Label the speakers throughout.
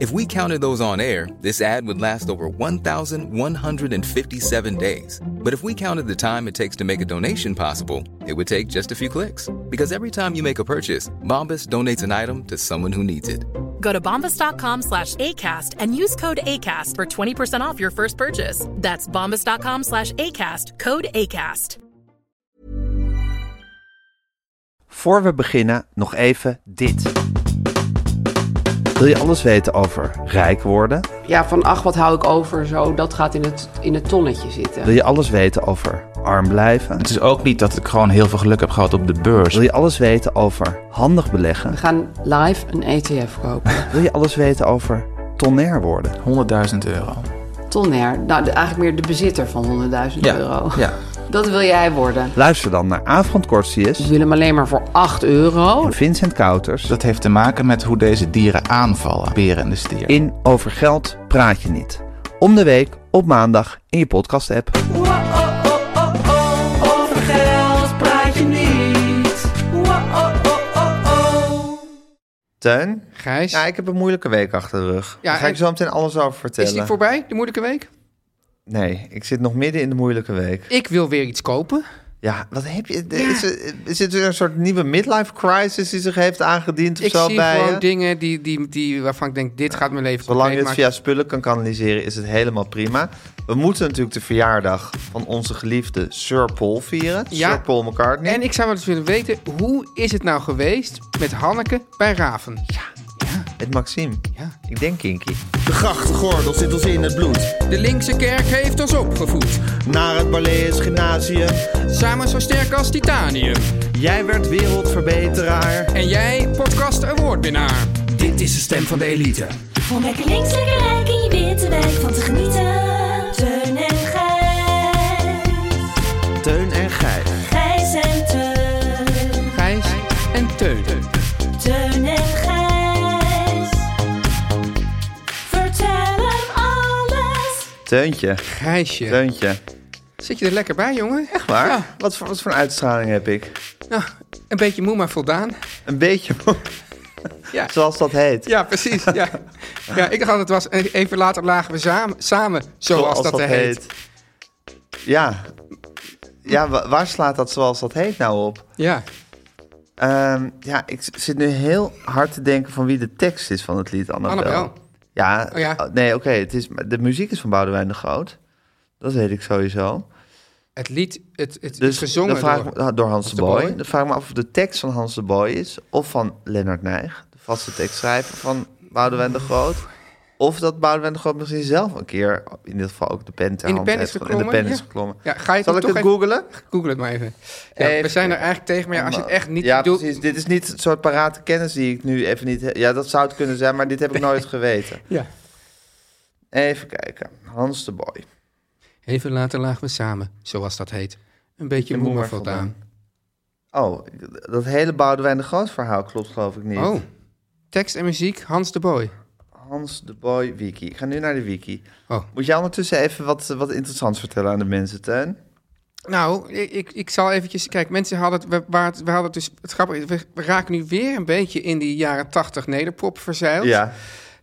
Speaker 1: If we counted those on air, this ad would last over 1,157 days. But if we counted the time it takes to make a donation possible, it would take just a few clicks. Because every time you make a purchase, Bombas donates an item to someone who needs it.
Speaker 2: Go to bombas.com slash ACAST and use code ACAST for 20% off your first purchase. That's bombas.com slash ACAST, code ACAST.
Speaker 3: Voor we beginnen, nog even dit. Wil je alles weten over rijk worden?
Speaker 4: Ja, van ach, wat hou ik over zo, dat gaat in het, in het tonnetje zitten.
Speaker 3: Wil je alles weten over arm blijven?
Speaker 5: Het is ook niet dat ik gewoon heel veel geluk heb gehad op de beurs.
Speaker 3: Wil je alles weten over handig beleggen?
Speaker 4: We gaan live een ETF kopen.
Speaker 3: Wil je alles weten over tonair worden?
Speaker 5: 100.000 euro.
Speaker 4: Tonner, nou de- eigenlijk meer de bezitter van 100.000
Speaker 5: Ja,
Speaker 4: euro.
Speaker 5: ja.
Speaker 4: Dat wil jij worden.
Speaker 3: Luister dan naar Avond
Speaker 4: Ik
Speaker 3: Korsius
Speaker 4: wil hem alleen maar voor 8 euro.
Speaker 3: en Vincent Kouters
Speaker 5: Dus Dat heeft te maken met hoe deze dieren aanvallen. Beren en de stier.
Speaker 3: in Over Geld Praat Je Niet. Om de week op maandag in je podcast app. Teun?
Speaker 6: Gijs.
Speaker 3: Ja, ik heb een moeilijke week achter de rug.
Speaker 6: Ja,
Speaker 3: Daar ga ik
Speaker 6: en-
Speaker 3: zo meteen alles over vertellen.
Speaker 6: Is die voorbij, de moeilijke week?
Speaker 3: Nee, ik zit nog midden in de moeilijke week.
Speaker 6: Ik wil weer iets kopen.
Speaker 3: Ja, wat heb je? Is er, zit er een soort nieuwe midlife crisis die zich heeft aangediend of
Speaker 6: Ik
Speaker 3: zo
Speaker 6: zie
Speaker 3: bij
Speaker 6: gewoon
Speaker 3: je?
Speaker 6: dingen die, die, die, waarvan ik denk, dit gaat mijn leven
Speaker 3: Zolang je
Speaker 6: compleet
Speaker 3: het
Speaker 6: maken.
Speaker 3: via spullen kan kanaliseren, is het helemaal prima. We moeten natuurlijk de verjaardag van onze geliefde Sir Paul vieren.
Speaker 6: Ja.
Speaker 3: Sir Paul McCartney.
Speaker 6: En ik zou wel eens willen weten, hoe is het nou geweest met Hanneke bij Raven?
Speaker 3: Het Maxime.
Speaker 6: Ja.
Speaker 3: Ik denk Kinky.
Speaker 7: De grachtgordel zit ons in het bloed.
Speaker 6: De linkse kerk heeft ons opgevoed.
Speaker 7: Naar het Barlees Gymnasium.
Speaker 6: Samen zo sterk als titanium.
Speaker 7: Jij werd wereldverbeteraar.
Speaker 6: En jij, podcast awardwinnaar.
Speaker 8: Dit is de stem van de elite.
Speaker 9: Om lekker links, lekker rijk in je witte wijk van te genieten. Teun en Gijs.
Speaker 7: Teun en Gijs.
Speaker 9: Gijs en Teun.
Speaker 6: Gijs en Teun.
Speaker 9: Teun en Gijs. Vertel hem alles.
Speaker 3: Teuntje.
Speaker 6: Gijsje.
Speaker 3: Teuntje.
Speaker 6: Zit je er lekker bij, jongen? Echt
Speaker 3: Maar
Speaker 6: Ja,
Speaker 3: wat, voor, wat voor een uitstraling heb ik?
Speaker 6: nou, een beetje moe, maar voldaan.
Speaker 3: Een beetje
Speaker 6: Ja.
Speaker 3: zoals dat heet.
Speaker 6: Ja, precies. Ja. Ja, ik dacht dat het was. en Even later lagen we samen, samen zoals, dat, er heet.
Speaker 3: Ja. Ja, wa- waar slaat dat zoals dat heet nou op?
Speaker 6: Ja.
Speaker 3: Ehm, ja, ik z- zit nu heel hard te denken van wie de tekst is van het lied Annabel.
Speaker 6: Annabel.
Speaker 3: Ja,
Speaker 6: Oh ja.
Speaker 3: oh, nee, oké. het is maar de muziek is van Boudewijn de Groot. Dat weet ik sowieso.
Speaker 6: Het lied het, het
Speaker 3: Dus
Speaker 6: is gezongen
Speaker 3: dan vraag ik
Speaker 6: door...
Speaker 3: me- ah, door Hans de
Speaker 6: de
Speaker 3: Boy.
Speaker 6: Boy.
Speaker 3: Dan vraag ik me af of de tekst van Hans de Boy is... of van Lennart Nijg, de vaste tekstschrijver van Boudewijn de Groot... of dat Boudewijn de Groot misschien zelf een keer... in dit geval ook de pen ter
Speaker 6: In de
Speaker 3: hand
Speaker 6: pen
Speaker 3: heeft
Speaker 6: is
Speaker 3: ge- in de pen
Speaker 6: geklommen,
Speaker 3: is
Speaker 6: ja.
Speaker 3: geklommen.
Speaker 6: Ja, ga je
Speaker 3: Zal ik
Speaker 6: het toch
Speaker 3: het
Speaker 6: even-
Speaker 3: googlen?
Speaker 6: Google het maar even. Ja,
Speaker 3: Even.
Speaker 6: We zijn er eigenlijk tegen, maar ja, als je het echt niet
Speaker 3: Ja,
Speaker 6: bedoelt...
Speaker 3: precies. Dit is niet het soort parate kennis die ik nu even niet... he- Ja, dat zou het kunnen zijn, maar dit heb ik nooit geweten.
Speaker 6: Ja.
Speaker 3: Even kijken. Hans de Boy.
Speaker 6: Even later lagen we samen, zoals dat heet. Een beetje moe, maar voldaan.
Speaker 3: Oh, dat hele Boudewijn de Groot verhaal klopt geloof ik niet.
Speaker 6: Oh, tekst en muziek, Hans de Boy.
Speaker 3: Hans de Boy wiki. Ik ga nu naar de wiki.
Speaker 6: Oh.
Speaker 3: Moet jij ondertussen even wat, wat interessants vertellen aan de mensen, Tuin?
Speaker 6: Nou, ik, ik- ik zal eventjes... Kijk, mensen hadden het... We, waar het- we hadden het dus... Het grappige is, we, we raken nu weer een beetje in die jaren tachtig nederpop verzeild.
Speaker 3: Ja.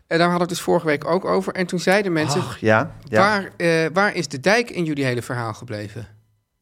Speaker 6: En daar hadden we het dus vorige week ook over. En toen zeiden mensen...
Speaker 3: Ach, ja. ja.
Speaker 6: Waar, eh, waar is de dijk in jullie hele verhaal gebleven?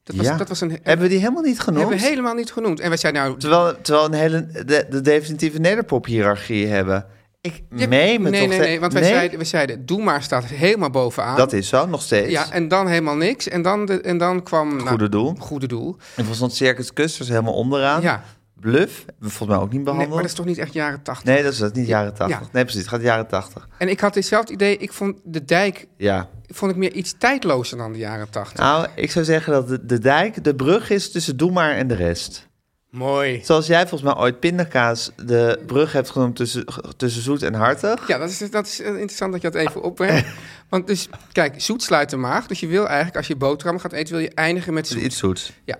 Speaker 6: Dat was,
Speaker 3: Ja.
Speaker 6: dat was een...
Speaker 3: Hebben we die helemaal niet genoemd?
Speaker 6: Hebben we helemaal niet genoemd. En wij zeiden nou...
Speaker 3: Terwijl, terwijl een hele, de, de definitieve nederpop-hierarchie
Speaker 6: Ah.
Speaker 3: hebben. Ik
Speaker 6: Ja,
Speaker 3: meen me
Speaker 6: nee,
Speaker 3: toch...
Speaker 6: nee,
Speaker 3: te-
Speaker 6: nee, want wij zeiden, we zeiden, doe maar staat helemaal bovenaan.
Speaker 3: Dat is zo, nog steeds.
Speaker 6: Ja, nou- en dan helemaal niks. En dan, de, en dan kwam... nou,
Speaker 3: Goede doel.
Speaker 6: Goede doel.
Speaker 3: En volgens ons Circus Custers helemaal onderaan.
Speaker 6: Ja.
Speaker 3: Bluff, hebben we volgens mij ook niet
Speaker 6: Nee,
Speaker 3: behandeld.
Speaker 6: maar dat is toch niet echt jaren tachtig?
Speaker 3: Nee, dat is dat niet jaren 80.
Speaker 6: Ja.
Speaker 3: Nee, precies, het gaat jaren 80.
Speaker 6: En ik had hetzelfde idee. Ik vond de dijk
Speaker 3: Ja.
Speaker 6: vond ik meer iets tijdlozer dan de jaren tachtig.
Speaker 3: Nou, ik zou zeggen dat de, de dijk de brug is tussen Doe maar en de rest.
Speaker 6: Mooi.
Speaker 3: Zoals jij volgens mij ooit pindakaas de brug hebt genoemd tussen, tussen zoet en hartig.
Speaker 6: Ja, dat is, dat is eh, interessant dat je dat even opbrengt. Want dus, kijk, zoet sluit de maag. Dus je wil eigenlijk, als je boterham gaat eten, wil je eindigen met zoet.
Speaker 3: Iets zoets.
Speaker 6: Ja.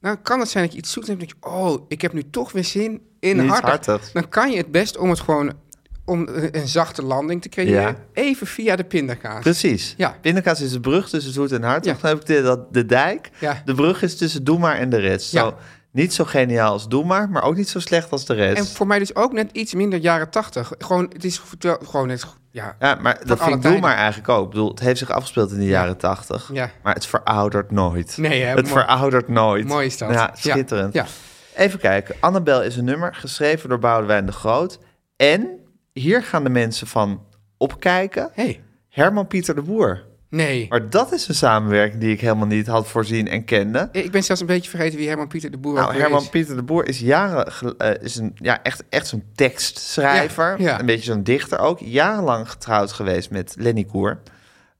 Speaker 6: dan kan het zijn dat je iets zoekt en denk je, oh, ik heb nu toch weer zin in
Speaker 3: Iets
Speaker 6: harder.
Speaker 3: hartigs.
Speaker 6: Dan kan je het best om het gewoon om een een zachte landing te creëren,
Speaker 3: Ja.
Speaker 6: even via de pindakaas.
Speaker 3: Precies.
Speaker 6: Ja.
Speaker 3: Pindakaas is de brug tussen Zoet en Hart.
Speaker 6: Ja.
Speaker 3: Dan heb ik de, dat, de dijk.
Speaker 6: Ja.
Speaker 3: De brug is tussen Doe maar en de rest.
Speaker 6: Ja.
Speaker 3: Zo, niet zo geniaal als Doe maar, maar ook niet zo slecht als de rest.
Speaker 6: En voor mij dus ook net iets minder jaren tachtig. Gewoon, het is goed- wel- gewoon net, goed- ja.
Speaker 3: Ja, maar dat
Speaker 6: alle
Speaker 3: vind ik Doe
Speaker 6: tijden.
Speaker 3: maar eigenlijk ook. Ik bedoel, het heeft zich afgespeeld in de jaren tachtig.
Speaker 6: Ja.
Speaker 3: Maar het veroudert nooit.
Speaker 6: Nee, hè,
Speaker 3: Het
Speaker 6: mooi.
Speaker 3: veroudert nooit.
Speaker 6: Mooi is dat.
Speaker 3: Ja, schitterend.
Speaker 6: Ja.
Speaker 3: Even kijken. Annabel is een nummer, geschreven door Boudewijn de Groot. En hier gaan de mensen van opkijken.
Speaker 6: Hey.
Speaker 3: Herman Pieter de Boer.
Speaker 6: Nee.
Speaker 3: Maar dat is een samenwerking die ik helemaal niet had voorzien en kende.
Speaker 6: Ik ben zelfs een beetje vergeten wie Herman Pieter de Boer ook
Speaker 3: Nou,
Speaker 6: weer
Speaker 3: Herman
Speaker 6: is.
Speaker 3: Pieter de Boer is jaren gel- eh, is een, ja, echt, echt zo'n tekstschrijver.
Speaker 6: Ja, ja.
Speaker 3: Een beetje zo'n dichter ook. Jarenlang getrouwd geweest met Lenny Koer.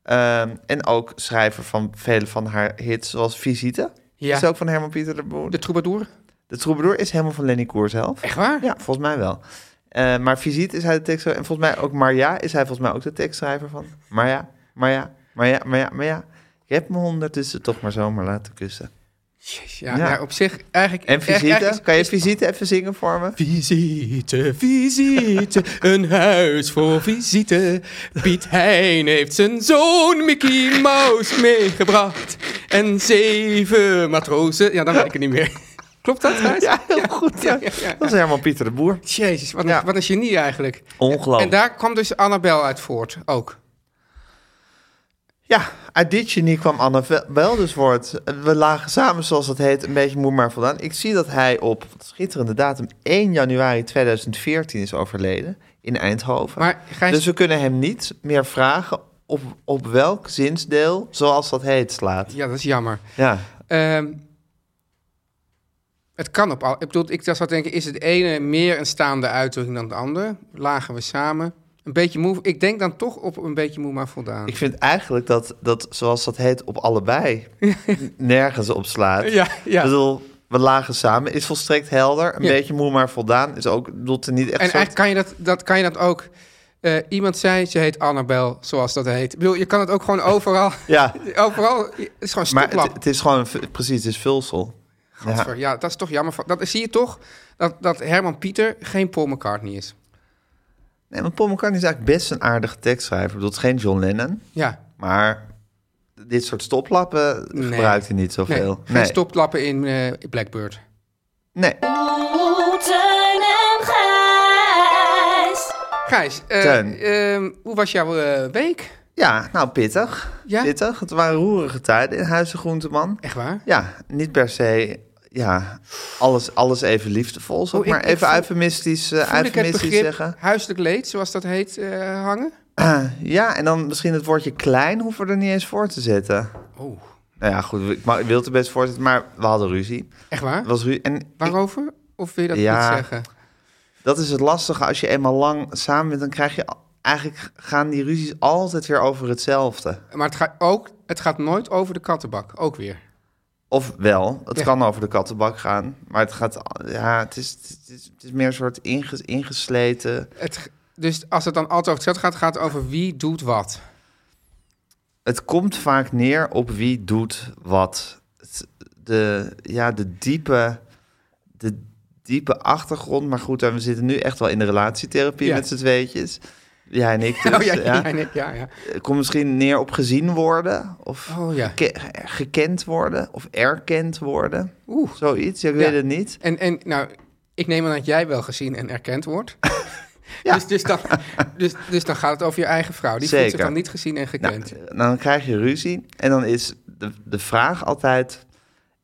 Speaker 3: Ehm, en ook schrijver van vele van haar hits, zoals Visite.
Speaker 6: Ja.
Speaker 3: Is ook van Herman Pieter de Boer.
Speaker 6: De
Speaker 3: De,
Speaker 6: troubadour.
Speaker 3: troubadour is helemaal van Lenny Koer zelf.
Speaker 6: Echt waar?
Speaker 3: Ja, volgens mij wel. Eh, maar Visite is hij de tekstschrijver. En volgens mij ook Marja is hij volgens mij ook de tekstschrijver van. Marja, Marja, Marja, Marja, Marja. Je hebt me ondertussen toch maar zomaar laten kussen.
Speaker 6: Jezus, ja,
Speaker 3: Ja.
Speaker 6: ja, op zich eigenlijk...
Speaker 3: En
Speaker 6: eigenlijk
Speaker 3: Visite?
Speaker 6: is-
Speaker 3: Kan je Visite even zingen voor me?
Speaker 6: Visite, visite, een huis voor visite. Piet Hein heeft zijn zoon Mickey Mouse meegebracht. En zeven matrozen. Ja, dan weet ik het niet meer. Klopt dat, Gijs?
Speaker 3: Ja, heel goed. Ja.
Speaker 6: ja, ja, ja.
Speaker 3: Dat is helemaal Pieter de Boer.
Speaker 6: Jezus, wat een,
Speaker 3: Ja.
Speaker 6: wat een genie eigenlijk.
Speaker 3: Ongelooflijk.
Speaker 6: En daar kwam dus Annabel uit voort, ook.
Speaker 3: Ja, uit dit genie kwam Annabel dus voort. We lagen samen, zoals dat heet, een beetje moe maar voldaan. Ik zie dat hij op wat schitterende datum 1 januari 2014 is overleden in Eindhoven.
Speaker 6: Maar Gijs-
Speaker 3: Dus we kunnen hem niet meer vragen op, op welk zinsdeel, zoals dat heet, slaat.
Speaker 6: Ja, dat is jammer.
Speaker 3: Ja,
Speaker 6: Ehm, het kan op al. Ik bedoel, ik zou denken, is het ene meer een staande uitdrukking dan het andere? Lagen we samen? Een beetje moe. Ik denk dan toch op een beetje moe maar voldaan.
Speaker 3: ik vind eigenlijk dat, dat zoals dat heet, op allebei nergens op slaat.
Speaker 6: Ja, ja.
Speaker 3: Ik bedoel, we lagen samen, is volstrekt helder. Een
Speaker 6: Ja.
Speaker 3: beetje moe maar voldaan is ook, ik bedoel, het is niet echt
Speaker 6: en
Speaker 3: een soort-
Speaker 6: eigenlijk kan je dat, dat, kan je dat ook... eh, iemand zei, ze heet Annabel, zoals dat heet. Ik bedoel, je kan het ook gewoon overal...
Speaker 3: Ja.
Speaker 6: Overal, het is gewoon
Speaker 3: Maar het,
Speaker 6: stoplap.
Speaker 3: het is gewoon, v- precies, het is vulsel.
Speaker 6: Ja.
Speaker 3: Ja.
Speaker 6: ja, dat is toch jammer. van- Dat zie je toch, dat, dat Herman Pieter geen Paul McCartney is.
Speaker 3: Nee, want Paul McCartney is eigenlijk best een aardige tekstschrijver. Ik bedoel, het is geen John Lennon,
Speaker 6: Ja.
Speaker 3: maar dit soort stoplappen
Speaker 6: Nee.
Speaker 3: gebruikt hij niet
Speaker 6: Nee,
Speaker 3: zoveel.
Speaker 6: geen stoplappen in eh, Blackbird.
Speaker 3: nee.
Speaker 9: Oh, Teun en Gijs.
Speaker 6: Gijs, eh,
Speaker 3: Teun.
Speaker 6: ehm, hoe was jouw eh, week?
Speaker 3: Ja, nou, pittig.
Speaker 6: Ja?
Speaker 3: Pittig. Het waren roerige tijden in Huizen Groenteman.
Speaker 6: Echt waar?
Speaker 3: Ja, niet per se... Ja, alles, alles even liefdevol, zal ik
Speaker 6: Oh, ik-
Speaker 3: maar
Speaker 6: ik
Speaker 3: even
Speaker 6: voel-
Speaker 3: eufemistisch, eh,
Speaker 6: Voel ik het
Speaker 3: eufemistisch
Speaker 6: begrip
Speaker 3: zeggen.
Speaker 6: huiselijk leed, zoals dat heet, eh, hangen?
Speaker 3: Ja, en dan misschien het woordje klein hoeven we er niet eens voor te zetten.
Speaker 6: Oh.
Speaker 3: Nou ja, goed, ik ma- ik wil het er best voor zetten, maar we hadden ruzie.
Speaker 6: Echt waar?
Speaker 3: Het Was ru en
Speaker 6: Waarover? Of wil je dat
Speaker 3: Ja.
Speaker 6: niet zeggen?
Speaker 3: dat is het lastige als je eenmaal lang samen bent, dan krijg je al- eigenlijk gaan die ruzies altijd weer over hetzelfde.
Speaker 6: Maar het gaat, ook, het gaat nooit over de kattenbak, ook weer.
Speaker 3: Of wel, het
Speaker 6: Ja.
Speaker 3: kan over de kattenbak gaan, maar het gaat, al- ja, het is, het is, het is meer een soort inges- ingesleten.
Speaker 6: Het, g- dus als het dan altijd over hetzelfde gaat, gaat het over wie doet wat.
Speaker 3: Het komt vaak neer op wie doet wat. Het- de, ja, de diepe, de diepe achtergrond, maar goed, en we zitten nu echt wel in de relatietherapie
Speaker 6: Ja.
Speaker 3: met z'n tweetjes. Jij en ik dus,
Speaker 6: oh ja,
Speaker 3: ja.
Speaker 6: ja. ja, nee, ja, ja.
Speaker 3: Het komt misschien neer op gezien worden. Of
Speaker 6: Oh ja.
Speaker 3: geke- gekend worden. Of erkend worden.
Speaker 6: Oeh.
Speaker 3: Zoiets, ja, ik
Speaker 6: Ja.
Speaker 3: weet het niet.
Speaker 6: En, en nou, ik neem aan dat jij wel gezien en erkend wordt.
Speaker 3: Ja.
Speaker 6: Dus, dus, dan, dus, dus dan gaat het over je eigen vrouw. Die voelt zich
Speaker 3: Zeker.
Speaker 6: dan niet gezien en
Speaker 3: Nou,
Speaker 6: gekend.
Speaker 3: dan krijg je ruzie. En dan is de, de vraag altijd...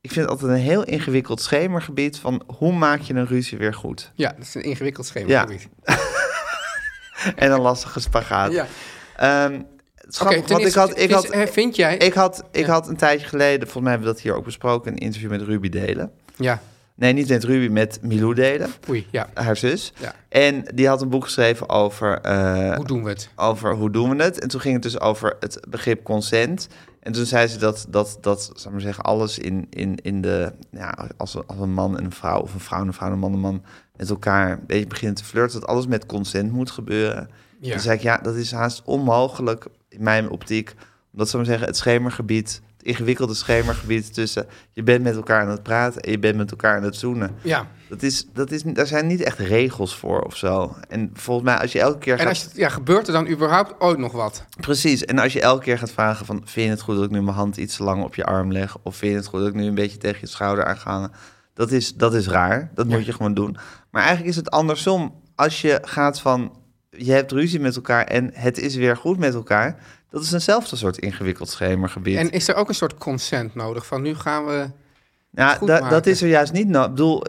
Speaker 3: Ik vind het altijd een heel ingewikkeld schemergebied van hoe maak je een ruzie weer goed?
Speaker 6: Ja, dat is een ingewikkeld schema. Ja.
Speaker 3: En een lastige spagaat.
Speaker 6: Ja.
Speaker 3: Ehm, het is grappig,
Speaker 6: ten
Speaker 3: want ik
Speaker 6: eerste,
Speaker 3: had, ik
Speaker 6: vis-
Speaker 3: had,
Speaker 6: eh, vind jij-
Speaker 3: Ik had, ik
Speaker 6: Ja.
Speaker 3: had een tijdje geleden, volgens mij hebben we dat hier ook besproken, een interview met Ruby Delen.
Speaker 6: ja,
Speaker 3: Nee, niet met Ruby, met Milou Delen.
Speaker 6: oei, ja.
Speaker 3: haar zus.
Speaker 6: Ja.
Speaker 3: En die had een boek geschreven over, eh,
Speaker 6: Hoe doen we het?
Speaker 3: over hoe doen we het. En toen ging het dus over het begrip consent. En toen zei ze dat, dat, dat zal ik maar zeggen, alles in, in, in de... Ja, als, een- als een man en een vrouw, of een vrouw en een vrouw en een man en een man... met elkaar een beetje beginnen te flirten... dat alles met consent moet gebeuren.
Speaker 6: Ja.
Speaker 3: Toen zei ik, ja, dat is haast onmogelijk in mijn optiek... omdat, zal ik maar zeggen, het schemergebied... ingewikkelde schemergebied tussen je bent met elkaar aan het praten en je bent met elkaar aan het zoenen.
Speaker 6: Ja.
Speaker 3: Dat is, dat is, daar zijn niet echt regels voor of zo. En volgens mij, als je elke keer
Speaker 6: En
Speaker 3: gaat...
Speaker 6: als je, ja, gebeurt er dan überhaupt ooit nog wat?
Speaker 3: Precies, en als je elke keer gaat vragen van... vind je het goed dat ik nu mijn hand iets te lang op je arm leg? Of vind je het goed dat ik nu een beetje tegen je schouder aan ga? Dat is, dat is raar, dat moet je gewoon doen. Maar eigenlijk is het andersom. Als je gaat van, je hebt ruzie met elkaar en het is weer goed met elkaar... dat is eenzelfde soort ingewikkeld schemergebied.
Speaker 6: En is er ook een soort consent nodig? Van nu gaan we.
Speaker 3: Nou,
Speaker 6: goed
Speaker 3: da- dat
Speaker 6: maken.
Speaker 3: is er juist niet. Nou, ik bedoel,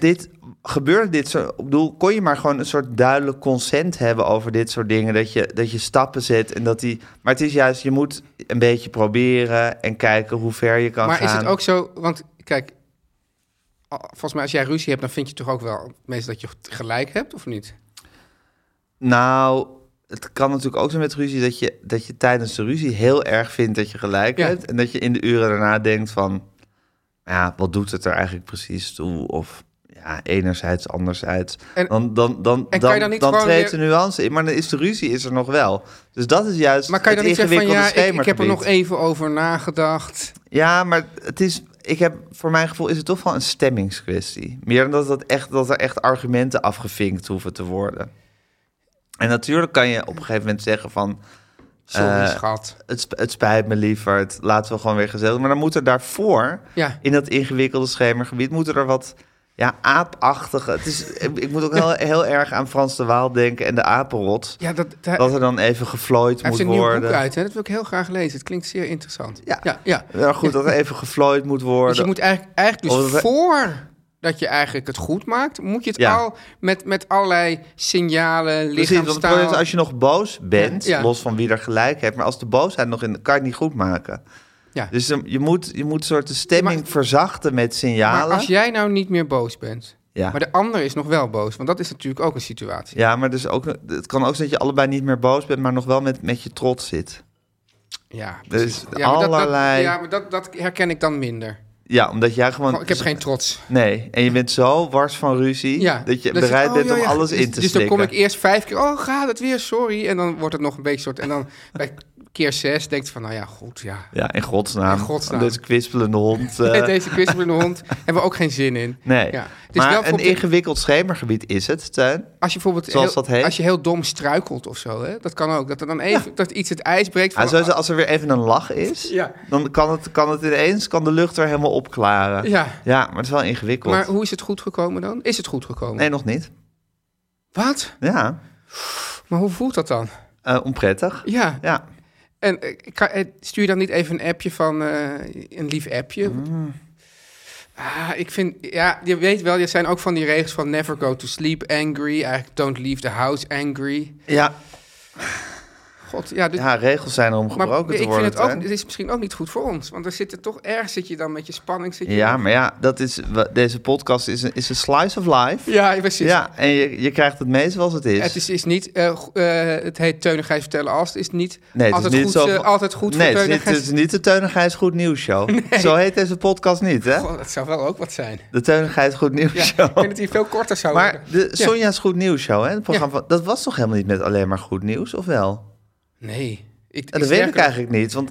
Speaker 3: dit gebeurde dit soort. Ik bedoel, kon je maar gewoon een soort duidelijk consent hebben over dit soort dingen. Dat je, dat je stappen zet en dat die. Maar het is juist, je moet een beetje proberen en kijken hoe ver je kan
Speaker 6: maar
Speaker 3: gaan.
Speaker 6: is het ook zo? Want kijk, al- volgens mij als jij ruzie hebt, dan vind je toch ook wel meestal dat je gelijk hebt, of niet?
Speaker 3: Nou, het kan natuurlijk ook zo met ruzie dat je, dat je tijdens de ruzie heel erg vindt dat je gelijk
Speaker 6: Ja.
Speaker 3: hebt. En dat je in de uren daarna denkt van, ja, wat doet het er eigenlijk precies toe? Of ja, enerzijds, anderzijds.
Speaker 6: En-
Speaker 3: dan dan, dan,
Speaker 6: en kan
Speaker 3: dan,
Speaker 6: je dan niet gewoon
Speaker 3: treedt
Speaker 6: weer-
Speaker 3: de nuance in, maar dan is de ruzie is er nog wel. Dus dat is juist
Speaker 6: Maar kan je dan
Speaker 3: het
Speaker 6: niet zeggen van
Speaker 3: ingewikkelde
Speaker 6: ja, ik, ik heb er nog
Speaker 3: schemergebied.
Speaker 6: even over nagedacht.
Speaker 3: Ja, maar het is... Ik heb, voor mijn gevoel is het toch wel een stemmingskwestie. Meer dan dat, dat, echt, dat er echt argumenten afgevinkt hoeven te worden. En natuurlijk kan je op een gegeven moment zeggen van...
Speaker 6: Sorry,
Speaker 3: Eh,
Speaker 6: schat.
Speaker 3: het, sp- het spijt me lieverd, laten we gewoon weer gezellig. Maar dan moet er daarvoor,
Speaker 6: Ja.
Speaker 3: in dat ingewikkelde schemergebied, moeten er wat ja, aapachtige... Het is, ik, ik moet ook heel, heel erg aan Frans de Waal denken en de apenrot.
Speaker 6: Ja, dat, hij,
Speaker 3: Dat er dan even geflooid
Speaker 6: hij heeft
Speaker 3: moet
Speaker 6: een nieuw boek
Speaker 3: worden.
Speaker 6: uit, hè? Dat wil ik heel graag lezen. Het klinkt zeer interessant.
Speaker 3: Ja.
Speaker 6: ja. ja.
Speaker 3: Ja, goed, dat er even geflooid moet
Speaker 6: Dus je
Speaker 3: worden.
Speaker 6: moet eigenlijk, eigenlijk dus
Speaker 3: Of we-
Speaker 6: voordat je eigenlijk het goed maakt, moet je het
Speaker 3: Ja.
Speaker 6: al met, met allerlei signalen,
Speaker 3: Precies, want het probleem is
Speaker 6: lichaamstaal...
Speaker 3: als je nog boos bent,
Speaker 6: Ja.
Speaker 3: los van wie er gelijk heeft... maar als de boosheid nog in... kan je het niet goed maken.
Speaker 6: Ja.
Speaker 3: Dus eh, je moet, je moet soort de stemming verzachten met signalen.
Speaker 6: Maar als jij nou niet meer boos bent,
Speaker 3: Ja.
Speaker 6: maar de ander is nog wel boos, want dat is natuurlijk ook een situatie.
Speaker 3: Ja, maar dus ook, het kan ook zijn dat je allebei niet meer boos bent, maar nog wel met, met je trots zit.
Speaker 6: Ja,
Speaker 3: Dus
Speaker 6: maar dat- dat-
Speaker 3: allerlei-
Speaker 6: ja, maar dat, dat herken ik dan minder.
Speaker 3: Ja, omdat jij gewoon.
Speaker 6: Gewoon, ik heb geen trots.
Speaker 3: Nee, en je bent zo wars van ruzie
Speaker 6: Ja.
Speaker 3: dat dus je
Speaker 6: Dan zeg
Speaker 3: bereid
Speaker 6: oh,
Speaker 3: bent
Speaker 6: ja,
Speaker 3: om
Speaker 6: ja.
Speaker 3: alles
Speaker 6: Dus-
Speaker 3: in te
Speaker 6: Dus dan
Speaker 3: slikken.
Speaker 6: kom ik eerst vijf keer, oh gaat het weer, sorry. En dan wordt het nog een beetje soort... En dan bij keer zes denkt van, nou ja, goed, ja.
Speaker 3: Ja, in godsnaam.
Speaker 6: In godsnaam.
Speaker 3: Deze kwispelende hond. eh,
Speaker 6: Met deze kwispelende hond hebben we ook geen zin in.
Speaker 3: Nee,
Speaker 6: Ja. Het is
Speaker 3: maar
Speaker 6: wel
Speaker 3: een
Speaker 6: voor-
Speaker 3: ingewikkeld schemergebied is het, Tuin.
Speaker 6: Als je bijvoorbeeld
Speaker 3: Zoals
Speaker 6: heel,
Speaker 3: dat heet?
Speaker 6: als je heel dom struikelt of zo, hè? dat kan ook. Dat er dan even dat iets het ijs breekt. Van,
Speaker 3: Ah, sowieso, als er weer even een lach is,
Speaker 6: Ja.
Speaker 3: dan kan het, kan het ineens, kan de lucht er helemaal opklaren.
Speaker 6: Ja.
Speaker 3: ja maar het is wel ingewikkeld.
Speaker 6: maar hoe is het goed gekomen dan? Is het goed gekomen?
Speaker 3: Nee, nog niet.
Speaker 6: Wat?
Speaker 3: Ja,
Speaker 6: Maar hoe voelt dat dan?
Speaker 3: Eh, onprettig.
Speaker 6: Ja.
Speaker 3: Ja,
Speaker 6: En eh, ik kan- eh, stuur je dan niet even een appje van eh, een lief appje?
Speaker 3: Mm.
Speaker 6: Ah, ik vind, ja, je weet wel, er zijn ook van die regels van never go to sleep angry. Eigenlijk don't leave the house angry.
Speaker 3: ja.
Speaker 6: God, ja, dit-
Speaker 3: ja regels zijn er om gebroken
Speaker 6: maar
Speaker 3: te worden.
Speaker 6: ik vind het ook,
Speaker 3: Teun.
Speaker 6: dit is misschien ook niet goed voor ons. Want er zit er toch erg, zit je dan met je spanning. Zit je
Speaker 3: Ja, maar ja, dat is, wa- deze podcast is een, is een slice of life.
Speaker 6: ja, precies.
Speaker 3: Ja, en je, je krijgt het mee zoals het is.
Speaker 6: Het is, is niet, eh, go- eh, het heet Teunigheid vertellen als. Het is niet
Speaker 3: het
Speaker 6: altijd, goed,
Speaker 3: zo
Speaker 6: eh,
Speaker 3: van-
Speaker 6: altijd goed
Speaker 3: nee,
Speaker 6: voor
Speaker 3: het is niet-
Speaker 6: Teunigheid.
Speaker 3: het is niet de Teunigijs Goed Nieuws Show. Zo heet deze podcast niet, hè?
Speaker 6: Goh, Oh, dat zou wel ook wat zijn.
Speaker 3: De Teunigijs Goed Nieuws
Speaker 6: Ja, ik
Speaker 3: Show.
Speaker 6: denk dat hij veel korter zou
Speaker 3: Maar
Speaker 6: worden.
Speaker 3: de
Speaker 6: Ja.
Speaker 3: Sonja's Goed Nieuws Show, hè? Het programma van, dat was toch helemaal niet met alleen maar goed nieuws, of wel?
Speaker 6: Nee. Ik,
Speaker 3: Dat weet ik eigenlijk niet, want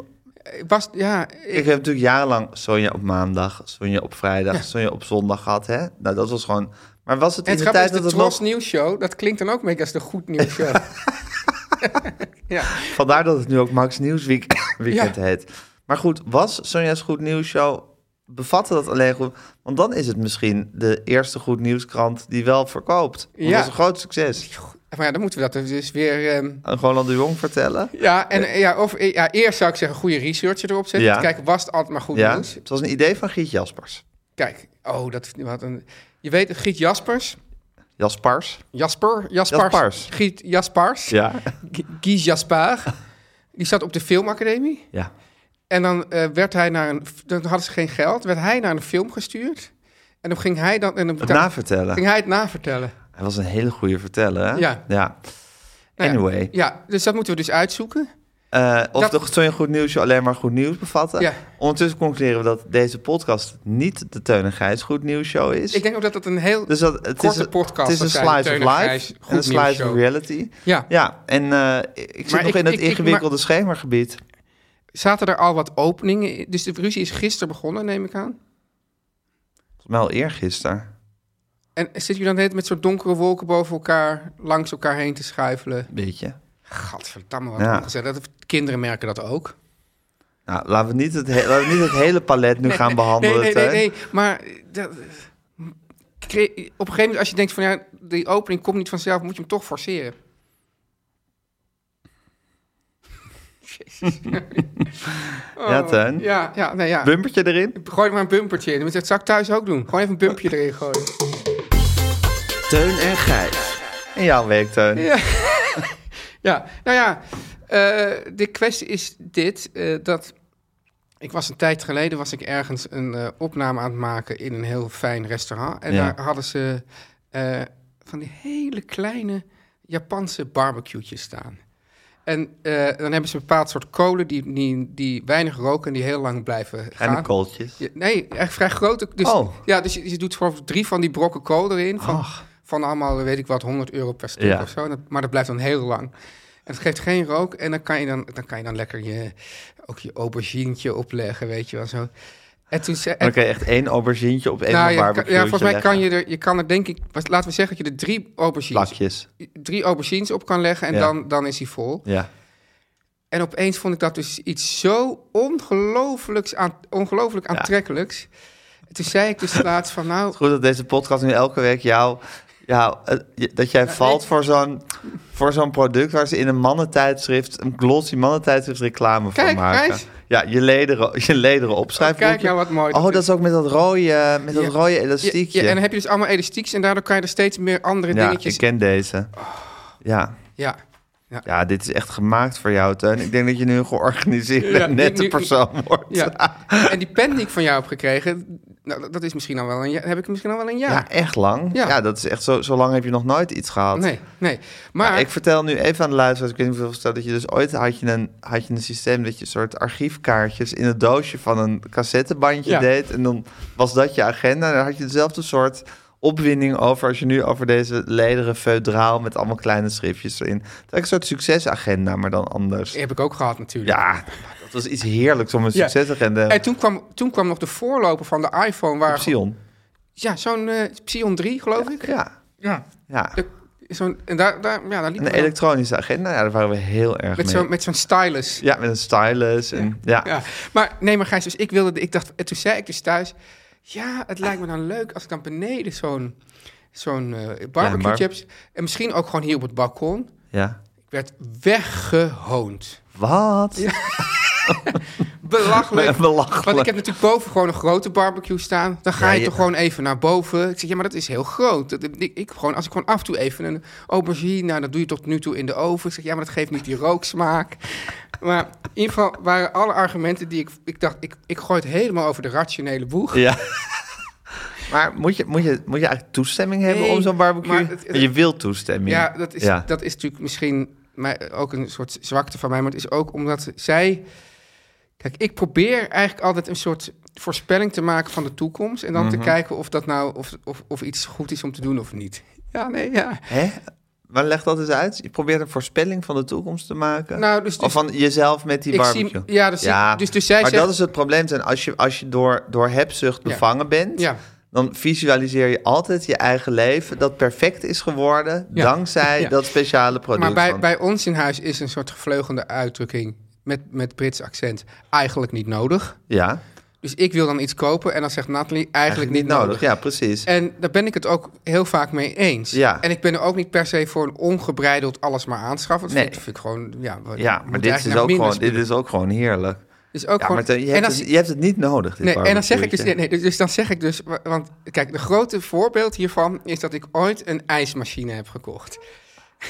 Speaker 6: Bas, ja,
Speaker 3: ik
Speaker 6: ik,
Speaker 3: heb natuurlijk jarenlang Sonja op maandag, Sonja op vrijdag, Sonja op zondag gehad, hè? Nou, dat was gewoon... Maar was het in
Speaker 6: het
Speaker 3: de
Speaker 6: grappige is
Speaker 3: tijd
Speaker 6: de
Speaker 3: dat het
Speaker 6: Tros
Speaker 3: nog...
Speaker 6: Nieuws Show. Dat klinkt dan ook mee als de Goed Nieuws Show. ja.
Speaker 3: Vandaar dat het nu ook Max Nieuws Week- Weekend
Speaker 6: Ja.
Speaker 3: heet. Maar goed, was Sonja's Goed Nieuws Show... bevatte dat alleen goed? Want dan is het misschien de eerste Goed Nieuwskrant die wel verkoopt. Want
Speaker 6: Ja.
Speaker 3: Dat is een groot succes.
Speaker 6: Maar ja, dan moeten we dat dus weer... ehm,
Speaker 3: En Roland de Jong vertellen.
Speaker 6: ja, en, eh, ja, of, eh, ja, eerst zou ik zeggen goede researcher erop zetten.
Speaker 3: Ja.
Speaker 6: Om te kijken, was het altijd maar goed
Speaker 3: ja,
Speaker 6: nieuws?
Speaker 3: het was een idee van Giet Jaspers.
Speaker 6: Kijk, oh, dat wat een... Je weet, Giet Jaspers...
Speaker 3: Jaspers?
Speaker 6: Jasper, Jaspers.
Speaker 3: Jaspers.
Speaker 6: Giet Jaspers.
Speaker 3: Ja.
Speaker 6: Gu- Guy Jasper. Die zat op de filmacademie.
Speaker 3: ja.
Speaker 6: En dan eh, werd hij naar een... Dan hadden ze geen geld. Werd hij naar een film gestuurd. En dan ging hij dan... En dan
Speaker 3: Het
Speaker 6: betaal-
Speaker 3: navertellen.
Speaker 6: ging hij het navertellen.
Speaker 3: Hij was een hele goede verteller, hè?
Speaker 6: Ja. Nou ja,
Speaker 3: Anyway,
Speaker 6: Ja, dus dat moeten we dus uitzoeken.
Speaker 3: eh, of
Speaker 6: dat-
Speaker 3: de Sonja Goed Nieuws Show alleen maar goed nieuws bevatte.
Speaker 6: Ja.
Speaker 3: Ondertussen concluderen we dat deze podcast niet de Teun en Gijs Goed Nieuws Show is.
Speaker 6: Ik denk ook dat dat een heel...
Speaker 3: Dus dat, het, is,
Speaker 6: Korte
Speaker 3: een-
Speaker 6: podcast,
Speaker 3: het is een
Speaker 6: dat zijn
Speaker 3: slice
Speaker 6: Teun
Speaker 3: of
Speaker 6: en
Speaker 3: life
Speaker 6: Gijs,
Speaker 3: en een
Speaker 6: goed nieuws
Speaker 3: slice of
Speaker 6: show.
Speaker 3: reality.
Speaker 6: Ja.
Speaker 3: Ja, en eh, ik zit
Speaker 6: Maar
Speaker 3: nog
Speaker 6: ik-
Speaker 3: in het
Speaker 6: ik- ik-
Speaker 3: ingewikkelde schemergebied.
Speaker 6: Zaten er al wat openingen? in? Dus de ruzie is gisteren begonnen, neem ik aan.
Speaker 3: Volgens mij al eergisteren.
Speaker 6: En zitten jullie dan de hele tijd met soort donkere wolken boven elkaar, langs elkaar heen te schuifelen?
Speaker 3: Weet je?
Speaker 6: Gadverdamme, wat
Speaker 3: Ja.
Speaker 6: ongezellig. Dat- Kinderen merken dat ook.
Speaker 3: Nou, laten we niet het, he- laten we niet het hele palet nu gaan
Speaker 6: Nee,
Speaker 3: behandelen.
Speaker 6: nee, nee,
Speaker 3: Teun.
Speaker 6: nee. Maar dat- Cre- op een gegeven moment, als je denkt van ja, die opening komt niet vanzelf, moet je hem toch forceren. Jezus.
Speaker 3: Ja,
Speaker 6: Oh,
Speaker 3: Teun.
Speaker 6: Ja, ja, nee, ja.
Speaker 3: Bumpertje erin.
Speaker 6: Gooi er maar een bumpertje in. Dat zou ik thuis ook doen. Gewoon even een bumpje erin gooien.
Speaker 7: Teun en Gijs.
Speaker 3: En jouw week, Teun.
Speaker 6: Ja. ja, nou ja, eh, de kwestie is dit, eh, dat ik was een tijd geleden was ik ergens een eh, opname aan het maken in een heel fijn restaurant. En
Speaker 3: Ja.
Speaker 6: daar hadden ze eh, van die hele kleine Japanse barbecue'tjes staan. En eh, dan hebben ze een bepaald soort kolen die, die, die weinig roken en die heel lang blijven
Speaker 3: En de
Speaker 6: gaan.
Speaker 3: kooltjes.
Speaker 6: Ja, nee, echt vrij grote. Dus,
Speaker 3: Oh.
Speaker 6: Ja, dus je, je doet gewoon drie van die brokken kool erin. Van,
Speaker 3: Ach.
Speaker 6: van allemaal, weet ik wat, 100 euro per stuk
Speaker 3: Ja.
Speaker 6: of zo. En dat- maar dat blijft dan heel lang. En het geeft geen rook. En dan kan je dan, dan, kan je dan lekker je, ook je auberginetje opleggen, weet je wel zo. En toen zei...
Speaker 3: En dan
Speaker 6: en-
Speaker 3: kan je echt één aubergine op één
Speaker 6: nou,
Speaker 3: nou,
Speaker 6: je kan- ja, volgens mij kan je er, je kan er denk ik, wat- laten we zeggen dat je er drie aubergines,
Speaker 3: Plakjes.
Speaker 6: drie aubergines op kan leggen en
Speaker 3: Ja.
Speaker 6: dan, dan is hij vol.
Speaker 3: Ja.
Speaker 6: En opeens vond ik dat dus iets zo ongelooflijks aan, ongelooflijk aantrekkelijks. Toen zei ik dus laatst van nou,
Speaker 3: Goed dat deze podcast nu elke week jou... jou eh, je- dat jij valt
Speaker 6: ik-
Speaker 3: voor zo'n voor zo'n product waar ze in een mannentijdschrift... een glossy mannentijdschrift reclame
Speaker 6: Kijk,
Speaker 3: voor maken.
Speaker 6: Gijs.
Speaker 3: Ja, je lederen, je lederen opschrijven.
Speaker 6: Oh, kijk nou wat mooi
Speaker 3: Oh,
Speaker 6: dat
Speaker 3: dat is ook met dat rode, met
Speaker 6: Ja.
Speaker 3: dat rode
Speaker 6: Ja, ja,
Speaker 3: elastiekje.
Speaker 6: en dan heb je dus allemaal elastiekjes en daardoor kan je er steeds meer andere
Speaker 3: Ja,
Speaker 6: dingetjes... Oh.
Speaker 3: ik ken deze. Ja.
Speaker 6: Ja,
Speaker 3: ja, dit is echt gemaakt voor jou, Teun. Ik denk dat je nu een georganiseerde,
Speaker 6: Ja, nu-
Speaker 3: nette
Speaker 6: nu-
Speaker 3: persoon wordt.
Speaker 6: ja. en die pen die ik van jou heb gekregen, nou, dat- dat is misschien al wel een jaar, heb ik misschien al wel een jaar.
Speaker 3: Ja, echt lang. Ja.
Speaker 6: Ja.
Speaker 3: dat is echt zo, zo lang heb je nog nooit iets gehad.
Speaker 6: nee, nee. Maar,
Speaker 3: Ja, ik vertel nu even aan de luisteraars, ik weet niet hoeveel vertel dat je dus ooit had je een, had je een systeem dat je een soort archiefkaartjes in het doosje van een cassettebandje
Speaker 6: Ja.
Speaker 3: deed. En dan was dat je agenda. En daar had je dezelfde soort opwinding over als je nu over deze lederen feudraal met allemaal kleine schriftjes erin. Dat is een soort succesagenda, maar dan anders.
Speaker 6: die heb ik ook gehad natuurlijk.
Speaker 3: Ja, eh, dat was iets heerlijks om een
Speaker 6: Ja.
Speaker 3: succesagenda
Speaker 6: En toen kwam, toen kwam nog de voorloper van de iPhone waar...
Speaker 3: Sion.
Speaker 6: Ja, zo'n eh, Psion 3 geloof ik.
Speaker 3: Ja,
Speaker 6: Ja.
Speaker 3: ja.
Speaker 6: De- Zo'n, en daar, daar, ja, daar liep
Speaker 3: Een
Speaker 6: ik dan
Speaker 3: elektronische agenda, ja, daar waren we heel erg
Speaker 6: met,
Speaker 3: mee.
Speaker 6: zo'n, met zo'n stylus.
Speaker 3: Ja, met een stylus. En, ja.
Speaker 6: Ja, maar nee, maar Gijs, dus ik wilde, ik dacht, en toen zei ik dus thuis, ja, het lijkt me dan leuk als ik dan beneden zo'n zo'n eh, barbecue
Speaker 3: maar-
Speaker 6: chips en misschien ook gewoon hier op het balkon.
Speaker 3: Ja.
Speaker 6: Ik werd weggehoond.
Speaker 3: Wat?
Speaker 6: Belachelijk.
Speaker 3: Belachelijk.
Speaker 6: Want ik heb natuurlijk boven gewoon een grote barbecue staan. Dan ga
Speaker 3: Ja,
Speaker 6: je
Speaker 3: je-
Speaker 6: toch gewoon even naar boven. Ik zeg, ja, maar dat is heel groot. Dat, ik, ik gewoon, als ik gewoon af en toe even een aubergine... Nou, dat doe je tot nu toe in de oven. Ik zeg, ja, maar dat geeft niet die rooksmaak. Maar in ieder geval waren alle argumenten die ik... Ik dacht, ik, ik gooi het helemaal over de rationele boeg.
Speaker 3: Ja. maar moet je, moet, je, moet je eigenlijk toestemming hebben
Speaker 6: Nee,
Speaker 3: om zo'n barbecue?
Speaker 6: maar het-
Speaker 3: Maar je wil toestemming.
Speaker 6: Ja, dat is,
Speaker 3: Ja.
Speaker 6: Dat is natuurlijk misschien mij, ook een soort zwakte van mij. Maar het is ook omdat zij... Kijk, ik probeer eigenlijk altijd een soort voorspelling te maken van de toekomst. En dan
Speaker 3: Mhm.
Speaker 6: te kijken of dat nou of, of, of iets goed is om te doen of niet. Ja, nee, ja.
Speaker 3: Hè? Maar leg dat eens uit. Je probeert een voorspelling van de toekomst te maken.
Speaker 6: Nou, dus- dus-
Speaker 3: of van jezelf met die
Speaker 6: Ik zie-
Speaker 3: barbecue.
Speaker 6: ja, dus- dus- dus zij
Speaker 3: maar
Speaker 6: zegt-
Speaker 3: dat is het probleem. Zijn. Als je, als je door, door hebzucht bevangen bent,
Speaker 6: Ja.
Speaker 3: dan visualiseer je altijd je eigen leven dat perfect is geworden
Speaker 6: Ja.
Speaker 3: dankzij
Speaker 6: Ja.
Speaker 3: dat speciale product.
Speaker 6: Maar bij,
Speaker 3: van-
Speaker 6: bij ons in huis is een soort gevleugelde uitdrukking met, met Brits accent eigenlijk niet nodig.
Speaker 3: ja,
Speaker 6: Dus ik wil dan iets kopen en dan zegt Natalie eigenlijk,
Speaker 3: eigenlijk niet nodig. Ja, precies.
Speaker 6: En daar ben ik het ook heel vaak mee eens.
Speaker 3: Ja.
Speaker 6: En ik ben er ook niet per se voor een ongebreideld alles maar aanschaffen. Dat
Speaker 3: Nee.
Speaker 6: vind, ik, vind ik gewoon... Ja, we-
Speaker 3: ja,
Speaker 6: we
Speaker 3: maar
Speaker 6: moeten
Speaker 3: dit is,
Speaker 6: eigenlijk
Speaker 3: ook
Speaker 6: naar minder
Speaker 3: gewoon, dit is ook gewoon heerlijk.
Speaker 6: spullen. Is ook
Speaker 3: Ja,
Speaker 6: gewoon-
Speaker 3: maar Teun, je, hebt
Speaker 6: en als-
Speaker 3: het, je hebt het niet nodig. Dit
Speaker 6: Nee, en dan zeg ik dus,
Speaker 3: barbecueetje.
Speaker 6: nee, nee, dus dan zeg ik dus, wa- want kijk, de grote voorbeeld hiervan is dat ik ooit een ijsmachine heb gekocht.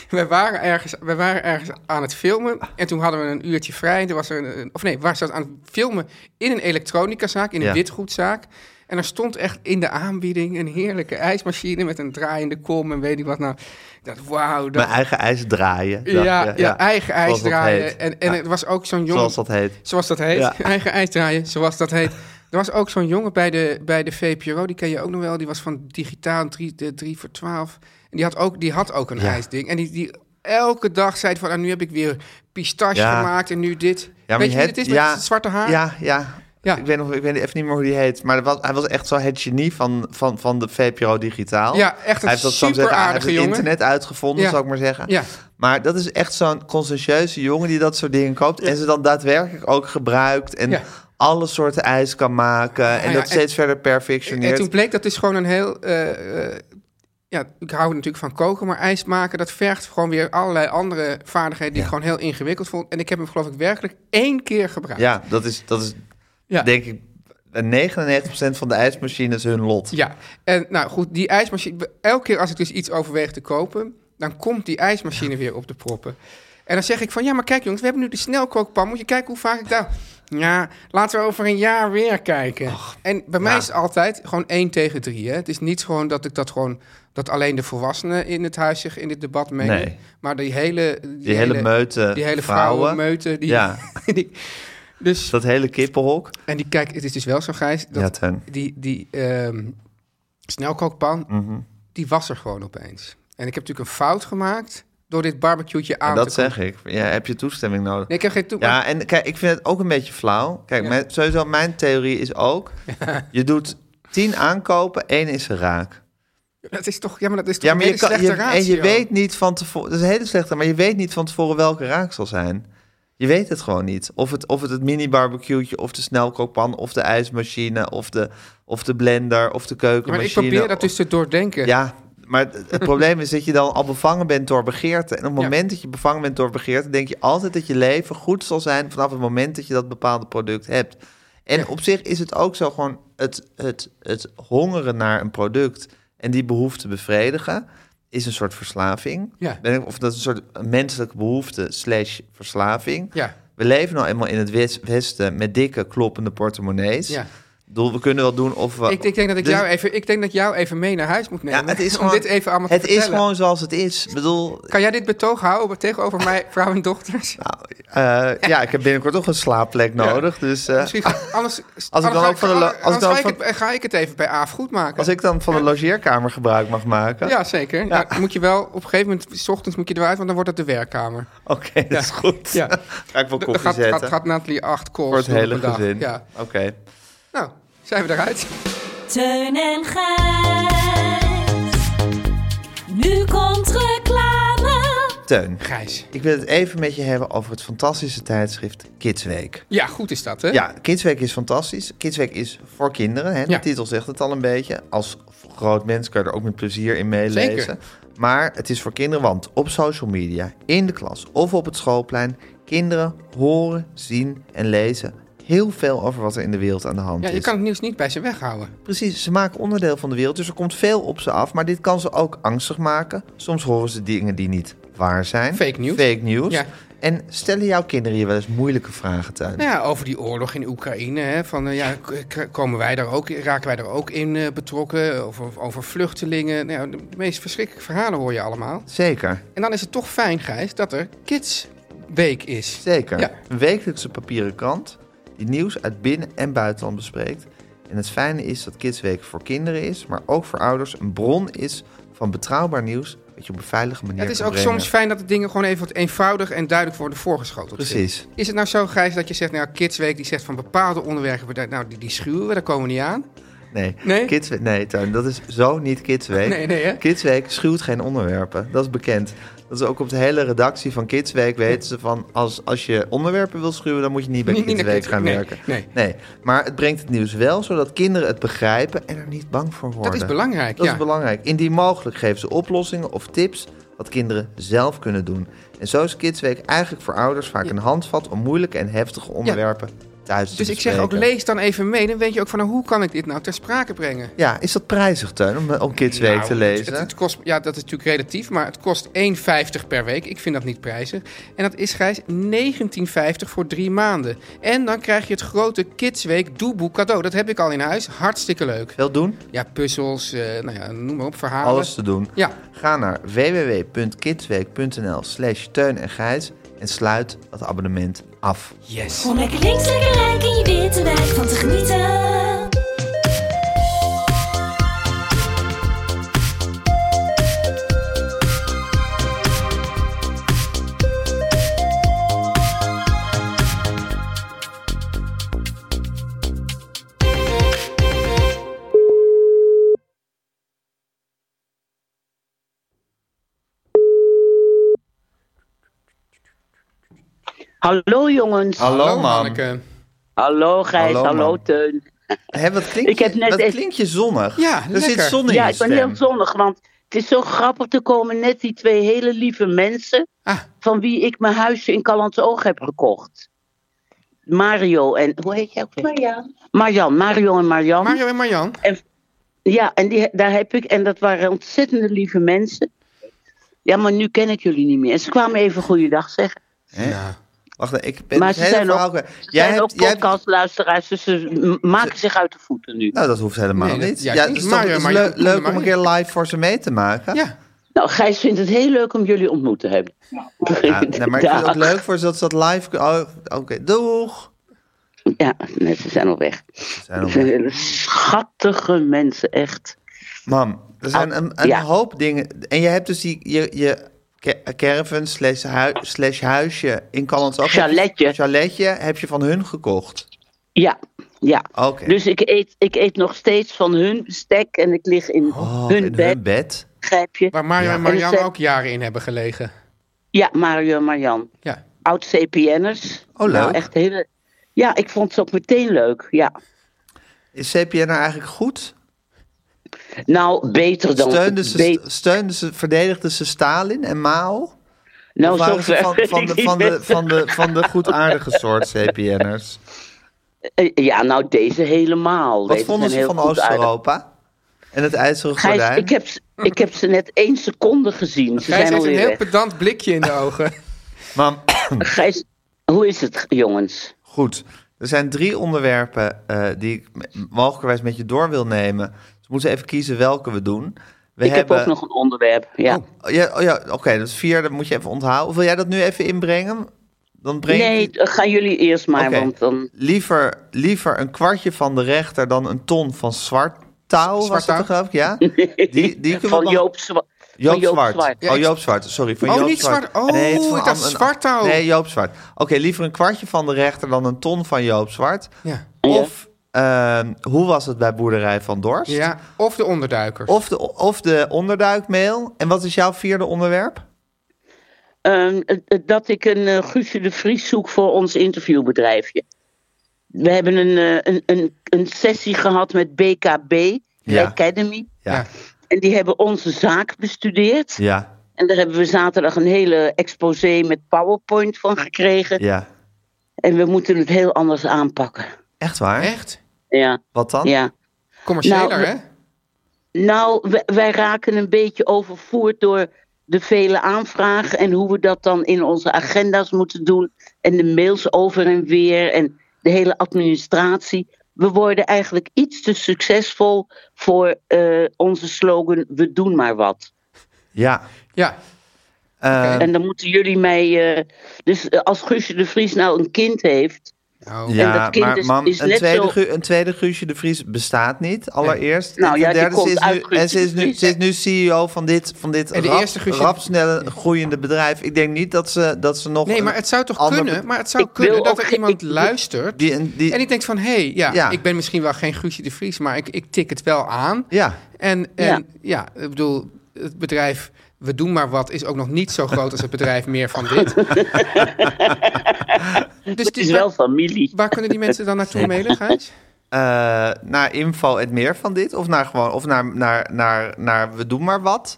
Speaker 6: We waren, ergens, we waren ergens aan het filmen en toen hadden we een uurtje vrij. Toen was er een- een, of nee, we waren aan het filmen in een elektronicazaak, in een
Speaker 3: Ja.
Speaker 6: witgoedzaak. En er stond echt in de aanbieding een heerlijke ijsmachine met een draaiende kom en weet ik wat. Nou, dat wauw. Dat,
Speaker 3: Mijn eigen ijs draaien.
Speaker 6: ja, ja, eigen
Speaker 3: Zoals dat
Speaker 6: ijs
Speaker 3: heet.
Speaker 6: draaien. En, en
Speaker 3: Ja,
Speaker 6: er was ook zo'n jongen
Speaker 3: Zoals dat heet.
Speaker 6: Zoals dat heet.
Speaker 3: Ja.
Speaker 6: Eigen ijs draaien, zoals dat heet. Er was ook zo'n jongen bij de, bij de VPRO, die ken je ook nog wel. Die was van digitaal 3 de drie voor 12. En die had ook, die had ook een
Speaker 3: Ja.
Speaker 6: ijsding. En die, die elke dag zei van, nou, nu heb ik weer pistache
Speaker 3: Ja.
Speaker 6: gemaakt en nu dit.
Speaker 3: maar
Speaker 6: Weet je wie
Speaker 3: het-
Speaker 6: het is met
Speaker 3: ja,
Speaker 6: het zwarte haar?
Speaker 3: Ja, ja.
Speaker 6: Ja.
Speaker 3: Ik, weet nog, ik weet even niet meer hoe die heet. Maar dat was, hij was echt zo het genie van, van, van de VPRO Digitaal.
Speaker 6: Ja, echt een
Speaker 3: hij heeft dat, zou ik maar zeggen,
Speaker 6: superaardige
Speaker 3: Hij heeft
Speaker 6: jongen.
Speaker 3: het internet uitgevonden,
Speaker 6: Ja.
Speaker 3: zou ik maar zeggen.
Speaker 6: Ja.
Speaker 3: Maar dat is echt zo'n conscientieuze jongen die dat soort dingen koopt. En ze dan daadwerkelijk ook gebruikt. En
Speaker 6: Ja.
Speaker 3: alle soorten ijs kan maken. en
Speaker 6: ja,
Speaker 3: dat
Speaker 6: en-
Speaker 3: steeds verder
Speaker 6: En
Speaker 3: perfectioneert.
Speaker 6: toen bleek dat is gewoon een heel. eh, eh, ja, ik hou natuurlijk van koken, maar ijs maken, dat vergt gewoon weer allerlei andere vaardigheden die ik gewoon heel ingewikkeld vond. En ik heb hem geloof ik werkelijk één keer gebruikt.
Speaker 3: Ja, dat is, dat is
Speaker 6: Ja.
Speaker 3: denk ik... 99% van de ijsmachines hun lot.
Speaker 6: Ja, en nou goed, die ijsmachine. Elke keer als ik dus iets overweeg te kopen, dan komt die ijsmachine weer op de proppen. En dan zeg ik van ja, maar kijk jongens, we hebben nu de snelkookpan. Moet je kijken hoe vaak ik daar. Ja, laten we over een jaar weer kijken. en bij mij
Speaker 3: ja.
Speaker 6: is het altijd gewoon één tegen drie. Hè? Het is niet gewoon dat ik dat gewoon. dat alleen de volwassenen in het huis zich in dit debat mengen.
Speaker 3: Nee.
Speaker 6: Maar die hele. Die,
Speaker 3: Die hele meute
Speaker 6: Die hele
Speaker 3: vrouwen.
Speaker 6: vrouwenmeute. Die,
Speaker 3: Ja.
Speaker 6: die- dus,
Speaker 3: Dat hele kippenhok.
Speaker 6: en die, kijk, het is dus wel zo, Gijs, dat
Speaker 3: Ja, Teun.
Speaker 6: die, die ehm, snelkookpan,
Speaker 3: Mhm.
Speaker 6: die was er gewoon opeens. En ik heb natuurlijk een fout gemaakt door dit barbecueetje aan
Speaker 3: En dat
Speaker 6: te komen.
Speaker 3: zeg ik. Ja, heb je toestemming nodig?
Speaker 6: Nee, ik heb geen toe...
Speaker 3: Ja, en kijk, ik vind het ook een beetje flauw. Kijk, mijn- sowieso mijn theorie is ook... je doet tien aankopen, één is raak.
Speaker 6: Dat is toch, ja, maar dat is toch
Speaker 3: Ja,
Speaker 6: een
Speaker 3: maar
Speaker 6: hele
Speaker 3: je kan,
Speaker 6: slechte
Speaker 3: je,
Speaker 6: ratio.
Speaker 3: en je weet niet van tevoren... Dat is een hele slechte, maar je weet niet van tevoren welke raak zal zijn. Je weet het gewoon niet. Of het, of het, het mini-barbecue'tje, of de snelkookpan, of de ijsmachine... Of de, of de blender, of de
Speaker 6: maar ik
Speaker 3: keukenmachine.
Speaker 6: probeer dat dus te doordenken.
Speaker 3: Ja, maar het- het probleem is dat je dan al bevangen bent door begeerte. En op het
Speaker 6: Ja.
Speaker 3: moment dat je bevangen bent door begeerte, denk je altijd dat je leven goed zal zijn vanaf het moment dat je dat bepaalde product hebt. En op zich is het ook zo gewoon het, het, het hongeren naar een product en die behoefte bevredigen is een soort verslaving.
Speaker 6: Ja.
Speaker 3: Ben ik- Of dat is een soort menselijke behoefte slash verslaving.
Speaker 6: Ja.
Speaker 3: We leven nou eenmaal in het wes- Westen met dikke, kloppende portemonnees.
Speaker 6: Ja.
Speaker 3: Ik bedoel, we kunnen wel doen of we...
Speaker 6: Ik, ik, denk dat ik,
Speaker 3: Dus-
Speaker 6: jou even, ik denk dat ik jou even mee naar huis moet nemen.
Speaker 3: ja, het is
Speaker 6: om
Speaker 3: gewoon,
Speaker 6: dit even allemaal te
Speaker 3: Het is
Speaker 6: vertellen.
Speaker 3: gewoon zoals het is. Ik bedoel,
Speaker 6: Kan jij dit betoog houden tegenover mij, vrouw en dochters?
Speaker 3: eh, ja, ik heb binnenkort toch een slaapplek nodig. Dus eh,
Speaker 6: Misschien, anders,
Speaker 3: dan
Speaker 6: anders ga
Speaker 3: ook van de lo- als ik
Speaker 6: anders
Speaker 3: dan
Speaker 6: ga, ik
Speaker 3: van-
Speaker 6: het, ga ik het even bij Aaf goed maken.
Speaker 3: als ik dan van de logeerkamer gebruik mag maken.
Speaker 6: Ja, zeker. Nou, moet je wel op een gegeven moment, s ochtends moet je eruit, want dan wordt het de werkkamer.
Speaker 3: Oké, dat is goed.
Speaker 6: Ja.
Speaker 3: Ga ik wel
Speaker 6: Dan
Speaker 3: koffie
Speaker 6: gaat,
Speaker 3: zetten.
Speaker 6: gaat, gaat Natalie acht calls
Speaker 3: voor het
Speaker 6: doen op
Speaker 3: hele
Speaker 6: een dag.
Speaker 3: gezin.
Speaker 6: Ja.
Speaker 3: Oké.
Speaker 6: Nou, zijn we eruit.
Speaker 9: Teun en Gijs. Nu komt reclame.
Speaker 3: Teun,
Speaker 6: Gijs.
Speaker 3: ik wil het even met je hebben over het fantastische tijdschrift Kidsweek.
Speaker 6: Ja, goed is dat, hè?
Speaker 3: Ja, Kidsweek is fantastisch. Kidsweek is voor kinderen. Hè? De
Speaker 6: Ja.
Speaker 3: titel zegt het al een beetje. Als groot mens kan je er ook met plezier in meelezen.
Speaker 6: Zeker.
Speaker 3: Maar het is voor kinderen, want op social media, in de klas of op het schoolplein... kinderen horen, zien en lezen heel veel over wat er in de wereld aan de hand
Speaker 6: Ja,
Speaker 3: is.
Speaker 6: je kan het nieuws niet bij ze weghouden.
Speaker 3: Precies, ze maken onderdeel van de wereld, dus er komt veel op ze af. Maar dit kan ze ook angstig maken. Soms horen ze dingen die niet waar zijn.
Speaker 6: Fake news.
Speaker 3: Fake news.
Speaker 6: Ja.
Speaker 3: En stellen jouw kinderen je wel eens moeilijke vragen, Tuin?
Speaker 6: Nou ja, over die oorlog in Oekraïne, hè, van eh, ja, k- k- komen wij daar ook, raken wij daar ook in eh, betrokken? Over, over vluchtelingen. Nou, ja, de, de meest verschrikkelijke verhalen hoor je allemaal.
Speaker 3: Zeker.
Speaker 6: En dan is het toch fijn, Gijs, dat er Kids Week is.
Speaker 3: Zeker.
Speaker 6: Ja.
Speaker 3: Een wekelijkse papieren krant die nieuws uit binnen- en buitenland bespreekt. En het fijne is dat Kidsweek voor kinderen is, maar ook voor ouders een bron is van betrouwbaar nieuws dat je op een veilige manier
Speaker 6: Ja, het is
Speaker 3: kan
Speaker 6: ook
Speaker 3: brengen.
Speaker 6: soms fijn dat de dingen gewoon even wat eenvoudig en duidelijk worden voorgeschoteld.
Speaker 3: Precies.
Speaker 6: Is het nou zo, Gijs, dat je zegt, nou, Kidsweek die zegt van bepaalde onderwerpen, nou, die, die schuwen we, daar komen we niet aan.
Speaker 3: Nee,
Speaker 6: Nee?
Speaker 3: Kids, nee Tuin, dat is zo niet Kidsweek.
Speaker 6: Nee, nee, hè?
Speaker 3: Kidsweek schuwt geen onderwerpen, dat is bekend. Dat is ook op de hele redactie van Kidsweek weten ze van... als, als je onderwerpen wil schuwen, dan moet je niet bij
Speaker 6: Niet- niet
Speaker 3: Kidsweek
Speaker 6: naar
Speaker 3: gaan
Speaker 6: Kids- nee,
Speaker 3: werken.
Speaker 6: nee.
Speaker 3: maar het brengt het nieuws wel, zodat kinderen het begrijpen en er niet bang voor worden.
Speaker 6: belangrijk,
Speaker 3: Dat
Speaker 6: ja.
Speaker 3: is belangrijk. Indien mogelijk geven ze oplossingen of tips wat kinderen zelf kunnen doen. En zo is Kidsweek eigenlijk voor ouders vaak een handvat... om moeilijke en heftige onderwerpen thuis te
Speaker 6: Dus ik zeg ook,
Speaker 3: bespreken.
Speaker 6: lees dan even mee, dan weet je ook van, nou, hoe kan ik dit nou ter sprake brengen?
Speaker 3: Ja, is dat prijzig, Teun, om, om Kidsweek
Speaker 6: Nou,
Speaker 3: te
Speaker 6: Het,
Speaker 3: lezen?
Speaker 6: het kost, ja, dat is natuurlijk relatief, maar het kost 1,50 per week. Ik vind dat niet prijzig. En dat is, Gijs, 19,50 voor drie maanden. En dan krijg je het grote Kidsweek doeboek cadeau. Dat heb ik al in huis. Hartstikke leuk.
Speaker 3: Veel doen?
Speaker 6: Ja, puzzels, eh, nou ja, noem maar op, verhalen.
Speaker 3: Alles te doen.
Speaker 6: Ja.
Speaker 3: Ga naar www.kidsweek.nl slash Teun en Gijs en sluit dat abonnement af.
Speaker 6: Yes.
Speaker 9: Om lekker links, lekker rijk in je witte wijk van te genieten.
Speaker 10: Hallo jongens.
Speaker 3: Hallo, Hallo Manneke.
Speaker 10: Manneke. Hallo Gijs,
Speaker 3: Hallo,
Speaker 10: hallo,
Speaker 3: man.
Speaker 10: Teun.
Speaker 3: Hé, wat klinkt,
Speaker 10: Ik heb
Speaker 3: je,
Speaker 10: net
Speaker 3: wat
Speaker 10: even-
Speaker 3: klinkt je zonnig. er zit zon in
Speaker 10: Ja,
Speaker 3: je
Speaker 10: ik ben
Speaker 3: stem.
Speaker 10: heel zonnig, want het is zo grappig. Er komen net die twee hele lieve mensen...
Speaker 6: Ah,
Speaker 10: van wie ik mijn huisje in Callans Oog heb gekocht. Mario en... Hoe heet jij ook weer?
Speaker 11: Marjan.
Speaker 10: Marjan, Mario en Marjan.
Speaker 6: Mario en Marjan.
Speaker 10: En, ja, en die, daar heb ik... En dat waren ontzettende lieve mensen. Ja, maar nu ken ik jullie niet meer. En ze kwamen even goeiedag zeggen.
Speaker 3: Hè? Wacht, even, ik ben
Speaker 10: maar
Speaker 3: het
Speaker 10: ze
Speaker 3: hele
Speaker 10: zijn
Speaker 3: verhaal
Speaker 10: ook,
Speaker 3: kwijt.
Speaker 10: ze
Speaker 3: Jij
Speaker 10: zijn
Speaker 3: hebt-
Speaker 10: ook
Speaker 3: jij hebt-
Speaker 10: podcastluisteraars, dus ze m- maken zich uit de voeten nu.
Speaker 3: Nou, dat hoeft helemaal
Speaker 10: Nee, dat-
Speaker 3: niet.
Speaker 10: ja,
Speaker 3: ja,
Speaker 10: ik-
Speaker 3: het is,
Speaker 10: Mario,
Speaker 3: toch, het is
Speaker 10: maar
Speaker 3: le-
Speaker 10: je- kom
Speaker 3: leuk
Speaker 10: maar
Speaker 3: om een
Speaker 10: in.
Speaker 3: keer live voor ze mee te maken. Ja.
Speaker 10: Nou, Gijs vindt het heel leuk om jullie ontmoet te hebben.
Speaker 3: nee, maar ik vind het ook
Speaker 10: Dag.
Speaker 3: leuk voor ze dat ze dat live... Oh, Oké, doeg!
Speaker 10: Ja, nee, ze zijn al weg.
Speaker 3: zijn al
Speaker 10: Ze zijn hele Schattige mensen, echt.
Speaker 3: Mam, er zijn een, een
Speaker 10: Ah, ja.
Speaker 3: hoop dingen. En je hebt dus die, je, je ca- caravan slash, hui- slash huisje in Callans ook. Chaletje. Chaletje heb je van hun gekocht.
Speaker 10: Ja, ja.
Speaker 3: Oké.
Speaker 10: Dus ik eet, ik eet nog steeds van hun stek en ik lig in hun
Speaker 3: Oh, in hun
Speaker 10: bed.
Speaker 3: bed.
Speaker 10: Begrijp je?
Speaker 6: Waar Mario en
Speaker 10: En het
Speaker 6: Marjan
Speaker 10: zijn-
Speaker 6: ook jaren in hebben gelegen.
Speaker 10: Ja, Mario en Marjan.
Speaker 6: Ja.
Speaker 10: Oud CPN'ers.
Speaker 3: Oh, leuk.
Speaker 10: Nou, echt hele... Ja, ik vond ze ook meteen leuk, ja.
Speaker 3: Is CPN nou eigenlijk goed?
Speaker 10: Nou, beter dan...
Speaker 3: Steunde ze,
Speaker 10: beter-
Speaker 3: steunde ze, verdedigde ze Stalin en Mao?
Speaker 10: Nou,
Speaker 3: Of waren ze
Speaker 10: zover
Speaker 3: van,
Speaker 10: weet
Speaker 3: van,
Speaker 10: ik
Speaker 3: de,
Speaker 10: niet
Speaker 3: van, de,
Speaker 10: meer.
Speaker 3: van, de, van de goedaardige soort CPN'ers.
Speaker 10: Eh, Ja, nou, deze helemaal.
Speaker 3: Wat
Speaker 10: Deze
Speaker 3: vonden
Speaker 10: zijn
Speaker 3: ze
Speaker 10: heel
Speaker 3: van
Speaker 10: goed aardig.
Speaker 3: Oost-Europa? En het IJzeren
Speaker 10: Gijs,
Speaker 3: Gordijn?
Speaker 10: ik heb, ze- ik heb ze net één seconde gezien.
Speaker 6: Gijs
Speaker 10: Ze zijn
Speaker 6: heeft een
Speaker 10: alweer
Speaker 6: heel
Speaker 10: weg.
Speaker 6: pedant blikje in de ogen.
Speaker 3: Mam,
Speaker 10: Gijs, hoe is het, jongens?
Speaker 3: Goed. Er zijn drie onderwerpen eh, die ik m- mogelijkerwijs met je door wil nemen. Dus we moeten even kiezen welke we doen. We
Speaker 10: ik heb ook nog een onderwerp, ja.
Speaker 3: Oh, ja, oh ja oké, dat is vier, dat moet je even onthouden. Wil jij dat nu even inbrengen? Dan breng ik
Speaker 10: nee,
Speaker 3: die-
Speaker 10: gaan jullie eerst maar,
Speaker 3: Oké.
Speaker 10: want dan...
Speaker 3: Liever, liever een kwartje van de rechter dan een ton van zwart touw, was dat geloof ik, ja? Die, die kunnen
Speaker 10: Van
Speaker 3: we nog-
Speaker 10: Joop, Zwa-
Speaker 3: Joop,
Speaker 10: van Joop
Speaker 3: Zwart.
Speaker 10: Ja,
Speaker 3: oh,
Speaker 10: ik-
Speaker 3: Joop Zwart, sorry. Van
Speaker 6: Oh,
Speaker 3: Joop
Speaker 6: niet
Speaker 3: Zwart.
Speaker 6: Zwart. Oh,
Speaker 3: het is van
Speaker 6: ik dacht
Speaker 3: een-
Speaker 6: Zwartouw.
Speaker 3: Nee, Joop Zwart. Oké, liever een kwartje van de rechter dan een ton van Joop Zwart.
Speaker 6: Ja.
Speaker 3: Of, ehm, hoe was het bij Boerderij van Dorst?
Speaker 6: Ja, of de onderduikers.
Speaker 3: Of, de, of de onderduikmail. En wat is jouw vierde onderwerp?
Speaker 10: Ehm, eh, eh, dat ik een eh, Guusje de Vries zoek voor ons interviewbedrijfje. We hebben een, eh, een, een, een sessie gehad met BKB,
Speaker 3: Ja.
Speaker 10: Academy.
Speaker 3: Ja.
Speaker 10: En die hebben onze zaak bestudeerd.
Speaker 3: Ja.
Speaker 10: En daar hebben we zaterdag een hele exposé met PowerPoint van gekregen.
Speaker 3: Ja.
Speaker 10: En we moeten het heel anders aanpakken.
Speaker 3: Echt waar?
Speaker 6: Echt?
Speaker 10: Ja.
Speaker 3: Wat dan?
Speaker 10: Ja.
Speaker 6: Commerciëler,
Speaker 10: Nou,
Speaker 6: hè?
Speaker 10: Nou, wij, wij raken een beetje overvoerd door de vele aanvragen en hoe we dat dan in onze agenda's moeten doen. En de mails over en weer en de hele administratie. We worden eigenlijk iets te succesvol voor eh, onze slogan: we doen maar wat.
Speaker 3: Ja.
Speaker 6: Ja.
Speaker 10: En dan moeten jullie mij. eh, dus eh, als Guusje de Vries nou een kind heeft.
Speaker 6: Nou,
Speaker 10: en dat
Speaker 3: Ja,
Speaker 10: kind
Speaker 3: maar
Speaker 10: is,
Speaker 3: mam,
Speaker 10: is
Speaker 3: een,
Speaker 10: net
Speaker 3: tweede,
Speaker 10: zo-
Speaker 3: Gu- een tweede Guusje de Vries bestaat niet, allereerst.
Speaker 10: Nou
Speaker 3: en
Speaker 10: ja,
Speaker 3: ten
Speaker 10: die
Speaker 3: derde,
Speaker 10: komt
Speaker 3: ze is,
Speaker 10: uit
Speaker 3: nu,
Speaker 10: Guusje
Speaker 3: en ze
Speaker 10: de
Speaker 3: is, nu,
Speaker 10: Vries,
Speaker 3: ze is nu CEO van dit, van dit
Speaker 6: En de
Speaker 3: rap,
Speaker 6: eerste Guusje de-
Speaker 3: rapsnelle groeiende bedrijf. Ik denk niet dat ze, dat ze nog...
Speaker 6: Nee, maar
Speaker 3: een
Speaker 6: het zou toch
Speaker 3: ander
Speaker 6: kunnen?
Speaker 3: be-
Speaker 6: Maar het zou
Speaker 3: Ik wil
Speaker 6: kunnen dat
Speaker 3: ook
Speaker 6: er
Speaker 3: geen-
Speaker 6: iemand
Speaker 3: ik-
Speaker 6: luistert
Speaker 3: Die, en die,
Speaker 6: en die denkt van... hé, hey, ja,
Speaker 3: Ja.
Speaker 6: ik ben misschien wel geen Guusje de Vries... maar ik, ik tik het wel aan.
Speaker 3: Ja.
Speaker 6: En, en ja. ik bedoel, het bedrijf... We doen maar wat is ook nog niet zo groot als het bedrijf meer van dit. dus
Speaker 10: het is wel familie.
Speaker 6: Waar kunnen die mensen dan naartoe mailen, Gijs?
Speaker 3: eh, naar info en meer van dit? Of naar gewoon, of naar, naar, naar, naar we doen maar wat?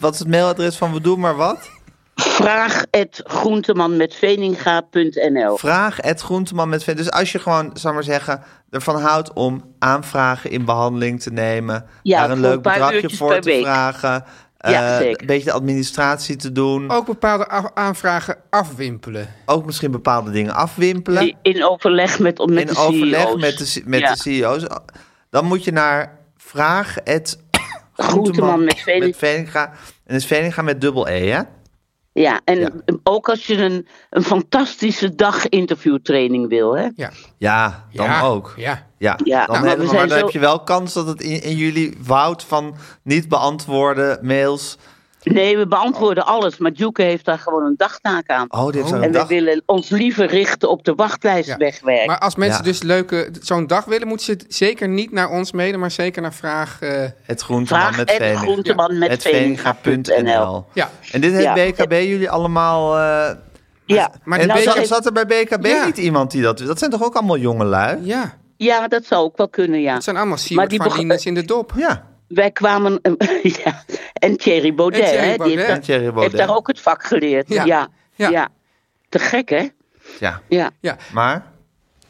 Speaker 3: Wat is het mailadres van we doen maar wat?
Speaker 10: Vraag het groentemanmetveninga.nl.
Speaker 3: Vraag het groenteman met vet. Dus als je gewoon, zal ik maar zeggen, ervan houdt om aanvragen in behandeling te nemen,
Speaker 10: Ja,
Speaker 3: daar een
Speaker 10: voor
Speaker 3: leuk
Speaker 10: een paar
Speaker 3: bedragje
Speaker 10: uurtjes
Speaker 3: voor
Speaker 10: per
Speaker 3: te
Speaker 10: week.
Speaker 3: vragen,
Speaker 10: Ja,
Speaker 3: eh,
Speaker 10: zeker.
Speaker 3: een beetje de administratie te doen, ook,
Speaker 6: Ook bepaalde af- aanvragen afwimpelen.
Speaker 3: misschien bepaalde dingen afwimpelen.
Speaker 10: In overleg met, met
Speaker 3: in
Speaker 10: de
Speaker 3: overleg
Speaker 10: CEO's.
Speaker 3: met, de, C- met
Speaker 10: Ja.
Speaker 3: de CEO's. Dan moet je naar vraag het
Speaker 10: Groenteman met Veninga.
Speaker 3: met Veninga. En dat is Veninga met dubbel E, hè?
Speaker 10: Ja, en ook als je een, een fantastische dag interviewtraining wil, hè?
Speaker 6: Ja.
Speaker 3: Ja, dan
Speaker 6: Ja,
Speaker 3: ook.
Speaker 6: ja.
Speaker 3: Ja,
Speaker 10: Ja,
Speaker 3: dan,
Speaker 10: nou,
Speaker 3: helemaal-
Speaker 10: we zijn
Speaker 3: maar dan
Speaker 10: zo-
Speaker 3: heb je wel kans dat het in, in jullie woud van niet beantwoorden mails.
Speaker 10: Nee, we beantwoorden alles, maar Duke heeft daar gewoon een dagtaak aan.
Speaker 3: Oh, die heeft daar een
Speaker 10: en
Speaker 3: dag-
Speaker 10: we willen ons liever richten op de wachtlijst wegwerken.
Speaker 6: Maar als mensen
Speaker 3: Ja.
Speaker 6: dus leuke zo'n dag willen... moeten ze zeker niet naar ons mailen, maar zeker naar vraag... eh,
Speaker 3: Het groenteman
Speaker 10: Vraag
Speaker 3: met
Speaker 10: het
Speaker 3: Veninga.
Speaker 10: groenteman met
Speaker 3: Het Veninga.nl.
Speaker 10: Veninga.nl.
Speaker 6: Ja.
Speaker 3: En dit heeft
Speaker 10: Ja.
Speaker 3: BKB jullie allemaal eh,
Speaker 10: Ja,
Speaker 3: maar en zat, zat er bij BKB niet iemand die dat... Dat zijn toch ook allemaal jonge lui?
Speaker 6: Ja.
Speaker 10: Ja, dat zou ook wel kunnen, ja.
Speaker 6: Het zijn allemaal Siewert in de dop.
Speaker 3: Ja.
Speaker 10: Wij kwamen... ja. En Thierry Baudet,
Speaker 6: En Thierry
Speaker 10: hè, die
Speaker 6: Baudet.
Speaker 10: heeft, daar-
Speaker 6: En
Speaker 3: Thierry Baudet.
Speaker 10: heeft daar ook het vak geleerd.
Speaker 6: Ja.
Speaker 10: Ja. Ja.
Speaker 6: Ja.
Speaker 10: Te gek, hè?
Speaker 3: Ja.
Speaker 10: Ja.
Speaker 6: Ja.
Speaker 3: Maar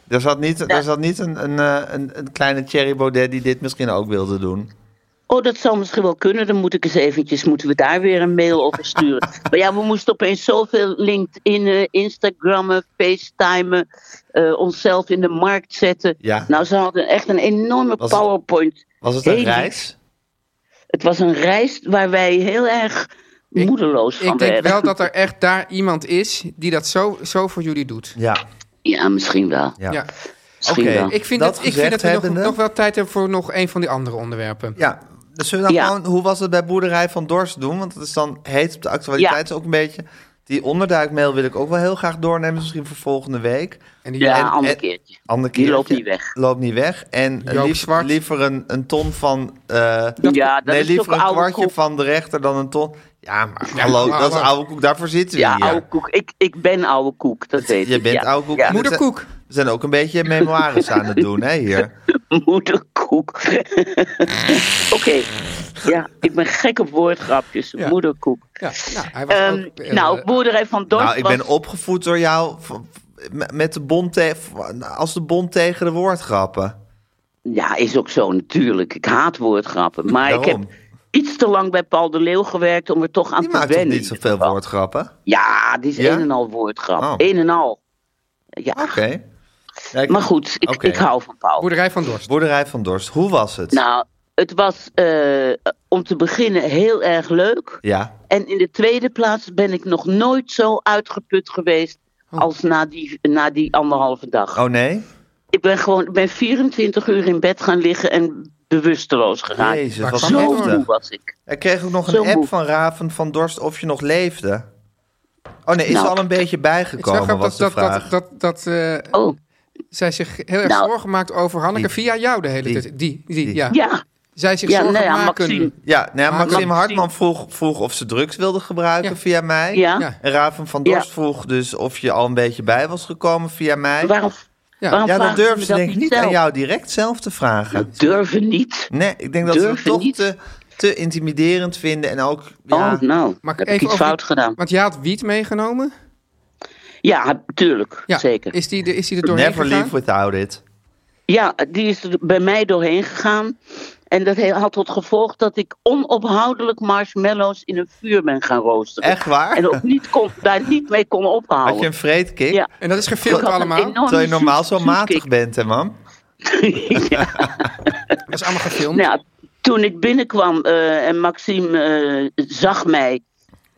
Speaker 3: er zat niet, er zat niet een, een, eh, een, een kleine Thierry Baudet die dit misschien ook wilde doen.
Speaker 10: Oh, dat zou misschien wel kunnen. Dan moet ik eens eventjes, moeten we daar weer een mail over sturen. maar ja, we moesten opeens zoveel LinkedIn, Instagrammen, FaceTimen, eh, onszelf in de markt zetten.
Speaker 3: Ja.
Speaker 10: Nou, ze hadden echt een enorme
Speaker 3: Was het-
Speaker 10: PowerPoint.
Speaker 3: Was het een
Speaker 10: Hele-
Speaker 3: reis?
Speaker 10: Het was een reis waar wij heel erg moedeloos van
Speaker 6: Ik denk
Speaker 10: werden.
Speaker 6: wel dat er echt daar iemand is die dat zo, zo voor jullie doet.
Speaker 3: Ja.
Speaker 10: Ja, misschien wel.
Speaker 3: ja.
Speaker 6: Ja.
Speaker 10: Misschien
Speaker 3: Oké.
Speaker 10: wel.
Speaker 6: Ik vind
Speaker 3: Dat
Speaker 6: dat, ik vind dat
Speaker 3: gezegd
Speaker 6: we nog,
Speaker 3: hebbende-
Speaker 6: nog wel tijd hebben voor nog een van die andere onderwerpen.
Speaker 3: Ja. Dus zullen we dan
Speaker 10: Ja.
Speaker 3: gewoon, hoe was het bij Boerderij van Dorst doen? Want dat is dan heet op de actualiteit
Speaker 10: Ja.
Speaker 3: is ook een beetje. Die onderduikmail wil ik ook wel heel graag doornemen, misschien voor volgende week.
Speaker 6: En die
Speaker 10: Ja,
Speaker 3: en-
Speaker 10: ander
Speaker 3: en-
Speaker 10: keertje.
Speaker 3: Ander
Speaker 10: Die
Speaker 3: keertje.
Speaker 10: loopt niet weg.
Speaker 3: Loopt niet weg. En eh,
Speaker 6: Joop
Speaker 3: lief-
Speaker 6: Zwart.
Speaker 3: liever een, een ton van... eh,
Speaker 10: ja, dat
Speaker 3: nee,
Speaker 10: is toch
Speaker 3: liever een
Speaker 10: oude
Speaker 3: kwartje
Speaker 10: koek.
Speaker 3: van de rechter dan een ton. Ja, maar hallo,
Speaker 6: maar-
Speaker 3: dat is oude koek. Daarvoor zitten we
Speaker 10: Ja,
Speaker 3: hier.
Speaker 10: oude koek. Ik, ik ben oude koek, dat weet
Speaker 3: Je
Speaker 10: ik.
Speaker 3: bent
Speaker 10: ja.
Speaker 3: oude koek.
Speaker 10: Ja.
Speaker 3: Dit zijn-
Speaker 6: Moederkoek.
Speaker 3: We zijn ook een beetje memoires aan het doen, hè, hier.
Speaker 10: Moederkoek. Oké. Ja, ik ben gek op woordgrapjes.
Speaker 6: Ja.
Speaker 10: Moederkoek.
Speaker 6: Ja, nou, hij was
Speaker 10: Ehm,
Speaker 6: ook, eh,
Speaker 10: nou, boerderij van Dorst
Speaker 3: Nou, ik ben
Speaker 10: was-
Speaker 3: opgevoed door jou v- v- m- met de bond te- v- als de bond tegen de woordgrappen.
Speaker 10: Ja, is ook zo natuurlijk. Ik haat woordgrappen. Maar ik heb
Speaker 3: Daarom.
Speaker 10: iets te lang bij Paul de Leeuw gewerkt om er toch aan
Speaker 3: Die
Speaker 10: te
Speaker 3: maakt toch
Speaker 10: wennen.
Speaker 3: niet zoveel woordgrappen?
Speaker 10: Ja, die is
Speaker 3: Ja?
Speaker 10: een en al woordgrap.
Speaker 3: Oh.
Speaker 10: Een en al. Ja,
Speaker 3: Oké. Ja, ik-
Speaker 10: maar goed, ik,
Speaker 3: Oké.
Speaker 10: ik hou van Paul.
Speaker 6: Boerderij van Dorst.
Speaker 3: Boerderij van Dorst, hoe was het?
Speaker 10: Nou, het was eh, om te beginnen heel erg leuk.
Speaker 3: Ja,
Speaker 10: En in de tweede plaats ben ik nog nooit zo uitgeput geweest als na die, na die anderhalve dag.
Speaker 3: oh nee?
Speaker 10: Ik ben gewoon ik ben 24 uur in bed gaan liggen en bewusteloos geraakt.
Speaker 3: Jezus,
Speaker 6: Waar
Speaker 3: wat
Speaker 6: kwam
Speaker 10: zo
Speaker 6: heftig.
Speaker 10: moe
Speaker 3: heftig.
Speaker 10: was ik.
Speaker 3: Ik kreeg ook nog
Speaker 10: Zo
Speaker 3: een app
Speaker 10: moe.
Speaker 3: van Raven van Dorst of je nog leefde. Oh nee, is
Speaker 10: Nou.
Speaker 3: er al een beetje
Speaker 6: Het is wel
Speaker 3: bijgekomen,
Speaker 6: grappig
Speaker 3: was de
Speaker 6: dat, dat,
Speaker 3: vraag.
Speaker 6: dat, dat, dat eh,
Speaker 10: Oh,
Speaker 6: zij zich heel erg
Speaker 10: Nou.
Speaker 6: zorgen maakt over Hanneke
Speaker 3: Die.
Speaker 6: via jou de hele
Speaker 3: Die.
Speaker 6: tijd. Die, die,
Speaker 3: Die.
Speaker 6: ja.
Speaker 10: ja.
Speaker 6: Zij zich
Speaker 10: Ja,
Speaker 6: zorgen
Speaker 10: nou ja,
Speaker 6: maken.
Speaker 10: Maxime.
Speaker 3: Ja, nou ja,
Speaker 6: Maar
Speaker 3: Maxime
Speaker 10: Maxime-
Speaker 3: Hartman vroeg, vroeg of ze drugs wilde gebruiken
Speaker 6: Ja.
Speaker 3: via mij.
Speaker 10: Ja.
Speaker 6: Ja.
Speaker 3: En Raven van Dorst
Speaker 10: Ja.
Speaker 3: vroeg dus of je al een beetje bij was gekomen via mij.
Speaker 10: Waarom,
Speaker 6: Ja.
Speaker 10: waarom
Speaker 3: ja, dan
Speaker 10: vragen ze
Speaker 3: durf
Speaker 10: me
Speaker 3: ze
Speaker 10: dat
Speaker 3: denk ik niet
Speaker 10: zelf?
Speaker 3: aan jou direct zelf te vragen.
Speaker 10: Durven niet.
Speaker 3: Nee, ik denk dat
Speaker 10: Durven
Speaker 3: ze dat toch
Speaker 10: niet.
Speaker 3: te, te intimiderend vinden en ook... Ja,
Speaker 10: Oh, nou,
Speaker 6: Mag ik
Speaker 10: heb ik
Speaker 6: even
Speaker 10: iets
Speaker 6: over-
Speaker 10: fout gedaan.
Speaker 6: Want jij had wiet meegenomen.
Speaker 10: Ja, tuurlijk,
Speaker 6: Ja.
Speaker 10: zeker.
Speaker 6: Is die, de, is die er doorheen
Speaker 3: never
Speaker 6: gegaan?
Speaker 3: leave without it.
Speaker 10: Ja, die is er bij mij doorheen gegaan. En dat he- had tot gevolg dat ik onophoudelijk marshmallows in een vuur ben gaan roosteren.
Speaker 3: Echt waar?
Speaker 10: En ook niet kon, daar niet mee kon ophouden.
Speaker 3: Had je een vreedkick?
Speaker 10: Ja.
Speaker 6: En dat is
Speaker 10: Ik
Speaker 6: gefilmd
Speaker 10: had een
Speaker 6: allemaal.
Speaker 10: enorme
Speaker 3: Terwijl je normaal
Speaker 10: zoet-
Speaker 3: zo matig
Speaker 10: zoetkick.
Speaker 3: bent, hè, man?
Speaker 10: ja.
Speaker 6: Dat is allemaal gefilmd.
Speaker 10: Nou, ja, toen ik binnenkwam eh, en Maxime eh, zag mij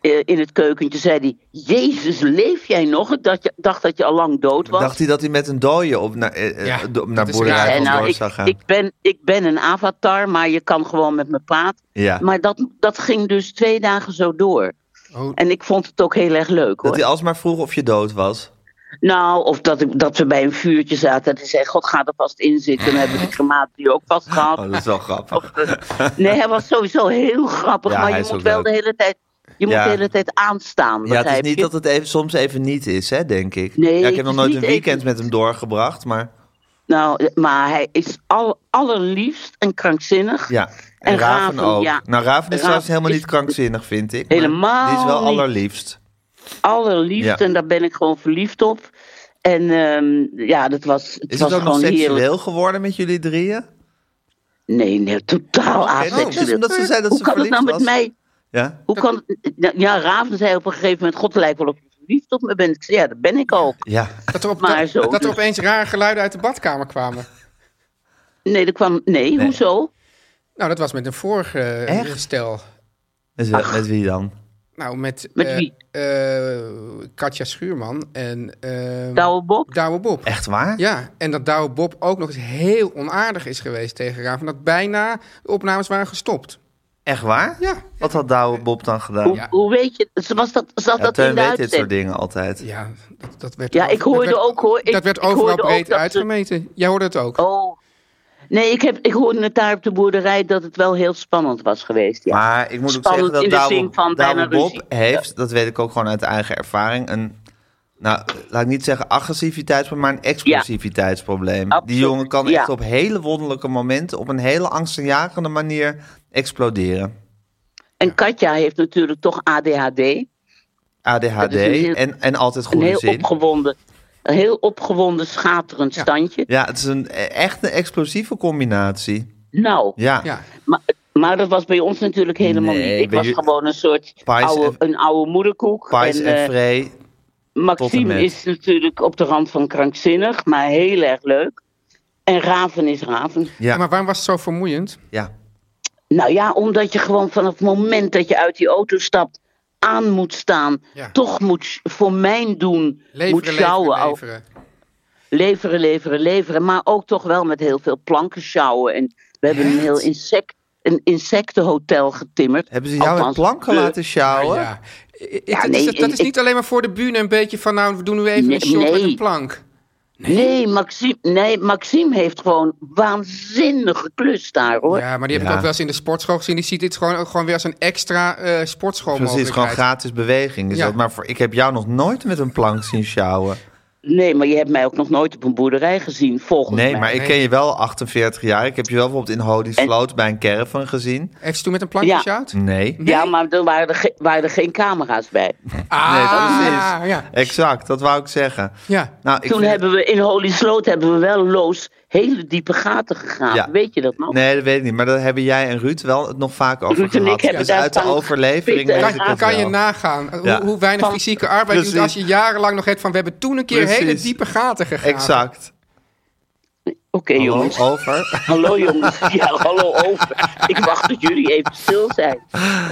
Speaker 10: eh, in het keukentje, zei hij: Jezus, leef jij nog? Ik dacht, je- dacht dat je al lang dood was.
Speaker 3: Dacht hij dat hij met een dooie op naar, eh, eh,
Speaker 6: Ja,
Speaker 3: do- naar
Speaker 6: dat is
Speaker 3: boerderij
Speaker 6: raar.
Speaker 10: En
Speaker 3: van
Speaker 10: nou,
Speaker 3: Dorst
Speaker 10: ik,
Speaker 3: zou gaan?
Speaker 10: ik, ben, ik ben een avatar, maar je kan gewoon met me praten.
Speaker 3: ja.
Speaker 10: Maar dat, dat ging dus twee dagen zo door.
Speaker 6: Oh.
Speaker 10: En ik vond het ook heel erg leuk hoor.
Speaker 3: Dat hij alsmaar vroeg of je dood was.
Speaker 10: Nou, of dat, ik, dat we bij een vuurtje zaten en hij zei: God, ga er vast in zitten. Dan hebben we de crematie ook vast gehad.
Speaker 3: Oh, dat is wel grappig.
Speaker 10: Nee, hij was sowieso heel grappig,
Speaker 3: Ja,
Speaker 10: maar
Speaker 3: hij
Speaker 10: je
Speaker 3: is
Speaker 10: moet
Speaker 3: ook
Speaker 10: wel
Speaker 3: leuk.
Speaker 10: de hele tijd. Je moet
Speaker 3: Ja.
Speaker 10: de hele tijd aanstaan.
Speaker 3: Ja, het is
Speaker 10: begrijp
Speaker 3: niet
Speaker 10: je?
Speaker 3: dat het even, soms even niet is, hè, denk ik.
Speaker 10: Nee,
Speaker 3: ja, ik
Speaker 10: het
Speaker 3: heb nog
Speaker 10: is
Speaker 3: nooit
Speaker 10: niet
Speaker 3: een
Speaker 10: even
Speaker 3: weekend
Speaker 10: niet.
Speaker 3: met hem doorgebracht, maar
Speaker 10: Nou, maar hij is al, allerliefst en krankzinnig.
Speaker 3: ja. En,
Speaker 10: En
Speaker 3: Raven,
Speaker 10: Raven,
Speaker 3: ook.
Speaker 10: ja.
Speaker 3: Nou, Raven is
Speaker 10: Raven
Speaker 3: trouwens helemaal
Speaker 10: is-
Speaker 3: niet krankzinnig, vind ik. maar
Speaker 10: Helemaal
Speaker 3: Die is wel
Speaker 10: niet.
Speaker 3: allerliefst.
Speaker 10: Allerliefst
Speaker 3: Ja.
Speaker 10: en daar ben ik gewoon verliefd op. En ehm, ja, dat was, het
Speaker 3: Is
Speaker 10: was
Speaker 3: het ook nog
Speaker 10: gewoon
Speaker 3: seksueel
Speaker 10: heerlijk.
Speaker 3: geworden met jullie drieën?
Speaker 10: Nee, nee, totaal
Speaker 3: Oké, nou,
Speaker 10: aseksueel.
Speaker 3: dus omdat ze zei dat
Speaker 10: Hoe
Speaker 3: ze
Speaker 10: kan het nou
Speaker 3: verliefd was?
Speaker 10: met mij?
Speaker 3: Ja.
Speaker 10: Hoe kan het- ja, Raven zei op een gegeven moment: God, het lijkt wel of je verliefd op me bent. Ik zei, ja, dat ben ik ook.
Speaker 3: Ja.
Speaker 6: Dat er, op,
Speaker 10: Maar
Speaker 6: dat,
Speaker 10: zo,
Speaker 6: dat er
Speaker 10: dus-
Speaker 6: opeens rare geluiden uit de badkamer kwamen.
Speaker 10: Nee, er kwam, nee, hoezo?
Speaker 6: Nou, dat was met een vorige eh,
Speaker 3: Echt?
Speaker 6: stel.
Speaker 3: Met,
Speaker 10: Ah.
Speaker 3: wel- met wie dan?
Speaker 6: Nou, met,
Speaker 10: Met
Speaker 6: eh,
Speaker 10: wie?
Speaker 6: eh, Katja Schuurman en eh,
Speaker 10: Douwe Bob?
Speaker 6: Douwe Bob.
Speaker 3: Echt waar?
Speaker 6: Ja, en dat Douwe Bob ook nog eens heel onaardig is geweest tegen Raven. Dat bijna de opnames waren gestopt.
Speaker 3: Echt waar?
Speaker 6: Ja.
Speaker 3: Wat had Douwe Bob dan gedaan?
Speaker 10: Hoe, hoe weet je? Ze Was dat, zat
Speaker 3: Ja,
Speaker 10: dat
Speaker 3: Teun
Speaker 10: in de
Speaker 3: weet dit soort
Speaker 10: uitzending?
Speaker 3: dingen altijd.
Speaker 6: Ja, dat, dat werd
Speaker 10: Ja,
Speaker 6: over-
Speaker 10: ik hoorde
Speaker 6: dat werd-
Speaker 10: ook, hoor. Ik-
Speaker 6: dat werd
Speaker 10: ik hoorde
Speaker 6: overal
Speaker 10: ook
Speaker 6: breed
Speaker 10: dat ze-
Speaker 6: uitgemeten. Jij hoorde het ook.
Speaker 10: Oh. Nee, ik, heb, ik hoorde het daar op de boerderij dat het wel heel spannend was geweest. Ja.
Speaker 3: Maar ik moet ook
Speaker 10: Spannend
Speaker 3: zeggen dat
Speaker 10: in de
Speaker 3: Douwe,
Speaker 10: zin van
Speaker 3: Douwe
Speaker 10: bijna
Speaker 3: Bob
Speaker 10: ruzie.
Speaker 3: heeft, dat weet ik ook gewoon uit eigen ervaring, een nou, laat ik niet zeggen agressiviteitsprobleem, maar een explosiviteitsprobleem. Ja, die jongen kan ja. echt op hele wonderlijke momenten, op een hele angstaanjagende manier exploderen.
Speaker 10: En Katja heeft natuurlijk toch ADHD.
Speaker 3: ADHD heel, en, en altijd goede
Speaker 10: een heel
Speaker 3: zin.
Speaker 10: Opgewonden, een heel opgewonden, schaterend
Speaker 3: ja.
Speaker 10: standje.
Speaker 3: Ja, het is een, e-, echt een explosieve combinatie.
Speaker 10: Nou,
Speaker 3: ja. ja.
Speaker 10: Maar, maar dat was bij ons natuurlijk helemaal nee, niet. Ik was gewoon een soort oude, en, een oude moederkoek. eh,
Speaker 3: Pais en, en vrij.
Speaker 10: Maxime is natuurlijk op de rand van krankzinnig, maar heel erg leuk. En Raven is Raven.
Speaker 6: Ja. ja maar waarom was het zo vermoeiend?
Speaker 3: Ja.
Speaker 10: Nou ja, omdat je gewoon van het moment dat je uit die auto stapt aan moet staan, ja. toch moet voor mijn doen,
Speaker 6: leveren,
Speaker 10: moet sjouwen. oh.
Speaker 6: Leveren, leveren.
Speaker 10: leveren, leveren, leveren, maar ook toch wel met heel veel planken sjouwen. En we hebben een heel insect, een insectenhotel getimmerd.
Speaker 3: Hebben ze jou Althans, met planken de... laten sjouwen? Ja,
Speaker 6: ja. ja nee, dat, dat is niet alleen maar voor de bühne een beetje van, nou, we doen nu even
Speaker 10: nee,
Speaker 6: een shot
Speaker 10: nee.
Speaker 6: met een plank.
Speaker 10: Nee. nee, Maxime, nee, Maxime heeft gewoon waanzinnige klus daar hoor.
Speaker 6: Ja, maar die heb ik
Speaker 3: Ja.
Speaker 6: ook wel eens in de sportschool gezien. Die ziet dit gewoon, gewoon weer als een extra eh sportschool
Speaker 3: Precies, is gewoon gratis beweging. Dus
Speaker 6: Ja.
Speaker 3: dat, maar voor, ik heb jou nog nooit met een plank zien sjouwen.
Speaker 10: Nee, maar je hebt mij ook nog nooit op een boerderij gezien, volgens
Speaker 3: Nee,
Speaker 10: mij.
Speaker 3: maar ik ken je wel 48 jaar. Ik heb je wel bijvoorbeeld in Hodisvloot bij een caravan gezien.
Speaker 6: Heeft ze toen met een plank
Speaker 10: Ja.
Speaker 6: gesjouwd?
Speaker 3: Nee.
Speaker 10: Ja, maar er waren er, ge- waren er geen camera's bij.
Speaker 6: Ah,
Speaker 3: precies.
Speaker 6: ja.
Speaker 3: Exact, dat wou ik zeggen.
Speaker 6: Ja.
Speaker 3: Nou, ik
Speaker 10: Toen
Speaker 3: vind-
Speaker 10: hebben we in Holy Sloot hebben we wel loos hele diepe gaten gegraven.
Speaker 3: Ja.
Speaker 10: nou, Weet je dat nog?
Speaker 3: Nee, dat weet ik niet. Maar daar hebben jij en Ruud wel het nog vaak over
Speaker 10: Ruud en
Speaker 3: gehad.
Speaker 10: ik hebben
Speaker 3: dus
Speaker 10: daar
Speaker 3: uit de
Speaker 10: van
Speaker 3: overlevering
Speaker 10: gepitten.
Speaker 3: weet ik
Speaker 6: Kan,
Speaker 3: dat
Speaker 6: kan je
Speaker 3: wel.
Speaker 6: nagaan hoe,
Speaker 3: Ja.
Speaker 6: hoe weinig fysieke arbeid je doet
Speaker 3: Precies.
Speaker 6: als je jarenlang nog hebt van... we hebben toen een keer
Speaker 3: Precies.
Speaker 6: hele diepe gaten gegaan.
Speaker 3: Exact.
Speaker 10: Oké
Speaker 3: Hallo,
Speaker 10: jongens.
Speaker 3: over.
Speaker 10: Hallo jongens. Ja, hallo over. Ik wacht dat jullie even stil zijn.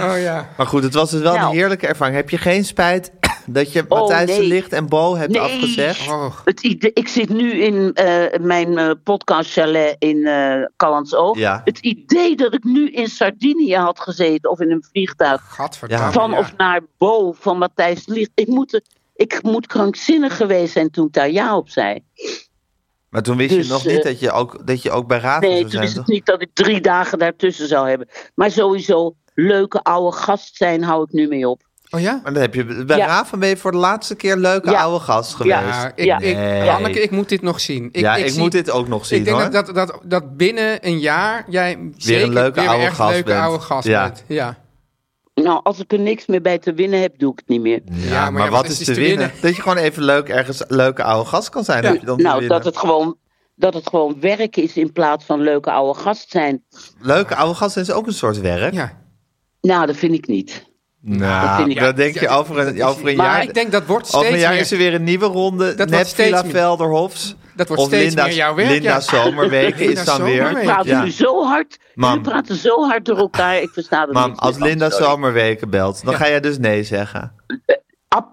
Speaker 6: Oh ja.
Speaker 3: Maar goed, het was dus wel
Speaker 10: Nou.
Speaker 3: een heerlijke ervaring. Heb je geen spijt dat je
Speaker 10: Oh,
Speaker 3: Matthijs de
Speaker 10: nee.
Speaker 3: Licht en Bo hebt
Speaker 10: Nee.
Speaker 3: afgezegd?
Speaker 6: Oh.
Speaker 10: Het idee, ik zit nu in eh, mijn eh, podcast chalet in eh Callantsoog.
Speaker 3: Ja.
Speaker 10: Het idee dat ik nu in Sardinië had gezeten of in een vliegtuig
Speaker 6: Gadverdamme.
Speaker 3: Ja.
Speaker 10: van
Speaker 6: ja.
Speaker 10: of naar Bo van Matthijs de Ligt. Ik moet, er- ik moet krankzinnig geweest zijn toen ik daar ja op zei.
Speaker 3: Maar toen wist
Speaker 10: Dus,
Speaker 3: je nog
Speaker 10: eh,
Speaker 3: niet dat je ook, dat je ook bij Raven
Speaker 10: Nee,
Speaker 3: zou
Speaker 10: toen
Speaker 3: zijn,
Speaker 10: is het
Speaker 3: toch?
Speaker 10: niet dat ik drie dagen daartussen zou hebben. Maar sowieso, leuke oude gast zijn hou ik nu mee op.
Speaker 6: Oh ja?
Speaker 3: Maar dan heb je, bij
Speaker 10: Ja.
Speaker 3: Raven ben je voor de laatste keer leuke
Speaker 10: Ja.
Speaker 3: oude gast geweest.
Speaker 10: Ja.
Speaker 6: Ja, ik,
Speaker 10: Ja.
Speaker 6: ik,
Speaker 3: Nee.
Speaker 6: Hanneke, ik moet dit nog zien. Ik,
Speaker 3: ja, ik,
Speaker 6: zie-
Speaker 3: moet dit ook nog zien
Speaker 6: Ik denk
Speaker 3: hoor.
Speaker 6: dat, dat, dat, dat binnen een jaar jij zeker
Speaker 3: leuke
Speaker 6: weer
Speaker 3: oude
Speaker 6: echt
Speaker 3: gast
Speaker 6: leuke
Speaker 3: bent.
Speaker 6: oude gast
Speaker 3: Ja.
Speaker 6: bent. Ja.
Speaker 10: Nou, als ik er niks meer bij te winnen heb, doe ik het niet meer.
Speaker 3: ja,
Speaker 6: Ja, maar
Speaker 3: maar,
Speaker 6: ja,
Speaker 3: wat is te winnen? Dat je gewoon even leuk ergens leuke oude gast kan zijn.
Speaker 6: Ja.
Speaker 3: heb je dan te
Speaker 10: Nou,
Speaker 3: winnen.
Speaker 10: dat het, gewoon, dat het gewoon werk is in plaats van leuke oude gast zijn.
Speaker 3: Leuke oude gast is ook een soort werk.
Speaker 6: Ja.
Speaker 10: Nou, dat vind ik niet.
Speaker 3: Nou,
Speaker 10: Dat
Speaker 3: dat,
Speaker 10: vind ik- Ja,
Speaker 3: denk je over een, over een
Speaker 6: Maar
Speaker 3: jaar.
Speaker 6: ik denk dat wordt
Speaker 3: over een
Speaker 6: steeds
Speaker 3: jaar
Speaker 6: meer-
Speaker 3: is er weer een nieuwe ronde.
Speaker 6: wordt
Speaker 3: Net
Speaker 6: steeds
Speaker 3: Villa
Speaker 6: meer-
Speaker 3: Velderhofs.
Speaker 6: Dat wordt
Speaker 3: of
Speaker 6: steeds
Speaker 3: Linda's,
Speaker 6: meer jouw werk, ja.
Speaker 3: Linda's zomerweken
Speaker 6: Linda's
Speaker 3: is dan weer.
Speaker 6: zomerweken.
Speaker 10: Praat
Speaker 3: Ja.
Speaker 10: u zo hard.
Speaker 3: Mam.
Speaker 10: U praten zo hard door elkaar. Ik versta er
Speaker 3: Mam,
Speaker 10: niks
Speaker 3: als
Speaker 10: meer van,
Speaker 3: Linda
Speaker 10: sorry.
Speaker 3: zomerweken belt, dan ga jij dus nee zeggen.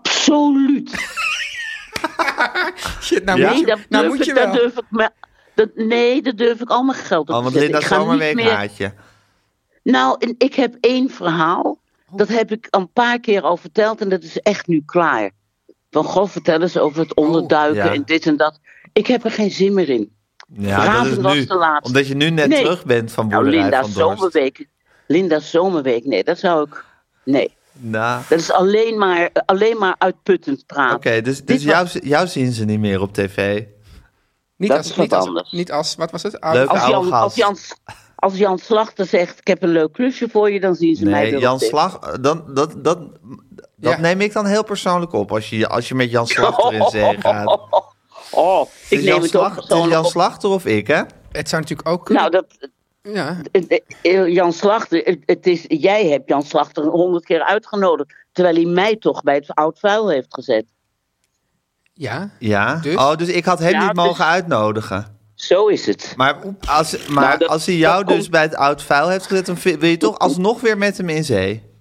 Speaker 10: Absoluut.
Speaker 6: Shit, nou
Speaker 3: Ja?
Speaker 6: moet
Speaker 10: Nee,
Speaker 6: je,
Speaker 10: dat
Speaker 6: nou
Speaker 10: durf
Speaker 6: moet je
Speaker 10: ik- dat
Speaker 6: wel.
Speaker 10: durf ik me- dat, nee, daar durf ik al mijn geld op
Speaker 3: Oh,
Speaker 10: te
Speaker 3: want
Speaker 10: zetten.
Speaker 3: Linda
Speaker 10: Ik ga niet
Speaker 3: zomerweek
Speaker 10: meer-
Speaker 3: haat je.
Speaker 10: Nou, en ik heb één verhaal.
Speaker 6: Oh.
Speaker 10: Dat heb ik een paar keer al verteld en dat is echt nu klaar. Van goh, vertel eens over het
Speaker 6: Oh,
Speaker 10: onderduiken
Speaker 3: ja.
Speaker 10: en dit en dat. Ik heb er geen zin meer in.
Speaker 3: Ja,
Speaker 10: Raven
Speaker 3: dat
Speaker 10: was
Speaker 3: is
Speaker 10: de
Speaker 3: nu.
Speaker 10: laatste.
Speaker 3: Omdat je nu net
Speaker 10: Nee.
Speaker 3: terug bent van
Speaker 10: Nou,
Speaker 3: boerderij
Speaker 10: Linda's
Speaker 3: van Dorst.
Speaker 10: zomerweek. Linda's zomerweek, nee, dat zou ik. Nee,
Speaker 3: Nou,
Speaker 10: dat is alleen maar, alleen maar uitputtend praten.
Speaker 3: oké, dus,
Speaker 10: Dit
Speaker 3: dus
Speaker 10: was-
Speaker 3: jou, jou zien ze niet meer op tv.
Speaker 6: Niet
Speaker 10: Dat
Speaker 6: als,
Speaker 10: is wat
Speaker 6: niet als,
Speaker 10: anders.
Speaker 6: Niet als, wat was het?
Speaker 3: Leuk.
Speaker 10: Als
Speaker 3: oude
Speaker 10: Jan,
Speaker 3: gast.
Speaker 10: als, Jan, als Jan Slachter zegt: Ik heb een leuk klusje voor je, dan zien ze mij
Speaker 3: Nee,
Speaker 10: weer
Speaker 3: Jan
Speaker 10: op tv.
Speaker 3: Slag, eh, dan, dat, dat, dat
Speaker 6: Ja.
Speaker 3: neem ik dan heel persoonlijk op als je, als je met Jan Slachter in zee gaat.
Speaker 10: Oh, ik
Speaker 3: Het is
Speaker 10: neem
Speaker 3: Jan
Speaker 10: het
Speaker 3: Slag-
Speaker 10: ook
Speaker 3: het is
Speaker 10: persoonlijk
Speaker 3: Jan
Speaker 10: op.
Speaker 3: Slachter of ik, hè?
Speaker 6: Het zou natuurlijk ook kunnen.
Speaker 10: Nou, dat,
Speaker 6: ja.
Speaker 10: Eh, eh, Jan Slachter, het- het is, jij hebt Jan Slachter honderd keer uitgenodigd. Terwijl hij mij toch bij het oud vuil heeft gezet.
Speaker 6: ja.
Speaker 3: Ja.
Speaker 6: Dus?
Speaker 3: Oh, dus ik had hem
Speaker 10: Ja,
Speaker 3: niet
Speaker 10: dus-
Speaker 3: mogen uitnodigen.
Speaker 10: Zo is het.
Speaker 3: Maar als, maar
Speaker 10: Nou, dat-
Speaker 3: als hij jou
Speaker 10: dat
Speaker 3: dus
Speaker 10: komt-
Speaker 3: bij het oud vuil heeft gezet, dan vi- wil je toch alsnog weer met hem in zee.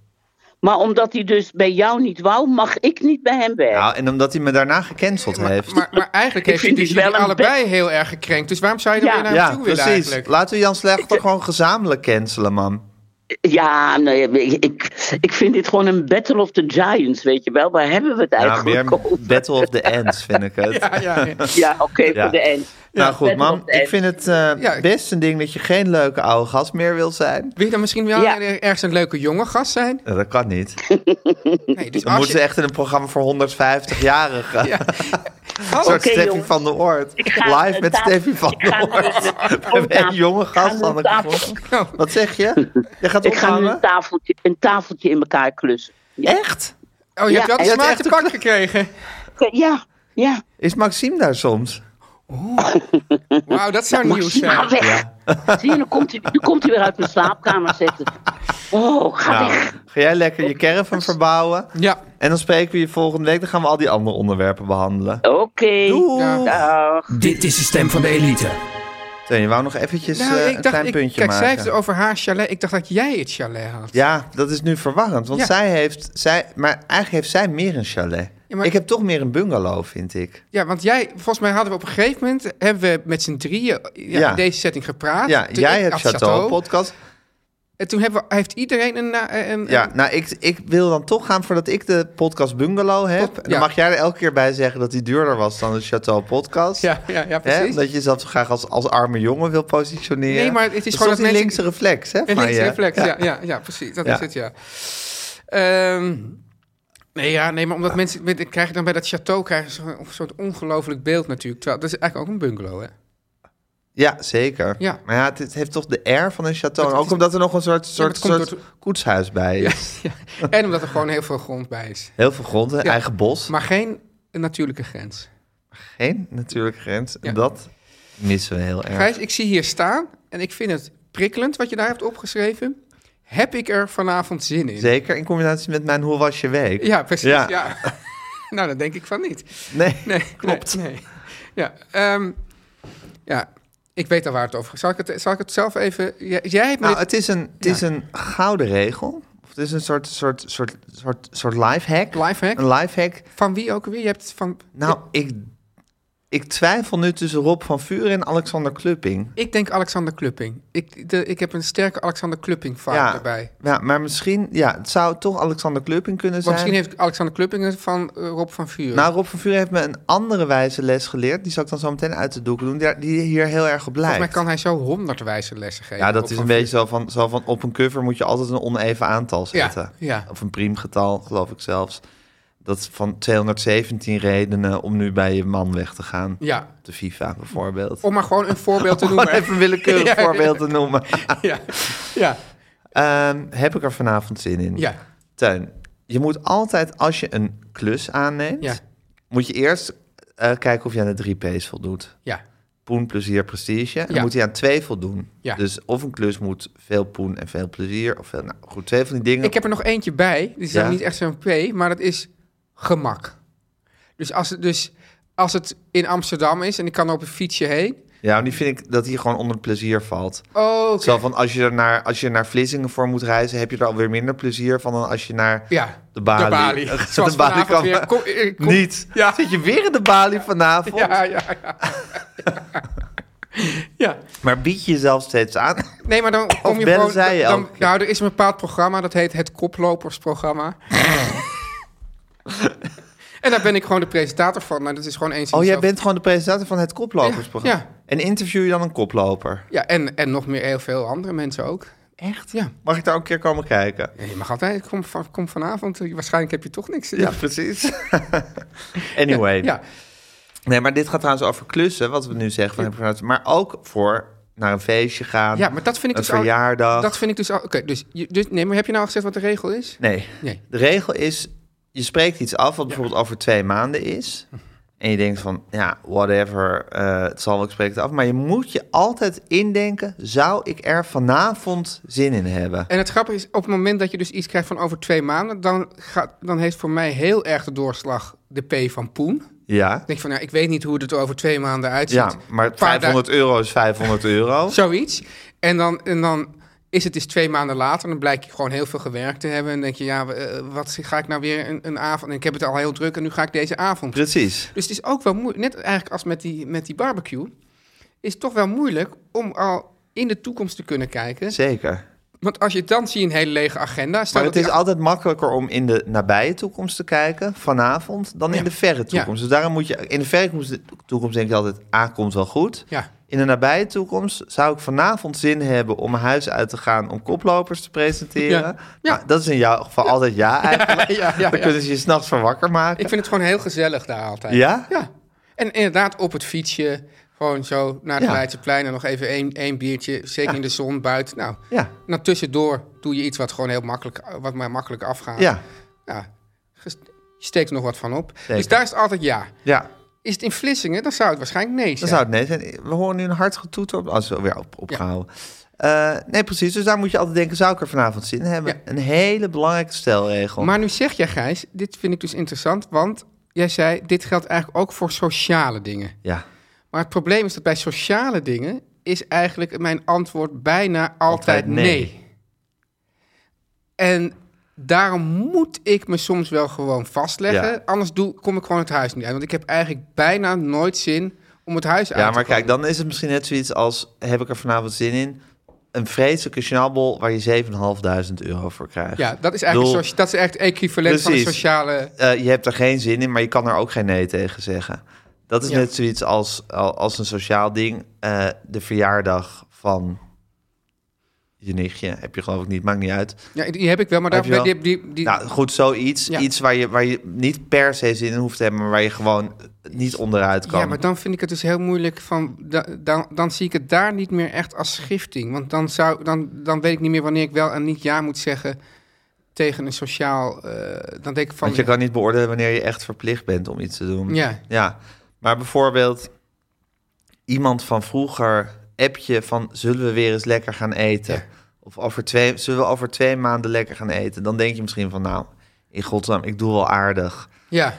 Speaker 10: Maar omdat hij dus bij jou niet wou, mag ik niet bij hem werken.
Speaker 3: Nou, en omdat hij me daarna gecanceld heeft.
Speaker 6: Maar, maar eigenlijk
Speaker 10: Ik
Speaker 6: heeft hij
Speaker 10: vind
Speaker 6: dus
Speaker 10: het wel
Speaker 6: jullie
Speaker 10: een
Speaker 6: allebei heel erg gekrenkt. Dus waarom zou je er
Speaker 10: Ja.
Speaker 6: weer naar hem
Speaker 3: ja,
Speaker 6: toe willen
Speaker 3: precies.
Speaker 6: eigenlijk?
Speaker 3: Laten we Jan Slachter gewoon gezamenlijk cancelen, man.
Speaker 10: Ja, nee, ik, ik, Ik vind dit gewoon een Battle of the Giants, weet je wel. Waar hebben we het eigenlijk
Speaker 3: meer
Speaker 10: over?
Speaker 3: Battle of the Ends vind ik het.
Speaker 6: Ja, ja, ja.
Speaker 10: Ja, oké, voor de end.
Speaker 3: Nou goed,
Speaker 10: Battle
Speaker 3: man.
Speaker 10: of the
Speaker 3: Ik
Speaker 10: Ends.
Speaker 3: vind het eh,
Speaker 6: Ja, ik-
Speaker 3: best een ding dat je geen leuke oude gast meer wil zijn.
Speaker 6: Wil je dan misschien wel
Speaker 10: Ja.
Speaker 6: ergens een leuke jonge gast zijn?
Speaker 3: Nou, Dat kan niet.
Speaker 6: Nee, dus
Speaker 3: Dan
Speaker 6: als
Speaker 3: moeten
Speaker 6: je,
Speaker 3: ze echt in een programma voor 150-jarigen.
Speaker 6: Ja. Oh,
Speaker 3: Een soort
Speaker 10: Oké,
Speaker 3: Steffi
Speaker 10: jongens.
Speaker 3: van der Oort.
Speaker 10: Ik ga,
Speaker 3: Live
Speaker 10: eh,
Speaker 3: met
Speaker 10: tafel-
Speaker 3: Steffi van
Speaker 10: ik ga
Speaker 3: der
Speaker 10: nu
Speaker 3: Oort.
Speaker 10: met mijn
Speaker 3: We hebben een jonge
Speaker 10: tafel-
Speaker 3: gast
Speaker 10: ik ga
Speaker 3: aan
Speaker 10: nu
Speaker 3: de
Speaker 10: een tafel-
Speaker 3: knop. Wat zeg je? Je gaat
Speaker 10: Ik ga nu
Speaker 3: ophangen?
Speaker 10: een tafeltje, een tafeltje in elkaar klussen. Ja,
Speaker 3: Echt?
Speaker 6: oh, je
Speaker 10: Ja,
Speaker 6: hebt wel de
Speaker 3: je hebt
Speaker 6: smaak
Speaker 3: echt
Speaker 6: te
Speaker 3: een-
Speaker 6: pakken gekregen.
Speaker 10: ja. ja.
Speaker 3: Is Maxime daar soms?
Speaker 6: Wauw, dat zou
Speaker 10: Mag
Speaker 6: nieuws
Speaker 10: je
Speaker 6: zijn.
Speaker 10: maar weg. Zie je, dan komt, hij, dan komt hij weer uit mijn slaapkamer zitten. Oh, ga
Speaker 3: Nou,
Speaker 10: weg.
Speaker 3: ga jij lekker je caravan verbouwen.
Speaker 6: Ja,
Speaker 3: En dan spreken we je volgende week. Dan gaan we al die andere onderwerpen behandelen.
Speaker 10: Oké.
Speaker 3: Doei!
Speaker 6: Ja.
Speaker 10: Dag.
Speaker 8: Dit is de stem van de elite.
Speaker 3: Teun, je wou nog eventjes
Speaker 6: nou,
Speaker 3: eh,
Speaker 6: ik
Speaker 3: een
Speaker 6: dacht,
Speaker 3: klein
Speaker 6: ik, kijk,
Speaker 3: puntje maken.
Speaker 6: zij heeft het over haar chalet. Ik dacht dat jij het chalet had.
Speaker 3: Ja, dat is nu verwarrend. Want
Speaker 6: Ja.
Speaker 3: zij heeft... Zij, maar eigenlijk heeft zij meer een chalet.
Speaker 6: Ja, maar-
Speaker 3: Ik heb toch meer een bungalow, vind ik.
Speaker 6: Ja, want jij, volgens mij hadden we op een gegeven moment, hebben we met z'n drieën ja,
Speaker 3: Ja.
Speaker 6: in deze setting gepraat.
Speaker 3: Ja,
Speaker 6: Toen
Speaker 3: jij
Speaker 6: ik
Speaker 3: hebt
Speaker 6: had
Speaker 3: Chateau podcast.
Speaker 6: En toen hebben we, heeft iedereen een... na- een, een-
Speaker 3: Ja, nou, ik, ik wil dan toch gaan voordat ik de podcast Bungalow heb.
Speaker 6: Pot-
Speaker 3: En
Speaker 6: ja.
Speaker 3: Dan mag jij er elke keer bij zeggen dat die duurder was dan de Chateau podcast.
Speaker 6: ja, ja, ja,
Speaker 3: Hè?
Speaker 6: precies.
Speaker 3: Omdat je jezelf zo graag als, als arme jongen wil positioneren.
Speaker 6: Nee, maar het is
Speaker 3: Dat
Speaker 6: gewoon
Speaker 3: soms
Speaker 6: dat
Speaker 3: die linkse
Speaker 6: mensen-
Speaker 3: reflex, hè?
Speaker 6: Een
Speaker 3: van
Speaker 6: linkse
Speaker 3: je.
Speaker 6: reflex, ja. Ja, ja, precies. Dat
Speaker 3: Ja.
Speaker 6: is het, ja. Ehm, nee, ja, nee, maar omdat mensen... met- krijg je dan bij dat château krijgen ze een soort ongelooflijk beeld natuurlijk. Terwijl, dat is eigenlijk ook een bungalow, hè?
Speaker 3: Ja, zeker.
Speaker 6: Ja.
Speaker 3: Maar ja, het, het heeft toch de air van een château. En
Speaker 6: Het-
Speaker 3: ook omdat er nog een soort, soort,
Speaker 6: dat komt
Speaker 3: soort
Speaker 6: door
Speaker 3: koetshuis bij is.
Speaker 6: En omdat er gewoon heel veel grond bij is.
Speaker 3: Heel veel grond, hè,
Speaker 6: Ja.
Speaker 3: eigen bos.
Speaker 6: Maar geen natuurlijke grens.
Speaker 3: Geen natuurlijke grens.
Speaker 6: Ja.
Speaker 3: En dat missen we heel erg.
Speaker 6: Gijs, ik zie hier staan en ik vind het prikkelend wat je daar hebt opgeschreven. Heb ik er vanavond zin in?
Speaker 3: Zeker in combinatie met mijn Hoe was je week?
Speaker 6: Ja, precies. Ja.
Speaker 3: Ja.
Speaker 6: nou, dat denk ik van niet.
Speaker 3: Nee,
Speaker 6: Nee,
Speaker 3: klopt.
Speaker 6: Nee, nee. Ja, ehm, ja, ik weet al waar het over gaat. Zal ik het, zal ik het zelf even... Jij, jij hebt me
Speaker 3: Nou,
Speaker 6: dit-
Speaker 3: het is een, het is een gouden regel. Of het is een soort, soort, soort, soort, soort lifehack.
Speaker 6: Lifehack?
Speaker 3: Een lifehack.
Speaker 6: Van wie ook weer? Je hebt het van...
Speaker 3: Nou, ik, ik twijfel nu tussen Rob van Vuren en Alexander Klupping.
Speaker 6: Ik denk Alexander Klupping. Ik, de, ik heb een sterke Alexander Klupping vibe
Speaker 3: ja,
Speaker 6: erbij.
Speaker 3: ja, maar misschien... Ja, het zou toch Alexander Klupping kunnen
Speaker 6: Maar
Speaker 3: zijn.
Speaker 6: misschien heeft Alexander Klupping het van eh, Rob van Vuren.
Speaker 3: Nou, Rob van Vuren heeft me een andere wijze les geleerd. Die zal ik dan zo meteen uit de doeken doen. Die, die hier heel erg op lijkt.
Speaker 6: Volgens mij kan hij zo honderd wijze lessen geven.
Speaker 3: Ja, dat
Speaker 6: Rob
Speaker 3: is
Speaker 6: van
Speaker 3: een beetje zo van, zo van op een cover moet je altijd een oneven aantal
Speaker 6: Ja,
Speaker 3: zetten.
Speaker 6: ja.
Speaker 3: Of een priemgetal, geloof ik zelfs. Dat is van 217 redenen om nu bij je man weg te gaan.
Speaker 6: Ja,
Speaker 3: Op de FIFA bijvoorbeeld.
Speaker 6: om maar gewoon een voorbeeld te
Speaker 3: Gewoon
Speaker 6: noemen.
Speaker 3: even een willekeurig
Speaker 6: Ja, ja.
Speaker 3: voorbeeld te noemen.
Speaker 6: Ja, ja,
Speaker 3: Ehm, heb ik er vanavond zin in?
Speaker 6: ja.
Speaker 3: Tuin, je moet altijd als je een klus aanneemt,
Speaker 6: Ja.
Speaker 3: moet je eerst eh, kijken of je aan de drie P's voldoet.
Speaker 6: ja.
Speaker 3: poen, plezier, prestige. En
Speaker 6: Ja.
Speaker 3: dan moet hij aan twee voldoen.
Speaker 6: Ja.
Speaker 3: Dus of een klus moet veel poen en veel plezier. Of veel, nou goed, twee van die dingen.
Speaker 6: Ik heb er nog eentje bij. Die is
Speaker 3: Ja.
Speaker 6: dan niet echt zo'n P, maar dat is gemak. Dus als het, dus als het in Amsterdam is en ik kan op een fietsje heen.
Speaker 3: Ja, maar die vind ik dat hij gewoon onder het plezier valt.
Speaker 6: Oh, oké.
Speaker 3: Zo van als je, er naar, als je naar Vlissingen voor moet reizen, heb je er alweer minder plezier van dan als je naar
Speaker 6: Ja,
Speaker 3: de Bali.
Speaker 6: de Bali.
Speaker 3: De
Speaker 6: Zoals
Speaker 3: Bali
Speaker 6: vanavond
Speaker 3: kan-
Speaker 6: weer. Kom- eh, kom-
Speaker 3: Niet.
Speaker 6: Ja.
Speaker 3: Zit je weer in de Bali vanavond?
Speaker 6: Ja, ja, ja. ja.
Speaker 3: Maar bied je jezelf steeds aan. Oh,
Speaker 6: Nee, maar dan kom je
Speaker 3: bellen
Speaker 6: gewoon...
Speaker 3: zij je
Speaker 6: dan,
Speaker 3: elke keer?
Speaker 6: nou, er is een bepaald programma, dat heet het koplopersprogramma. en daar ben ik gewoon de presentator van. Nou, dat is gewoon eens in
Speaker 3: Oh, jij
Speaker 6: zoveel-
Speaker 3: bent gewoon de presentator van het koplopersprogramma.
Speaker 6: Ja, ja.
Speaker 3: En interview je dan een koploper?
Speaker 6: Ja, en, en nog meer heel veel andere mensen ook. Echt? Ja.
Speaker 3: Mag ik daar ook een keer komen kijken?
Speaker 6: Ja, Je mag altijd, kom, van- kom vanavond, eh, waarschijnlijk heb je toch niks.
Speaker 3: Ja, precies. anyway.
Speaker 6: Ja,
Speaker 3: Nee, maar dit gaat trouwens over klussen, wat we nu zeggen. Van, heb ik vanuit- Maar ook voor naar een feestje gaan.
Speaker 6: ja, maar dat vind ik
Speaker 3: een
Speaker 6: dus
Speaker 3: verjaardag.
Speaker 6: al... Dat vind ik dus al... Oké, dus, je- dus... Nee, maar heb je nou al gezegd wat de regel is?
Speaker 3: Nee.
Speaker 6: Nee.
Speaker 3: De regel is, je spreekt iets af wat bijvoorbeeld over twee maanden is. En je denkt van, ja, whatever, eh, het zal wel, ik spreek het af. Maar je moet je altijd indenken, zou ik er vanavond zin in hebben?
Speaker 6: En het grappige is, op het moment dat je dus iets krijgt van over twee maanden... dan, gaat, dan heeft voor mij heel erg de doorslag de P van Poen.
Speaker 3: Ja,
Speaker 6: Ik denk van, nou, ik weet niet hoe het er over twee maanden uitziet.
Speaker 3: ja maar
Speaker 6: Een paar
Speaker 3: 500 euro is 500 euro.
Speaker 6: dagen- Zoiets. En dan, en dan is het dus twee maanden later. Dan blijkt je gewoon heel veel gewerkt te hebben. En denk je, ja, eh, wat ga ik nou weer een, een avond... En ik heb het al heel druk en nu ga ik deze avond.
Speaker 3: Precies.
Speaker 6: Dus het is ook wel moeilijk, net eigenlijk als met die, met die barbecue... is het toch wel moeilijk om al in de toekomst te kunnen kijken...
Speaker 3: Zeker.
Speaker 6: Want als je het dan zie je een hele lege agenda. Stel
Speaker 3: Maar het
Speaker 6: dat
Speaker 3: is
Speaker 6: die-
Speaker 3: altijd makkelijker om in de nabije toekomst te kijken, vanavond, dan in
Speaker 6: Ja.
Speaker 3: de verre toekomst. Dus daarom moet je, in de verre toekomst- toekomst denk je altijd, A, komt wel goed.
Speaker 6: Ja.
Speaker 3: In de nabije toekomst zou ik vanavond zin hebben om mijn huis uit te gaan om koplopers te presenteren.
Speaker 6: Ja.
Speaker 3: Nou, dat is in jouw geval altijd ja eigenlijk.
Speaker 6: ja, ja,
Speaker 3: Dan
Speaker 6: ja.
Speaker 3: kunnen ze je s'nachts van wakker maken.
Speaker 6: Ik vind het gewoon heel gezellig daar altijd.
Speaker 3: Ja?
Speaker 6: Ja. En inderdaad op het fietsje, gewoon zo naar het
Speaker 3: Ja.
Speaker 6: Leidseplein en nog even één, één biertje, zeker in de zon buiten. Nou,
Speaker 3: Ja.
Speaker 6: en dan tussendoor doe je iets wat gewoon heel makkelijk, wat mij makkelijk afgaat.
Speaker 3: Ja.
Speaker 6: ja. Ges- Je steekt er nog wat van op. Dus
Speaker 3: Zeker.
Speaker 6: daar is het altijd ja.
Speaker 3: Ja.
Speaker 6: Is het in Vlissingen, dan zou het waarschijnlijk nee zijn.
Speaker 3: Dan zou het nee zijn. We horen nu een hard getoeter. op- Als we weer op, opgehouden. Eh, nee, precies. Dus daar moet je altijd denken: zou ik er vanavond zin in hebben?
Speaker 6: Ja.
Speaker 3: Een hele belangrijke stelregel.
Speaker 6: Maar nu zeg jij, Gijs, dit vind ik dus interessant, want jij zei, dit geldt eigenlijk ook voor sociale dingen.
Speaker 3: Ja,
Speaker 6: Maar het probleem is dat bij sociale dingen is eigenlijk mijn antwoord bijna altijd, nee. En daarom moet ik me soms wel gewoon vastleggen.
Speaker 3: Ja.
Speaker 6: Anders doe, kom ik gewoon het huis niet uit. Want ik heb eigenlijk bijna nooit zin om het huis
Speaker 3: ja
Speaker 6: uit te
Speaker 3: maar kijk,
Speaker 6: komen.
Speaker 3: dan is het misschien net zoiets als: heb ik er vanavond zin in? Een vreselijke snabbel waar je 7.500 euro voor krijgt.
Speaker 6: Ja, dat is eigenlijk,
Speaker 3: Doel-
Speaker 6: een socia- dat is echt het equivalent van een
Speaker 3: Precies.
Speaker 6: sociale...
Speaker 3: Eh, je hebt er geen zin in, maar je kan er ook geen nee tegen zeggen. Dat is
Speaker 6: Ja.
Speaker 3: net zoiets als, al- als een sociaal ding. Eh, de verjaardag van je nichtje heb je geloof ik niet, maakt niet uit.
Speaker 6: Ja, die heb ik wel, maar daar,
Speaker 3: Heb je wel?
Speaker 6: die, die, die-
Speaker 3: Nou, goed, zoiets.
Speaker 6: Ja.
Speaker 3: Iets waar je, waar je niet per se zin in hoeft te hebben, maar waar je gewoon niet onderuit kan.
Speaker 6: Ja, maar dan vind ik het dus heel moeilijk van. da- dan, dan zie ik het daar niet meer echt als schifting. Want dan, zou, dan, dan weet ik niet meer wanneer ik wel en niet ja moet zeggen tegen een sociaal. eh, dan denk ik van.
Speaker 3: Want je kan niet beoordelen wanneer je echt verplicht bent om iets te doen.
Speaker 6: Ja.
Speaker 3: ja. Maar bijvoorbeeld iemand van vroeger app je van zullen we weer eens lekker gaan eten? Of over twee, zullen we over twee maanden lekker gaan eten? Dan denk je misschien van nou, in godsnaam, ik doe wel aardig.
Speaker 6: Ja,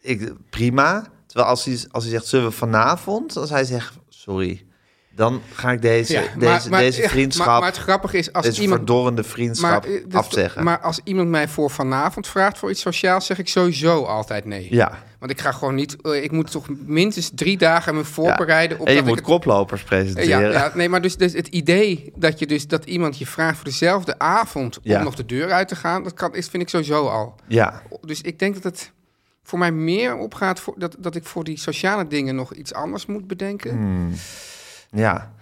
Speaker 3: Ik, prima. Terwijl als hij, als hij zegt zullen we vanavond? Als hij zegt sorry, dan ga ik deze,
Speaker 6: ja.
Speaker 3: deze, deze
Speaker 6: ja,
Speaker 3: vriendschap...
Speaker 6: Maar, maar het grappige is als
Speaker 3: Deze
Speaker 6: iemand.
Speaker 3: verdorrende
Speaker 6: maar,
Speaker 3: vriendschap
Speaker 6: eh, dat-
Speaker 3: afzeggen.
Speaker 6: maar als iemand mij voor vanavond vraagt voor iets sociaals, zeg ik sowieso altijd nee.
Speaker 3: ja.
Speaker 6: Want ik ga gewoon niet. eh, ik moet toch minstens drie dagen me voorbereiden op
Speaker 3: en je
Speaker 6: dat ik
Speaker 3: moet
Speaker 6: het
Speaker 3: koplopers
Speaker 6: Ja,
Speaker 3: presenteren.
Speaker 6: Eh, ja, nee, maar dus, dus het idee dat, je dus, dat iemand je vraagt voor dezelfde avond om
Speaker 3: Ja.
Speaker 6: nog de deur uit te gaan, dat kan, is, vind ik sowieso al.
Speaker 3: Ja.
Speaker 6: Dus ik denk dat het voor mij meer opgaat voor, dat, dat ik voor die sociale dingen nog iets anders moet bedenken.
Speaker 3: Hmm. Ja.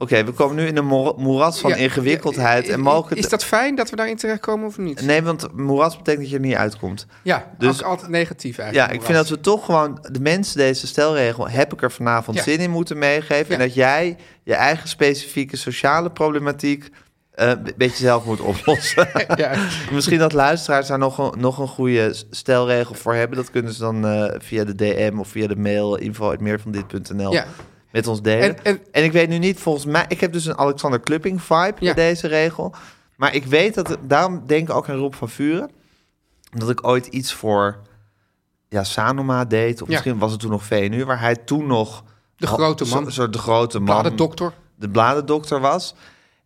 Speaker 3: Oké, we komen nu in een mo- moeras van
Speaker 6: Ja,
Speaker 3: ingewikkeldheid.
Speaker 6: ja,
Speaker 3: en mogen
Speaker 6: Is dat fijn dat we daarin terechtkomen of niet?
Speaker 3: Nee, want moeras betekent dat je er niet uitkomt.
Speaker 6: ja,
Speaker 3: dus-
Speaker 6: ook altijd negatief
Speaker 3: Ja,
Speaker 6: eigenlijk.
Speaker 3: ik vind dat we toch gewoon de mensen deze stelregel... heb ik er vanavond
Speaker 6: Ja.
Speaker 3: zin in moeten meegeven. En
Speaker 6: Ja.
Speaker 3: dat jij je eigen specifieke sociale problematiek... eh, een beetje zelf moet oplossen.
Speaker 6: Ja.
Speaker 3: Misschien dat luisteraars daar nog een, nog een goede stelregel voor hebben. Dat kunnen ze dan eh, via de DM of via de mail info.meervandit.nl
Speaker 6: Ja.
Speaker 3: met ons delen.
Speaker 6: En-
Speaker 3: En,
Speaker 6: en-
Speaker 3: ik weet nu niet, volgens mij... Ik heb dus een Alexander Klupping vibe bij
Speaker 6: Ja.
Speaker 3: deze regel. Maar ik weet dat... het- Daarom denk ik ook aan Rob van Vuren. Omdat ik ooit iets voor ja, Sanoma deed. Of
Speaker 6: Ja.
Speaker 3: misschien was het toen nog VNU. Waar hij toen nog...
Speaker 6: De grote
Speaker 3: zo-
Speaker 6: man.
Speaker 3: soort de grote man.
Speaker 6: de dokter.
Speaker 3: De bladendokter was.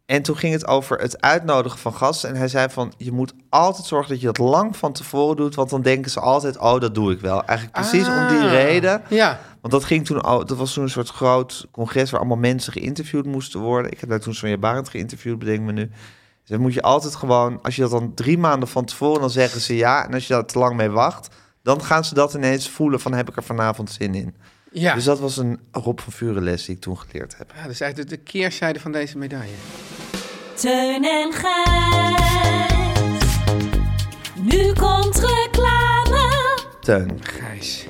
Speaker 3: En toen ging het over het uitnodigen van gasten. En hij zei van, je moet altijd zorgen dat je dat lang van tevoren doet. Want dan denken ze altijd, oh, dat doe ik wel. Eigenlijk precies om die
Speaker 6: Ah.
Speaker 3: reden.
Speaker 6: Ja.
Speaker 3: Want dat, ging toen, al- dat was toen een soort groot congres waar allemaal mensen geïnterviewd moesten worden. Ik heb daar toen Sonja Barend geïnterviewd, bedenk me nu. Dus dan moet je altijd gewoon, als je dat dan drie maanden van tevoren, dan zeggen ze ja. En als je daar te lang mee wacht, dan gaan ze dat ineens voelen van heb ik er vanavond zin in.
Speaker 6: Ja.
Speaker 3: Dus dat was een Rob van Vuren les die ik toen geleerd heb.
Speaker 6: ja, dat is eigenlijk de, de keerzijde van deze medaille.
Speaker 9: Teun en Gijs. Nu komt reclame.
Speaker 3: Teun,
Speaker 6: Gijs.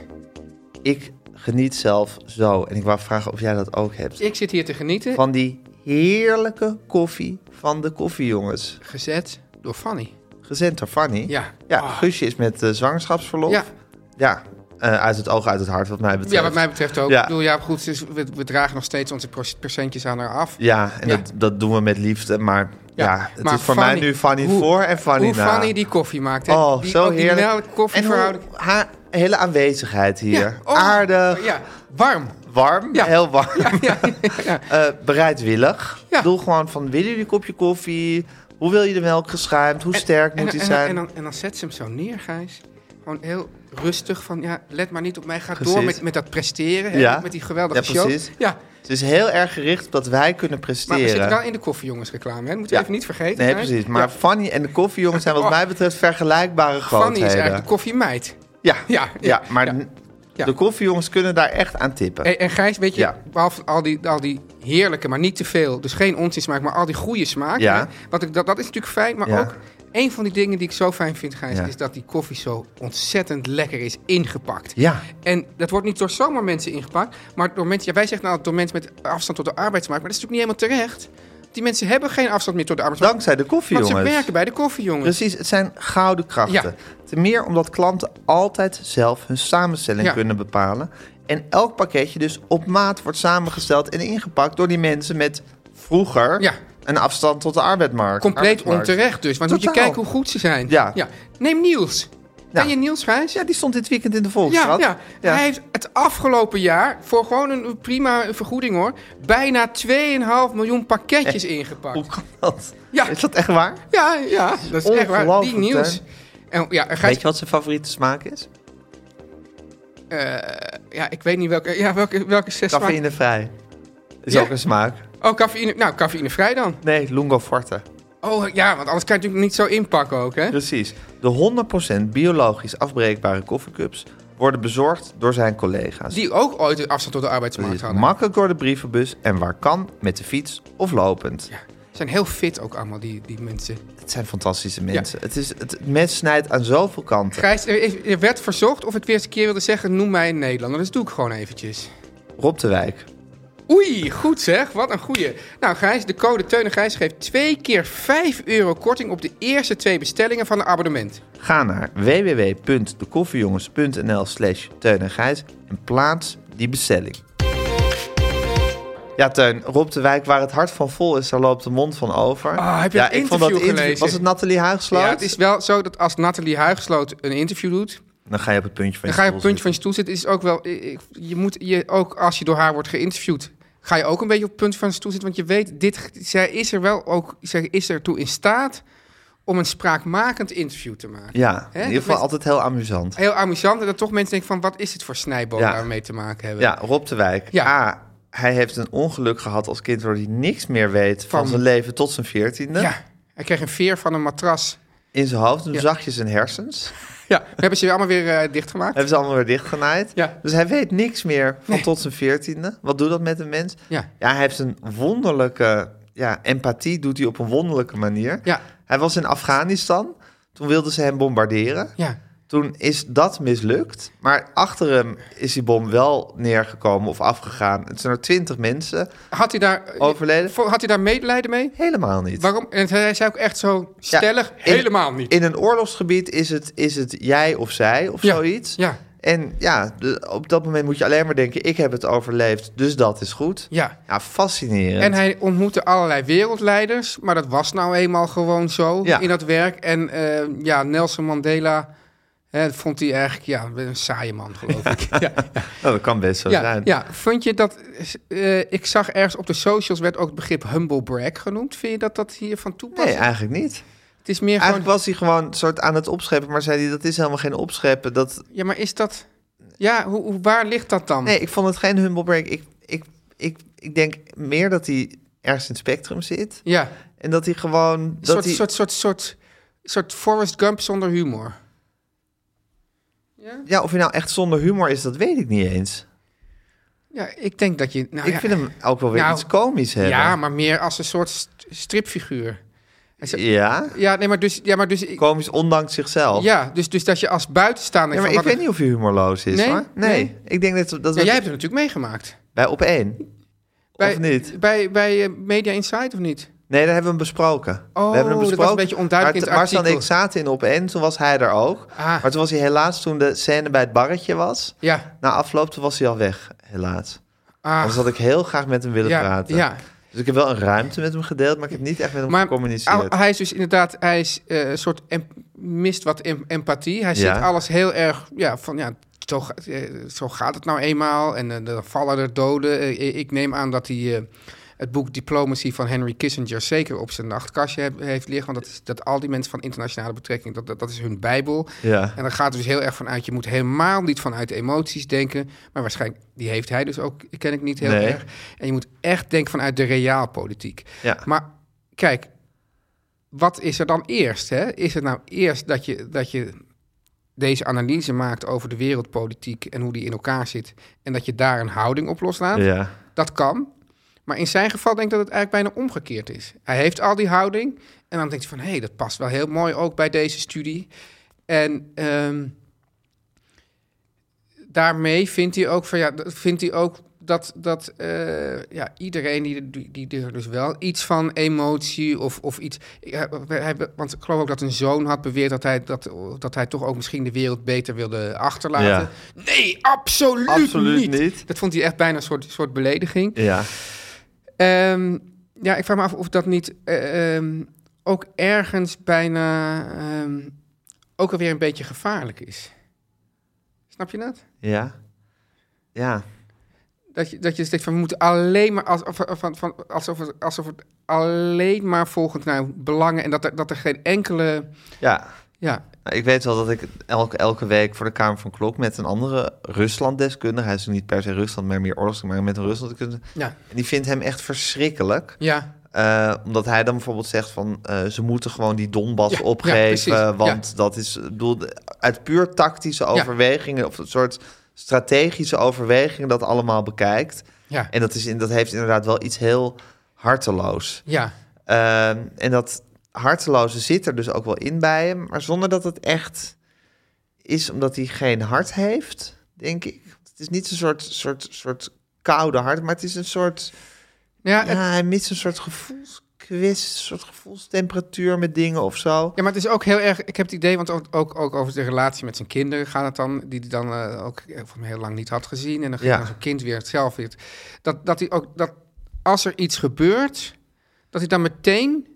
Speaker 3: ik geniet zelf zo, en ik wou vragen of jij dat ook hebt,
Speaker 6: Ik zit hier te genieten,
Speaker 3: van die heerlijke koffie van de koffiejongens.
Speaker 6: gezet door Fanny.
Speaker 3: Gezend door Fanny.
Speaker 6: Ja.
Speaker 3: Ja,
Speaker 6: Ah.
Speaker 3: Guusje is met eh, zwangerschapsverlof.
Speaker 6: Ja.
Speaker 3: Ja, eh, uit het oog, uit het hart, wat mij betreft.
Speaker 6: Ja, wat mij betreft ook.
Speaker 3: Ja.
Speaker 6: Ik bedoel, ja, goed, dus we, we dragen nog steeds onze pro- percentjes aan haar af.
Speaker 3: Ja, en
Speaker 6: Ja.
Speaker 3: Dat, dat doen we met liefde, maar ja, het
Speaker 6: maar
Speaker 3: is voor
Speaker 6: Fanny-
Speaker 3: mij nu Fanny
Speaker 6: hoe-
Speaker 3: voor en Fanny
Speaker 6: hoe
Speaker 3: na.
Speaker 6: Fanny die koffie maakt. hè.
Speaker 3: Oh,
Speaker 6: die,
Speaker 3: zo
Speaker 6: ook die nou
Speaker 3: heerlijk.
Speaker 6: melk- koffieverhouding.
Speaker 3: En hoe haar hele aanwezigheid hier.
Speaker 6: Ja, oh,
Speaker 3: Aardig,
Speaker 6: Ja, warm.
Speaker 3: warm,
Speaker 6: Ja.
Speaker 3: heel warm.
Speaker 6: Ja, ja.
Speaker 3: Eh, bereidwillig.
Speaker 6: Ja.
Speaker 3: Doe gewoon van, willen jullie een kopje koffie? Hoe wil je de melk geschuimd? Hoe sterk
Speaker 6: En-
Speaker 3: moet
Speaker 6: en,
Speaker 3: die
Speaker 6: en,
Speaker 3: zijn?
Speaker 6: En dan, en dan zet ze hem zo neer, Gijs. Gewoon heel rustig van, ja, let maar niet op mij. Ga door
Speaker 3: Precies.
Speaker 6: met, met dat presteren. hè,
Speaker 3: Ja.
Speaker 6: Met die geweldige
Speaker 3: Ja, precies.
Speaker 6: show. Ja,
Speaker 3: Het is heel erg gericht op dat wij kunnen presteren.
Speaker 6: Maar we zitten wel in de koffiejongensreclame, hè? Dat moeten we
Speaker 3: Ja.
Speaker 6: even niet vergeten.
Speaker 3: Nee,
Speaker 6: hè?
Speaker 3: precies. Maar
Speaker 6: Ja, Oh.
Speaker 3: Fanny en de koffiejongens zijn wat mij betreft vergelijkbare
Speaker 6: Fanny is
Speaker 3: grootheden.
Speaker 6: eigenlijk de koffiemeid.
Speaker 3: Ja,
Speaker 6: Ja,
Speaker 3: ja, maar n-
Speaker 6: Ja.
Speaker 3: de koffiejongens kunnen daar echt aan tippen.
Speaker 6: En, en Gijs, weet je,
Speaker 3: Ja.
Speaker 6: behalve al die, al die heerlijke, maar niet te veel, dus geen onzinsmaak, maar al die goede smaak.
Speaker 3: Ja.
Speaker 6: hè, Want ik, dat, dat is natuurlijk fijn, maar
Speaker 3: Ja.
Speaker 6: ook een van die dingen die ik zo fijn vind, Gijs,
Speaker 3: Ja.
Speaker 6: is dat die koffie zo ontzettend lekker is ingepakt.
Speaker 3: Ja.
Speaker 6: En dat wordt niet door zomaar mensen ingepakt, maar door mensen, ja, wij zeggen nou door mensen met afstand tot de arbeidsmarkt, maar dat is natuurlijk niet helemaal terecht. Die mensen hebben geen afstand meer tot de arbeidsmarkt.
Speaker 3: Dankzij de
Speaker 6: Want
Speaker 3: koffiejongens.
Speaker 6: ze werken bij de koffiejongens.
Speaker 3: Precies, het zijn gouden krachten. Ten meer omdat klanten altijd zelf hun samenstelling
Speaker 6: Ja.
Speaker 3: kunnen bepalen. En elk pakketje dus op maat wordt samengesteld en ingepakt door die mensen met vroeger
Speaker 6: Ja.
Speaker 3: een afstand tot de arbeidsmarkt.
Speaker 6: Compleet
Speaker 3: arbeidsmarkt.
Speaker 6: onterecht dus, want moet je
Speaker 3: Totaal.
Speaker 6: kijken hoe goed ze zijn.
Speaker 3: Ja.
Speaker 6: Neem Niels.
Speaker 3: Ja.
Speaker 6: Ken je Niels, Gijs?
Speaker 3: Ja, die stond dit weekend in de
Speaker 6: Ja,
Speaker 3: Volkskrant.
Speaker 6: ja.
Speaker 3: Ja.
Speaker 6: hij heeft het afgelopen jaar voor gewoon een prima vergoeding hoor, bijna 2,5 miljoen pakketjes ingepakt.
Speaker 3: Hoe kan dat?
Speaker 6: Ja.
Speaker 3: Is dat echt waar?
Speaker 6: Ja, ja, dat is echt waar. Die
Speaker 3: Ongelooflijk,
Speaker 6: nieuws. En, ja, en Gijs,
Speaker 3: Weet je wat zijn favoriete smaak is?
Speaker 6: eh, ja, ik weet niet welke, ja, welke, welke zes smaak-
Speaker 3: Cafeïnevrij. Is
Speaker 6: Ja?
Speaker 3: ook een smaak.
Speaker 6: Oh, cafeïne, nou, cafeïnevrij dan.
Speaker 3: Nee, Lungo Forte.
Speaker 6: Oh ja, want anders kan je het natuurlijk niet zo inpakken ook, hè?
Speaker 3: Precies. De 100% biologisch afbreekbare koffiecups worden bezorgd door zijn collega's.
Speaker 6: Die ook ooit een afstand tot de arbeidsmarkt
Speaker 3: Precies.
Speaker 6: hadden.
Speaker 3: Makkelijk door de brievenbus en waar kan met de fiets of lopend.
Speaker 6: Ja, zijn heel fit ook allemaal, die, die mensen.
Speaker 3: Het zijn fantastische mensen. Het, is, het mes snijdt aan zoveel kanten.
Speaker 6: Gijs, er, is- er werd verzocht of ik weer eens een keer wilde zeggen... noem mij een Nederlander. Dus doe ik gewoon eventjes.
Speaker 3: Rob de Wijk.
Speaker 6: Oei, goed zeg. Wat een goeie. Nou Gijs, de code Teun en Gijs geeft twee keer 5 euro korting... op de eerste twee bestellingen van een abonnement.
Speaker 3: Ga naar www.dekoffiejongens.nl slash Teun en Gijs en plaats die bestelling. Ja, Teun, Rob de Wijk, waar het hart van vol is, daar loopt de mond van over.
Speaker 6: Ah, heb je
Speaker 3: ja,
Speaker 6: het
Speaker 3: ik vond dat
Speaker 6: interview
Speaker 3: interview-
Speaker 6: gelezen?
Speaker 3: Was het Nathalie Huigsloot?
Speaker 6: Ja, het is wel zo dat als Nathalie Huigsloot een interview doet...
Speaker 3: Dan ga je op het puntje van
Speaker 6: dan
Speaker 3: je
Speaker 6: ga je op het
Speaker 3: stoel
Speaker 6: puntje van je stoel zitten. Is ook wel, ik- je moet je, ook als je door haar wordt geïnterviewd... ga je ook een beetje op het puntje van je stoel zitten. Want je weet, dit, zij is er wel ook... zij is ertoe in staat om een spraakmakend interview te maken.
Speaker 3: zitten. Ja,
Speaker 6: Hè,
Speaker 3: in
Speaker 6: dat
Speaker 3: ieder geval
Speaker 6: mensen-
Speaker 3: altijd heel amusant.
Speaker 6: heel amusant. En dat toch mensen denken van, wat is het voor snijboom
Speaker 3: Ja.
Speaker 6: waar we mee te maken hebben?
Speaker 3: Ja, Rob de Wijk.
Speaker 6: Ja.
Speaker 3: A, hij heeft een ongeluk gehad als kind waar hij niks meer weet van,
Speaker 6: Van-
Speaker 3: zijn leven tot zijn veertiende.
Speaker 6: Ja. Hij kreeg een veer van een matras.
Speaker 3: In zijn hoofd, toen
Speaker 6: Ja.
Speaker 3: zag je zijn hersens.
Speaker 6: Ja, we hebben ze weer allemaal weer eh, dichtgemaakt.
Speaker 3: Hebben ze allemaal weer dichtgenaaid.
Speaker 6: Ja.
Speaker 3: Dus hij weet niks meer van
Speaker 6: Nee.
Speaker 3: tot zijn veertiende. Wat doet dat met een mens?
Speaker 6: Ja.
Speaker 3: hij heeft een wonderlijke... Ja, empathie doet hij op een wonderlijke manier.
Speaker 6: Ja.
Speaker 3: Hij was in Afghanistan. Toen wilden ze hem bombarderen.
Speaker 6: Ja.
Speaker 3: Toen is dat mislukt. Maar achter hem is die bom wel neergekomen of afgegaan. Het zijn er twintig mensen.
Speaker 6: Had hij daar...
Speaker 3: Overleden?
Speaker 6: Vo- Had hij daar medelijden mee?
Speaker 3: Helemaal niet.
Speaker 6: Waarom? En hij zei ook echt zo
Speaker 3: Ja,
Speaker 6: stellig,
Speaker 3: in-
Speaker 6: helemaal niet.
Speaker 3: In een oorlogsgebied is het, is het jij of zij of
Speaker 6: Ja,
Speaker 3: zoiets.
Speaker 6: ja.
Speaker 3: En ja, de- op dat moment moet je alleen maar denken... ik heb het overleefd, dus dat is goed.
Speaker 6: Ja.
Speaker 3: Ja, fascinerend.
Speaker 6: En hij ontmoette allerlei wereldleiders, maar dat was nou eenmaal gewoon zo
Speaker 3: Ja.
Speaker 6: in dat werk. En eh, ja, Nelson Mandela hè, vond hij eigenlijk ja, een saaie man, geloof ik. Ja.
Speaker 3: Nou, dat kan best zo
Speaker 6: Ja,
Speaker 3: zijn.
Speaker 6: ja, vond je dat... eh, ik zag ergens op de socials werd ook het begrip humble brag genoemd. Vind je dat dat hier van toepassing
Speaker 3: Nee, eigenlijk niet.
Speaker 6: Het is meer gewoon...
Speaker 3: Eigenlijk was hij gewoon soort aan het opscheppen... maar zei hij, dat is helemaal geen opscheppen. Dat...
Speaker 6: Ja, maar is dat... Ja, hoe, hoe- waar ligt dat dan?
Speaker 3: Nee, ik vond het geen humble break. Ik, ik, ik, ik denk meer dat hij ergens in het spectrum zit...
Speaker 6: Ja,
Speaker 3: en dat hij gewoon...
Speaker 6: een
Speaker 3: Dat
Speaker 6: soort,
Speaker 3: hij...
Speaker 6: soort, soort, soort, soort Forrest Gump zonder humor.
Speaker 3: Ja, of hij nou echt zonder humor is, dat weet ik niet eens.
Speaker 6: Ja, ik denk dat je... Nou,
Speaker 3: ik
Speaker 6: ja,
Speaker 3: vind hem ook wel weer
Speaker 6: Nou,
Speaker 3: iets komisch hebben.
Speaker 6: Ja, maar meer als een soort st- stripfiguur. Hij zegt-
Speaker 3: Ja?
Speaker 6: Ja, nee, maar dus... Ja, maar dus, ik-
Speaker 3: Komisch ondanks zichzelf.
Speaker 6: ja, dus, dus dat je als buitenstaander...
Speaker 3: Ja, maar
Speaker 6: van,
Speaker 3: ik
Speaker 6: wat-
Speaker 3: weet niet of hij humorloos is,
Speaker 6: Nee?
Speaker 3: hoor. Nee.
Speaker 6: Nee.
Speaker 3: Ik denk dat, dat
Speaker 6: Ja,
Speaker 3: we
Speaker 6: jij hebt het natuurlijk meegemaakt.
Speaker 3: bij op één.
Speaker 6: Bij,
Speaker 3: Of niet?
Speaker 6: Bij, bij eh, Media Insight of niet?
Speaker 3: Nee, daar hebben we hem besproken.
Speaker 6: Oh,
Speaker 3: we hebben hem
Speaker 6: dat was
Speaker 3: besproken.
Speaker 6: een beetje onduidelijk
Speaker 3: Maar
Speaker 6: in het
Speaker 3: Marcel en ik
Speaker 6: artikel.
Speaker 3: zaten in op één, toen was hij er ook.
Speaker 6: Ah.
Speaker 3: Maar toen was hij helaas, toen de scène bij het barretje was...
Speaker 6: Ja.
Speaker 3: Na afloop, toen was hij al weg, helaas.
Speaker 6: Ah,
Speaker 3: Anders had ik heel graag met hem willen
Speaker 6: ja,
Speaker 3: praten.
Speaker 6: Ja,
Speaker 3: Dus ik heb wel een ruimte met hem gedeeld, maar ik heb niet echt met hem
Speaker 6: maar al-
Speaker 3: gecommuniceerd.
Speaker 6: hij is dus inderdaad, hij is eh, een soort em- mist wat em- empathie. Hij
Speaker 3: Ja.
Speaker 6: ziet alles heel erg, ja, van ja, zo, ga- eh, zo gaat het nou eenmaal. En eh, dan vallen er doden. Eh, ik neem aan dat hij eh, het boek Diplomacy van Henry Kissinger zeker op zijn nachtkastje heb- heeft liggen. Want dat, is, dat al die mensen van internationale betrekking, dat, dat, dat is hun bijbel.
Speaker 3: Ja.
Speaker 6: En dan gaat het dus heel erg vanuit, je moet helemaal niet vanuit emoties denken. Maar waarschijnlijk, die heeft hij dus ook, ken ik niet heel
Speaker 3: Nee.
Speaker 6: erg. En je moet echt denken vanuit de reaalpolitiek.
Speaker 3: Ja.
Speaker 6: Maar kijk, wat is er dan eerst? Hè? Is het nou eerst dat je, dat je deze analyse maakt over de wereldpolitiek en hoe die in elkaar zit... en dat je daar een houding op loslaat?
Speaker 3: Ja.
Speaker 6: Dat kan. Maar in zijn geval denk ik dat het eigenlijk bijna omgekeerd is. Hij heeft al die houding. En dan denkt hij van, hé, hey, dat past wel heel mooi ook bij deze studie. En ehm, daarmee vindt hij ook, van, ja, dat- vindt hij ook dat, dat eh, ja, iedereen die, die, die er dus wel iets van emotie of, of iets... ja, we hebben- want ik geloof ook dat een zoon had beweerd dat hij, dat, dat hij toch ook misschien de wereld beter wilde achterlaten.
Speaker 3: Ja.
Speaker 6: Nee, absoluut,
Speaker 3: Absoluut
Speaker 6: niet.
Speaker 3: niet.
Speaker 6: Dat vond hij echt bijna een soort, soort belediging.
Speaker 3: Ja.
Speaker 6: Ehm, ja, ik vraag me af of dat niet eh, ehm, ook ergens bijna ehm, ook alweer een beetje gevaarlijk is. Snap je dat?
Speaker 3: Ja. Ja.
Speaker 6: Dat je, dat je denkt van we moeten alleen maar als, of- of- van, van, alsof, het, alsof het alleen maar volgend naar belangen en dat er, dat er geen enkele.
Speaker 3: Ja.
Speaker 6: Ja.
Speaker 3: Nou, Ik weet wel dat ik elke, elke week voor de Kamer van Klok met een andere Rusland-deskundige, hij is niet per se Rusland, maar meer oorlog, maar met een Rusland-deskundige,
Speaker 6: Ja.
Speaker 3: en die vindt hem echt verschrikkelijk.
Speaker 6: Ja.
Speaker 3: Eh, omdat hij dan bijvoorbeeld zegt van eh, ze moeten gewoon die Donbass
Speaker 6: Ja, ja,
Speaker 3: opgeven,
Speaker 6: precies,
Speaker 3: want dat is ik bedoel, uit puur tactische overwegingen of een soort strategische overwegingen dat allemaal bekijkt.
Speaker 6: Ja.
Speaker 3: En dat, is in, dat heeft inderdaad wel iets heel harteloos.
Speaker 6: Ja.
Speaker 3: Ehm, en dat harteloze zit er dus ook wel in bij hem, maar zonder dat het echt is omdat hij geen hart heeft, denk ik. Het is niet een soort, soort, soort koude hart, maar het is een soort.
Speaker 6: Ja,
Speaker 3: ja, hij mist een soort gevoelsquiz, een soort gevoelstemperatuur met dingen of zo.
Speaker 6: Ja, maar het is ook heel erg. Ik heb het idee, want ook, ook, ook over de relatie met zijn kinderen gaat het dan. Die hij dan eh, ook eh, volgens mij heel lang niet had gezien. En dan ging
Speaker 3: Ja.
Speaker 6: dan zo'n kind weer hetzelfde. weer- Dat, dat hij ook dat als er iets gebeurt, dat hij dan meteen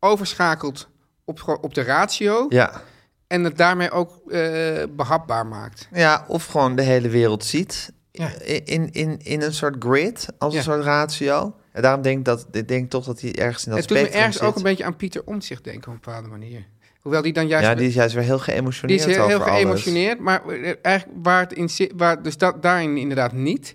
Speaker 6: overschakelt op, gewoon op de ratio.
Speaker 3: Ja.
Speaker 6: En het daarmee ook eh, behapbaar maakt.
Speaker 3: Ja, of gewoon de hele wereld ziet.
Speaker 6: Ja.
Speaker 3: In, in, in een soort grid, als
Speaker 6: Ja.
Speaker 3: een soort ratio. En daarom denk ik, dat, ik denk toch dat hij ergens in dat
Speaker 6: het doet me
Speaker 3: spectrum
Speaker 6: ergens
Speaker 3: zit.
Speaker 6: ook een beetje aan Pieter Omtzigt denken op een bepaalde manier. Hoewel die dan juist
Speaker 3: ja, die is juist weer heel geëmotioneerd
Speaker 6: Die is heel, heel
Speaker 3: over alles.
Speaker 6: geëmotioneerd, maar eh, eigenlijk waar het in zit, waar, dus dat, daarin inderdaad niet.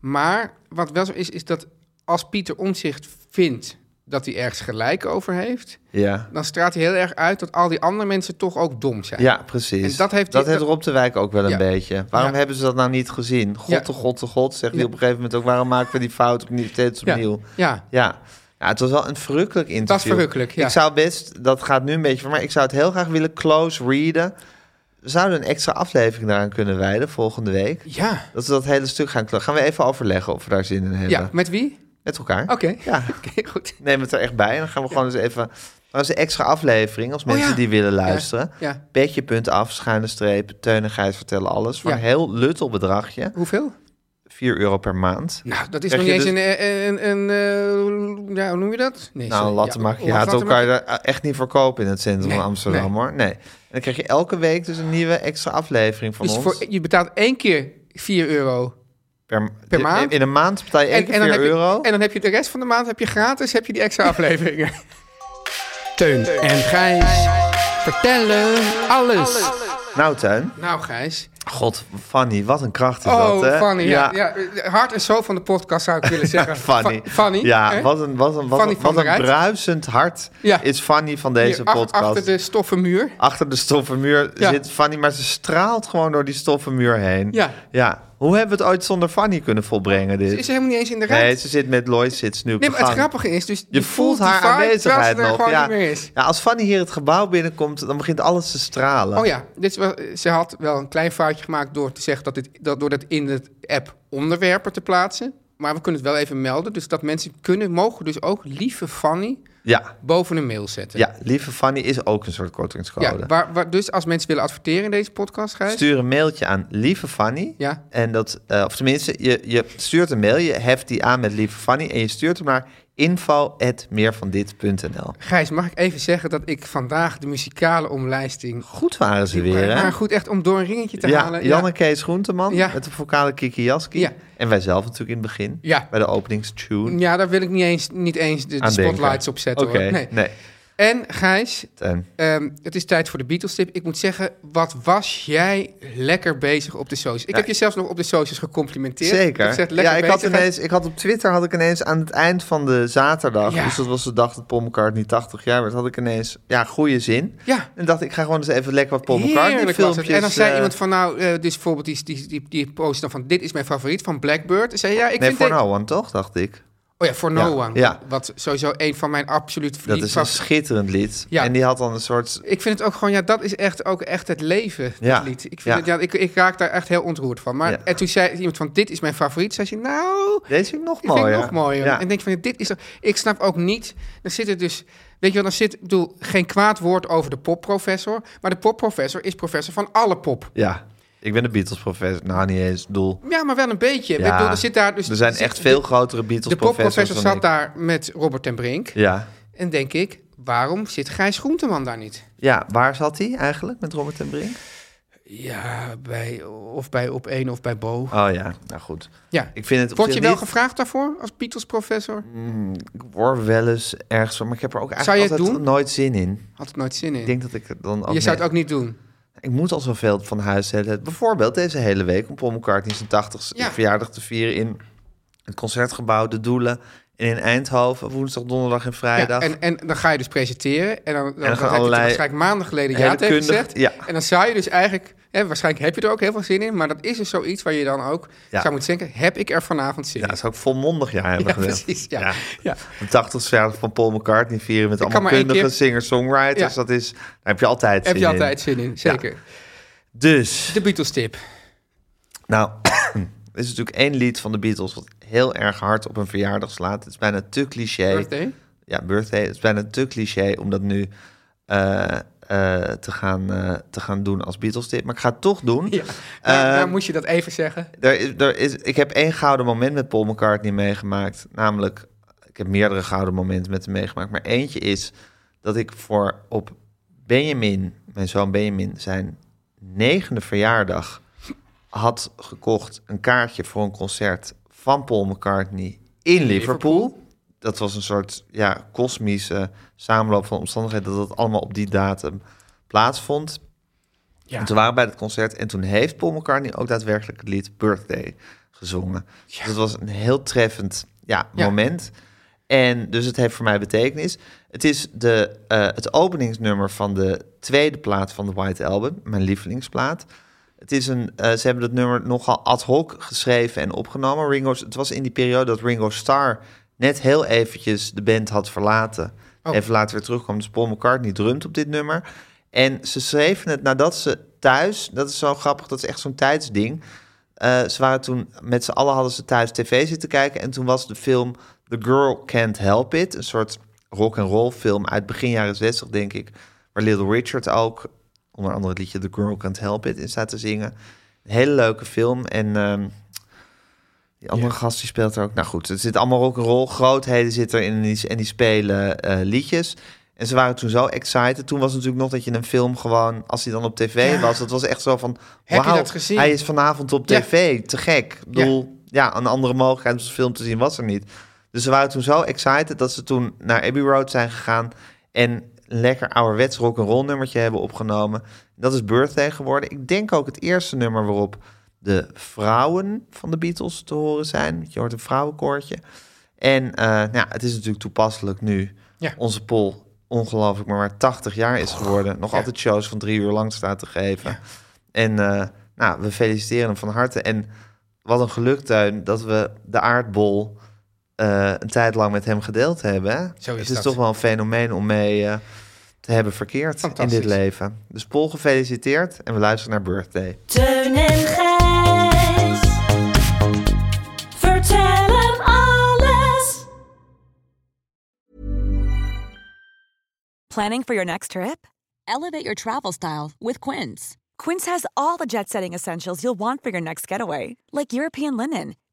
Speaker 6: Maar wat wel zo is, is dat als Pieter Omtzigt vindt dat hij ergens gelijk over heeft,
Speaker 3: Ja.
Speaker 6: dan straalt hij heel erg uit dat al die andere mensen toch ook dom zijn.
Speaker 3: Ja, precies.
Speaker 6: En dat heeft,
Speaker 3: dat heeft Rob de Wijk ook wel een
Speaker 6: Ja.
Speaker 3: beetje. Waarom
Speaker 6: Ja.
Speaker 3: hebben ze dat nou niet gezien? God
Speaker 6: Ja.
Speaker 3: de god de god, zegt hij
Speaker 6: Ja.
Speaker 3: op een gegeven moment ook. Waarom maken we die fout opnieuw, steeds
Speaker 6: Ja.
Speaker 3: opnieuw?
Speaker 6: Ja.
Speaker 3: ja. Ja, het was wel een verrukkelijk interview.
Speaker 6: Dat is verrukkelijk, ja.
Speaker 3: Ik zou best, dat gaat nu een beetje voor mij, ik zou het heel graag willen close readen. We zouden een extra aflevering daaraan kunnen wijden volgende week.
Speaker 6: Ja.
Speaker 3: Dat we dat hele stuk gaan clo- Gaan we even overleggen of we daar zin in hebben.
Speaker 6: ja, met wie?
Speaker 3: Met elkaar.
Speaker 6: Oké,
Speaker 3: Ja.
Speaker 6: Oké, goed.
Speaker 3: Neem het er echt bij. En dan gaan we gewoon eens even... Dat is een extra aflevering als mensen
Speaker 6: Oh ja.
Speaker 3: die willen luisteren.
Speaker 6: Ja, ja.
Speaker 3: Petje.af, schuine streep, Teun en Gijs vertellen alles. Voor
Speaker 6: Ja.
Speaker 3: een heel luttel bedragje.
Speaker 6: Hoeveel?
Speaker 3: 4 euro per maand.
Speaker 6: Nou, dat is
Speaker 3: Krijg
Speaker 6: nog
Speaker 3: je
Speaker 6: niet eens
Speaker 3: dus-
Speaker 6: een, eh, een, een, eh, ja, hoe noem je dat? Nee,
Speaker 3: Nou,
Speaker 6: sorry.
Speaker 3: een latte
Speaker 6: Ja,
Speaker 3: macchiato
Speaker 6: latte
Speaker 3: kan je daar eh, echt niet voor kopen in het centrum
Speaker 6: Nee,
Speaker 3: van Amsterdam,
Speaker 6: nee.
Speaker 3: hoor. Nee. En dan krijg je elke week dus een nieuwe extra aflevering van
Speaker 6: Dus
Speaker 3: ons.
Speaker 6: voor, je betaalt één keer 4 euro
Speaker 3: per,
Speaker 6: per maand?
Speaker 3: In een maand betaal je één keer 4
Speaker 6: heb
Speaker 3: euro.
Speaker 6: Je, en dan heb je de rest van de maand heb je gratis heb je die extra afleveringen. Teun en Gijs vertellen alles.
Speaker 3: Nou, Tuin.
Speaker 6: Nou, Gijs.
Speaker 3: God, Fanny, wat een kracht is
Speaker 6: oh,
Speaker 3: dat, hè?
Speaker 6: Fanny. Ja. Ja, hart en zo van de podcast zou ik willen zeggen.
Speaker 3: Fanny.
Speaker 6: Fa- Fanny.
Speaker 3: Ja,
Speaker 6: hè?
Speaker 3: wat een, wat een, wat
Speaker 6: Fanny
Speaker 3: een,
Speaker 6: van
Speaker 3: wat
Speaker 6: der
Speaker 3: een
Speaker 6: Rijt.
Speaker 3: bruisend hart
Speaker 6: Ja.
Speaker 3: is Fanny van deze
Speaker 6: Hier, ach-
Speaker 3: podcast.
Speaker 6: Achter de stoffen muur.
Speaker 3: Achter de stoffen muur
Speaker 6: Ja.
Speaker 3: zit Fanny, maar ze straalt gewoon door die stoffen muur heen.
Speaker 6: Ja.
Speaker 3: ja. Hoe hebben we het ooit zonder Fanny kunnen volbrengen, dit?
Speaker 6: Ze is helemaal niet eens in de rij.
Speaker 3: Nee, ze zit met Lois, zit ze nu op
Speaker 6: Nee,
Speaker 3: de
Speaker 6: maar het
Speaker 3: gang.
Speaker 6: grappige is dus...
Speaker 3: Je voelt
Speaker 6: die
Speaker 3: haar
Speaker 6: vibe terwijl ze
Speaker 3: aanwezigheid
Speaker 6: er
Speaker 3: nog.
Speaker 6: gewoon
Speaker 3: Ja.
Speaker 6: niet meer is.
Speaker 3: ja, als Fanny hier het gebouw binnenkomt, dan begint alles te stralen.
Speaker 6: Oh ja, dit is wel, ze had wel een klein foutje gemaakt door te zeggen dat dit, dat, door dat in de app onderwerpen te plaatsen. Maar we kunnen het wel even melden. Dus dat mensen kunnen, mogen dus ook lieve Fanny
Speaker 3: ja.
Speaker 6: boven een mail zetten.
Speaker 3: Ja, lieve Fanny is ook een soort kortingscode.
Speaker 6: Ja, waar, waar, dus als mensen willen adverteren in deze podcast, Gijs.
Speaker 3: Stuur een mailtje aan lieve Fanny.
Speaker 6: Ja.
Speaker 3: En dat, eh, of tenminste, je, je stuurt een mail, je heft die aan met lieve Fanny en je stuurt hem naar info.meervandit.nl
Speaker 6: Gijs, mag ik even zeggen dat ik vandaag de muzikale omlijsting...
Speaker 3: Goed waren ze weer, hè?
Speaker 6: Maar goed, echt om door een ringetje te
Speaker 3: ja,
Speaker 6: halen.
Speaker 3: Janne Kees Groenteman
Speaker 6: Ja.
Speaker 3: met de vocale Kiki Jaski.
Speaker 6: Ja.
Speaker 3: En wij zelf natuurlijk in het begin.
Speaker 6: Ja.
Speaker 3: Bij de openingstune.
Speaker 6: Ja, daar wil ik niet eens, niet eens de, de
Speaker 3: Aan denken.
Speaker 6: spotlights op zetten.
Speaker 3: Oké,
Speaker 6: hoor.
Speaker 3: nee. eh,
Speaker 6: En Gijs,
Speaker 3: Teun.
Speaker 6: ehm, het is tijd voor de Beatles-tip. Ik moet zeggen, wat was jij lekker bezig op de socials? Ik
Speaker 3: Ja.
Speaker 6: heb je zelfs nog op de socials gecomplimenteerd.
Speaker 3: Zeker.
Speaker 6: Ik zeg, lekker
Speaker 3: ja, ik had,
Speaker 6: bezig, hè?
Speaker 3: ineens, ik had op Twitter had ik ineens aan het eind van de zaterdag,
Speaker 6: Ja.
Speaker 3: dus dat was de dag dat Paul McCartney 80 jaar werd, had ik ineens ja, goede zin.
Speaker 6: Ja.
Speaker 3: En dacht ik ga gewoon eens even lekker wat Paul McCartney
Speaker 6: Heerlijk was het.
Speaker 3: filmpjes.
Speaker 6: En dan zei
Speaker 3: eh,
Speaker 6: iemand van nou, eh, dus bijvoorbeeld die, die, die, die post dan van dit is mijn favoriet van Blackbird. Dan zei ja, ik
Speaker 3: nee,
Speaker 6: vind
Speaker 3: voor
Speaker 6: dit-
Speaker 3: nou one toch, dacht ik.
Speaker 6: Oh ja, For No
Speaker 3: Ja,
Speaker 6: One.
Speaker 3: ja.
Speaker 6: Wat sowieso een van mijn absoluut
Speaker 3: Dat
Speaker 6: favorieten.
Speaker 3: is een schitterend lied.
Speaker 6: Ja.
Speaker 3: En die had dan een soort
Speaker 6: Ik vind het ook gewoon, ja, dat is echt ook echt het leven, dat
Speaker 3: Ja,
Speaker 6: lied. Ik, vind
Speaker 3: ja.
Speaker 6: Het, ja, ik, ik raak daar echt heel ontroerd van. Maar
Speaker 3: Ja.
Speaker 6: en toen zei iemand van, dit is mijn favoriet. Zei ze, nou,
Speaker 3: Deze vind ik nog
Speaker 6: ik vind
Speaker 3: mooier.
Speaker 6: het nog mooier.
Speaker 3: Ja.
Speaker 6: En ik denk van, dit is toch- Ik snap ook niet, dan zit het dus... Weet je wel, dan zit, ik bedoel, geen kwaad woord over de popprofessor. Maar de popprofessor is professor van alle pop.
Speaker 3: Ja, ik ben de Beatles-professor. Nou, niet eens. Doel.
Speaker 6: Ja, maar wel een beetje. Ik
Speaker 3: Ja,
Speaker 6: bedoel, er, zit daar dus,
Speaker 3: er zijn
Speaker 6: zit-
Speaker 3: echt veel grotere
Speaker 6: De popprofessor
Speaker 3: Beatles-professors dan
Speaker 6: zat
Speaker 3: ik.
Speaker 6: daar met Robert ten Brink.
Speaker 3: Ja.
Speaker 6: En denk ik, waarom zit Gijs Groenteman daar niet?
Speaker 3: ja, waar zat hij eigenlijk met Robert en Brink?
Speaker 6: Ja, bij, of bij Op 1 of bij Bo.
Speaker 3: Oh ja, nou goed.
Speaker 6: Ja.
Speaker 3: Ik vind het op
Speaker 6: Word je
Speaker 3: zich
Speaker 6: wel
Speaker 3: niet- Mm.
Speaker 6: gevraagd daarvoor als Beatles-professor?
Speaker 3: Ik word wel eens ergens van, maar ik heb er ook
Speaker 6: Zou je
Speaker 3: eigenlijk
Speaker 6: het
Speaker 3: altijd
Speaker 6: doen?
Speaker 3: nooit zin in.
Speaker 6: Had het nooit zin in.
Speaker 3: Ik denk dat ik het dan ook...
Speaker 6: je zou
Speaker 3: nee.
Speaker 6: het ook niet doen.
Speaker 3: Ik moet al zoveel van huis hebben. Bijvoorbeeld deze hele week om Paul McCartney zijn 80
Speaker 6: Ja.
Speaker 3: verjaardag te vieren in het Concertgebouw De Doelen en in Eindhoven, woensdag, donderdag en
Speaker 6: Ja,
Speaker 3: vrijdag.
Speaker 6: en, en dan ga je dus presenteren. En dan, dan,
Speaker 3: gaan
Speaker 6: dan heb je
Speaker 3: allerlei
Speaker 6: er waarschijnlijk maanden geleden ja
Speaker 3: hele
Speaker 6: tegen
Speaker 3: kundige-
Speaker 6: gezegd.
Speaker 3: ja.
Speaker 6: En dan zou je dus eigenlijk... Hè, waarschijnlijk heb je er ook heel veel zin in. Maar dat is dus zoiets waar je dan ook
Speaker 3: Ja.
Speaker 6: zou moeten denken... heb ik er vanavond zin
Speaker 3: Ja,
Speaker 6: in?
Speaker 3: dat zou ik volmondig jaar hebben
Speaker 6: Ja,
Speaker 3: gezegd.
Speaker 6: precies, ja. Ja.
Speaker 3: De 80 verjaardag van Paul McCartney vieren met
Speaker 6: kan
Speaker 3: allemaal
Speaker 6: maar één
Speaker 3: kundige
Speaker 6: keer-
Speaker 3: singer-songwriters.
Speaker 6: Ja.
Speaker 3: Dat is, daar heb je altijd
Speaker 6: Heb
Speaker 3: zin
Speaker 6: je
Speaker 3: in.
Speaker 6: altijd zin in, zeker.
Speaker 3: Dus,
Speaker 6: De Beatles-tip.
Speaker 3: nou, er is natuurlijk één lied van de Beatles wat heel erg hard op een verjaardag slaat. Het is bijna te cliché.
Speaker 6: Birthday.
Speaker 3: Ja, birthday. Het is bijna te cliché om dat nu eh, eh, te, gaan, eh, te gaan doen als Beatles-tip. Maar ik ga het toch doen.
Speaker 6: Ja. Nou, nou
Speaker 3: Ehm,
Speaker 6: moet je dat even zeggen.
Speaker 3: Er is, er is, ik heb één gouden moment met Paul McCartney meegemaakt. Namelijk, ik heb meerdere gouden momenten met hem meegemaakt. Maar eentje is dat ik voor op Benjamin, mijn zoon Benjamin, zijn negende verjaardag had gekocht een kaartje voor een concert van Paul McCartney in Liverpool. Dat was een soort ja, kosmische samenloop van omstandigheden dat dat allemaal op die datum plaatsvond. En toen waren we bij het concert en toen heeft Paul McCartney ook daadwerkelijk het lied Birthday gezongen. Dus dat was een heel treffend ja,
Speaker 6: Ja.
Speaker 3: moment. En dus het heeft voor mij betekenis. Het is de, eh, het openingsnummer van de tweede plaat van de White Album, mijn lievelingsplaat. Het is een, eh, ze hebben dat nummer nogal ad hoc geschreven en opgenomen. Ringo, het was in die periode dat Ringo Starr net heel eventjes de band had verlaten. Even later weer terugkwam. Dus Paul McCartney drumt op dit nummer. En ze schreven het nadat ze thuis... Dat is zo grappig, dat is echt zo'n tijdsding. Eh, ze waren toen met z'n allen hadden ze thuis tv zitten kijken. En toen was de film The Girl Can't Help It. Een soort rock and roll film uit begin jaren 60, denk ik. Waar Little Richard ook onder andere het liedje The Girl Can't Help It in staat te zingen. Een hele leuke film. En ehm, die andere gast die speelt er ook. Nou goed, het zit allemaal rock and roll. Grootheden zitten erin en die, en die spelen eh, liedjes. En ze waren toen zo excited. Toen was het natuurlijk nog dat je een film gewoon, als die dan op tv was, dat was echt zo van,
Speaker 6: Heb je
Speaker 3: wauw,
Speaker 6: dat gezien?
Speaker 3: hij is vanavond op
Speaker 6: Ja.
Speaker 3: tv. Te gek. Ik bedoel, ja. een andere mogelijkheid om zo'n film te zien was er niet. Dus ze waren toen zo excited dat ze toen naar Abbey Road zijn gegaan en een lekker ouderwets rock'n'roll nummertje hebben opgenomen. Dat is Birthday geworden. Ik denk ook het eerste nummer waarop de vrouwen van de Beatles te horen zijn. Je hoort een vrouwenkoortje. En eh, nou, ja, het is natuurlijk toepasselijk nu.
Speaker 6: Ja.
Speaker 3: Onze Pol, ongelooflijk, maar maar 80 jaar is geworden. Nog altijd shows van drie uur lang staat te geven. En eh, nou, we feliciteren hem van harte. En wat een geluk, Tuin, dat we de aardbol eh, een tijd lang met hem gedeeld hebben. Hè?
Speaker 6: Zo is
Speaker 3: het is
Speaker 6: dat.
Speaker 3: toch wel een fenomeen om mee eh, te hebben verkeerd in
Speaker 6: Fantastisch.
Speaker 3: dit leven. Dus Pol, gefeliciteerd en we luisteren naar Birthday.
Speaker 9: Teun en Gijs. Vertel hem alles.
Speaker 11: Planning for your next trip? Elevate your travel style with Quince. Quince has all the jet setting essentials you'll want for your next getaway, like European linen,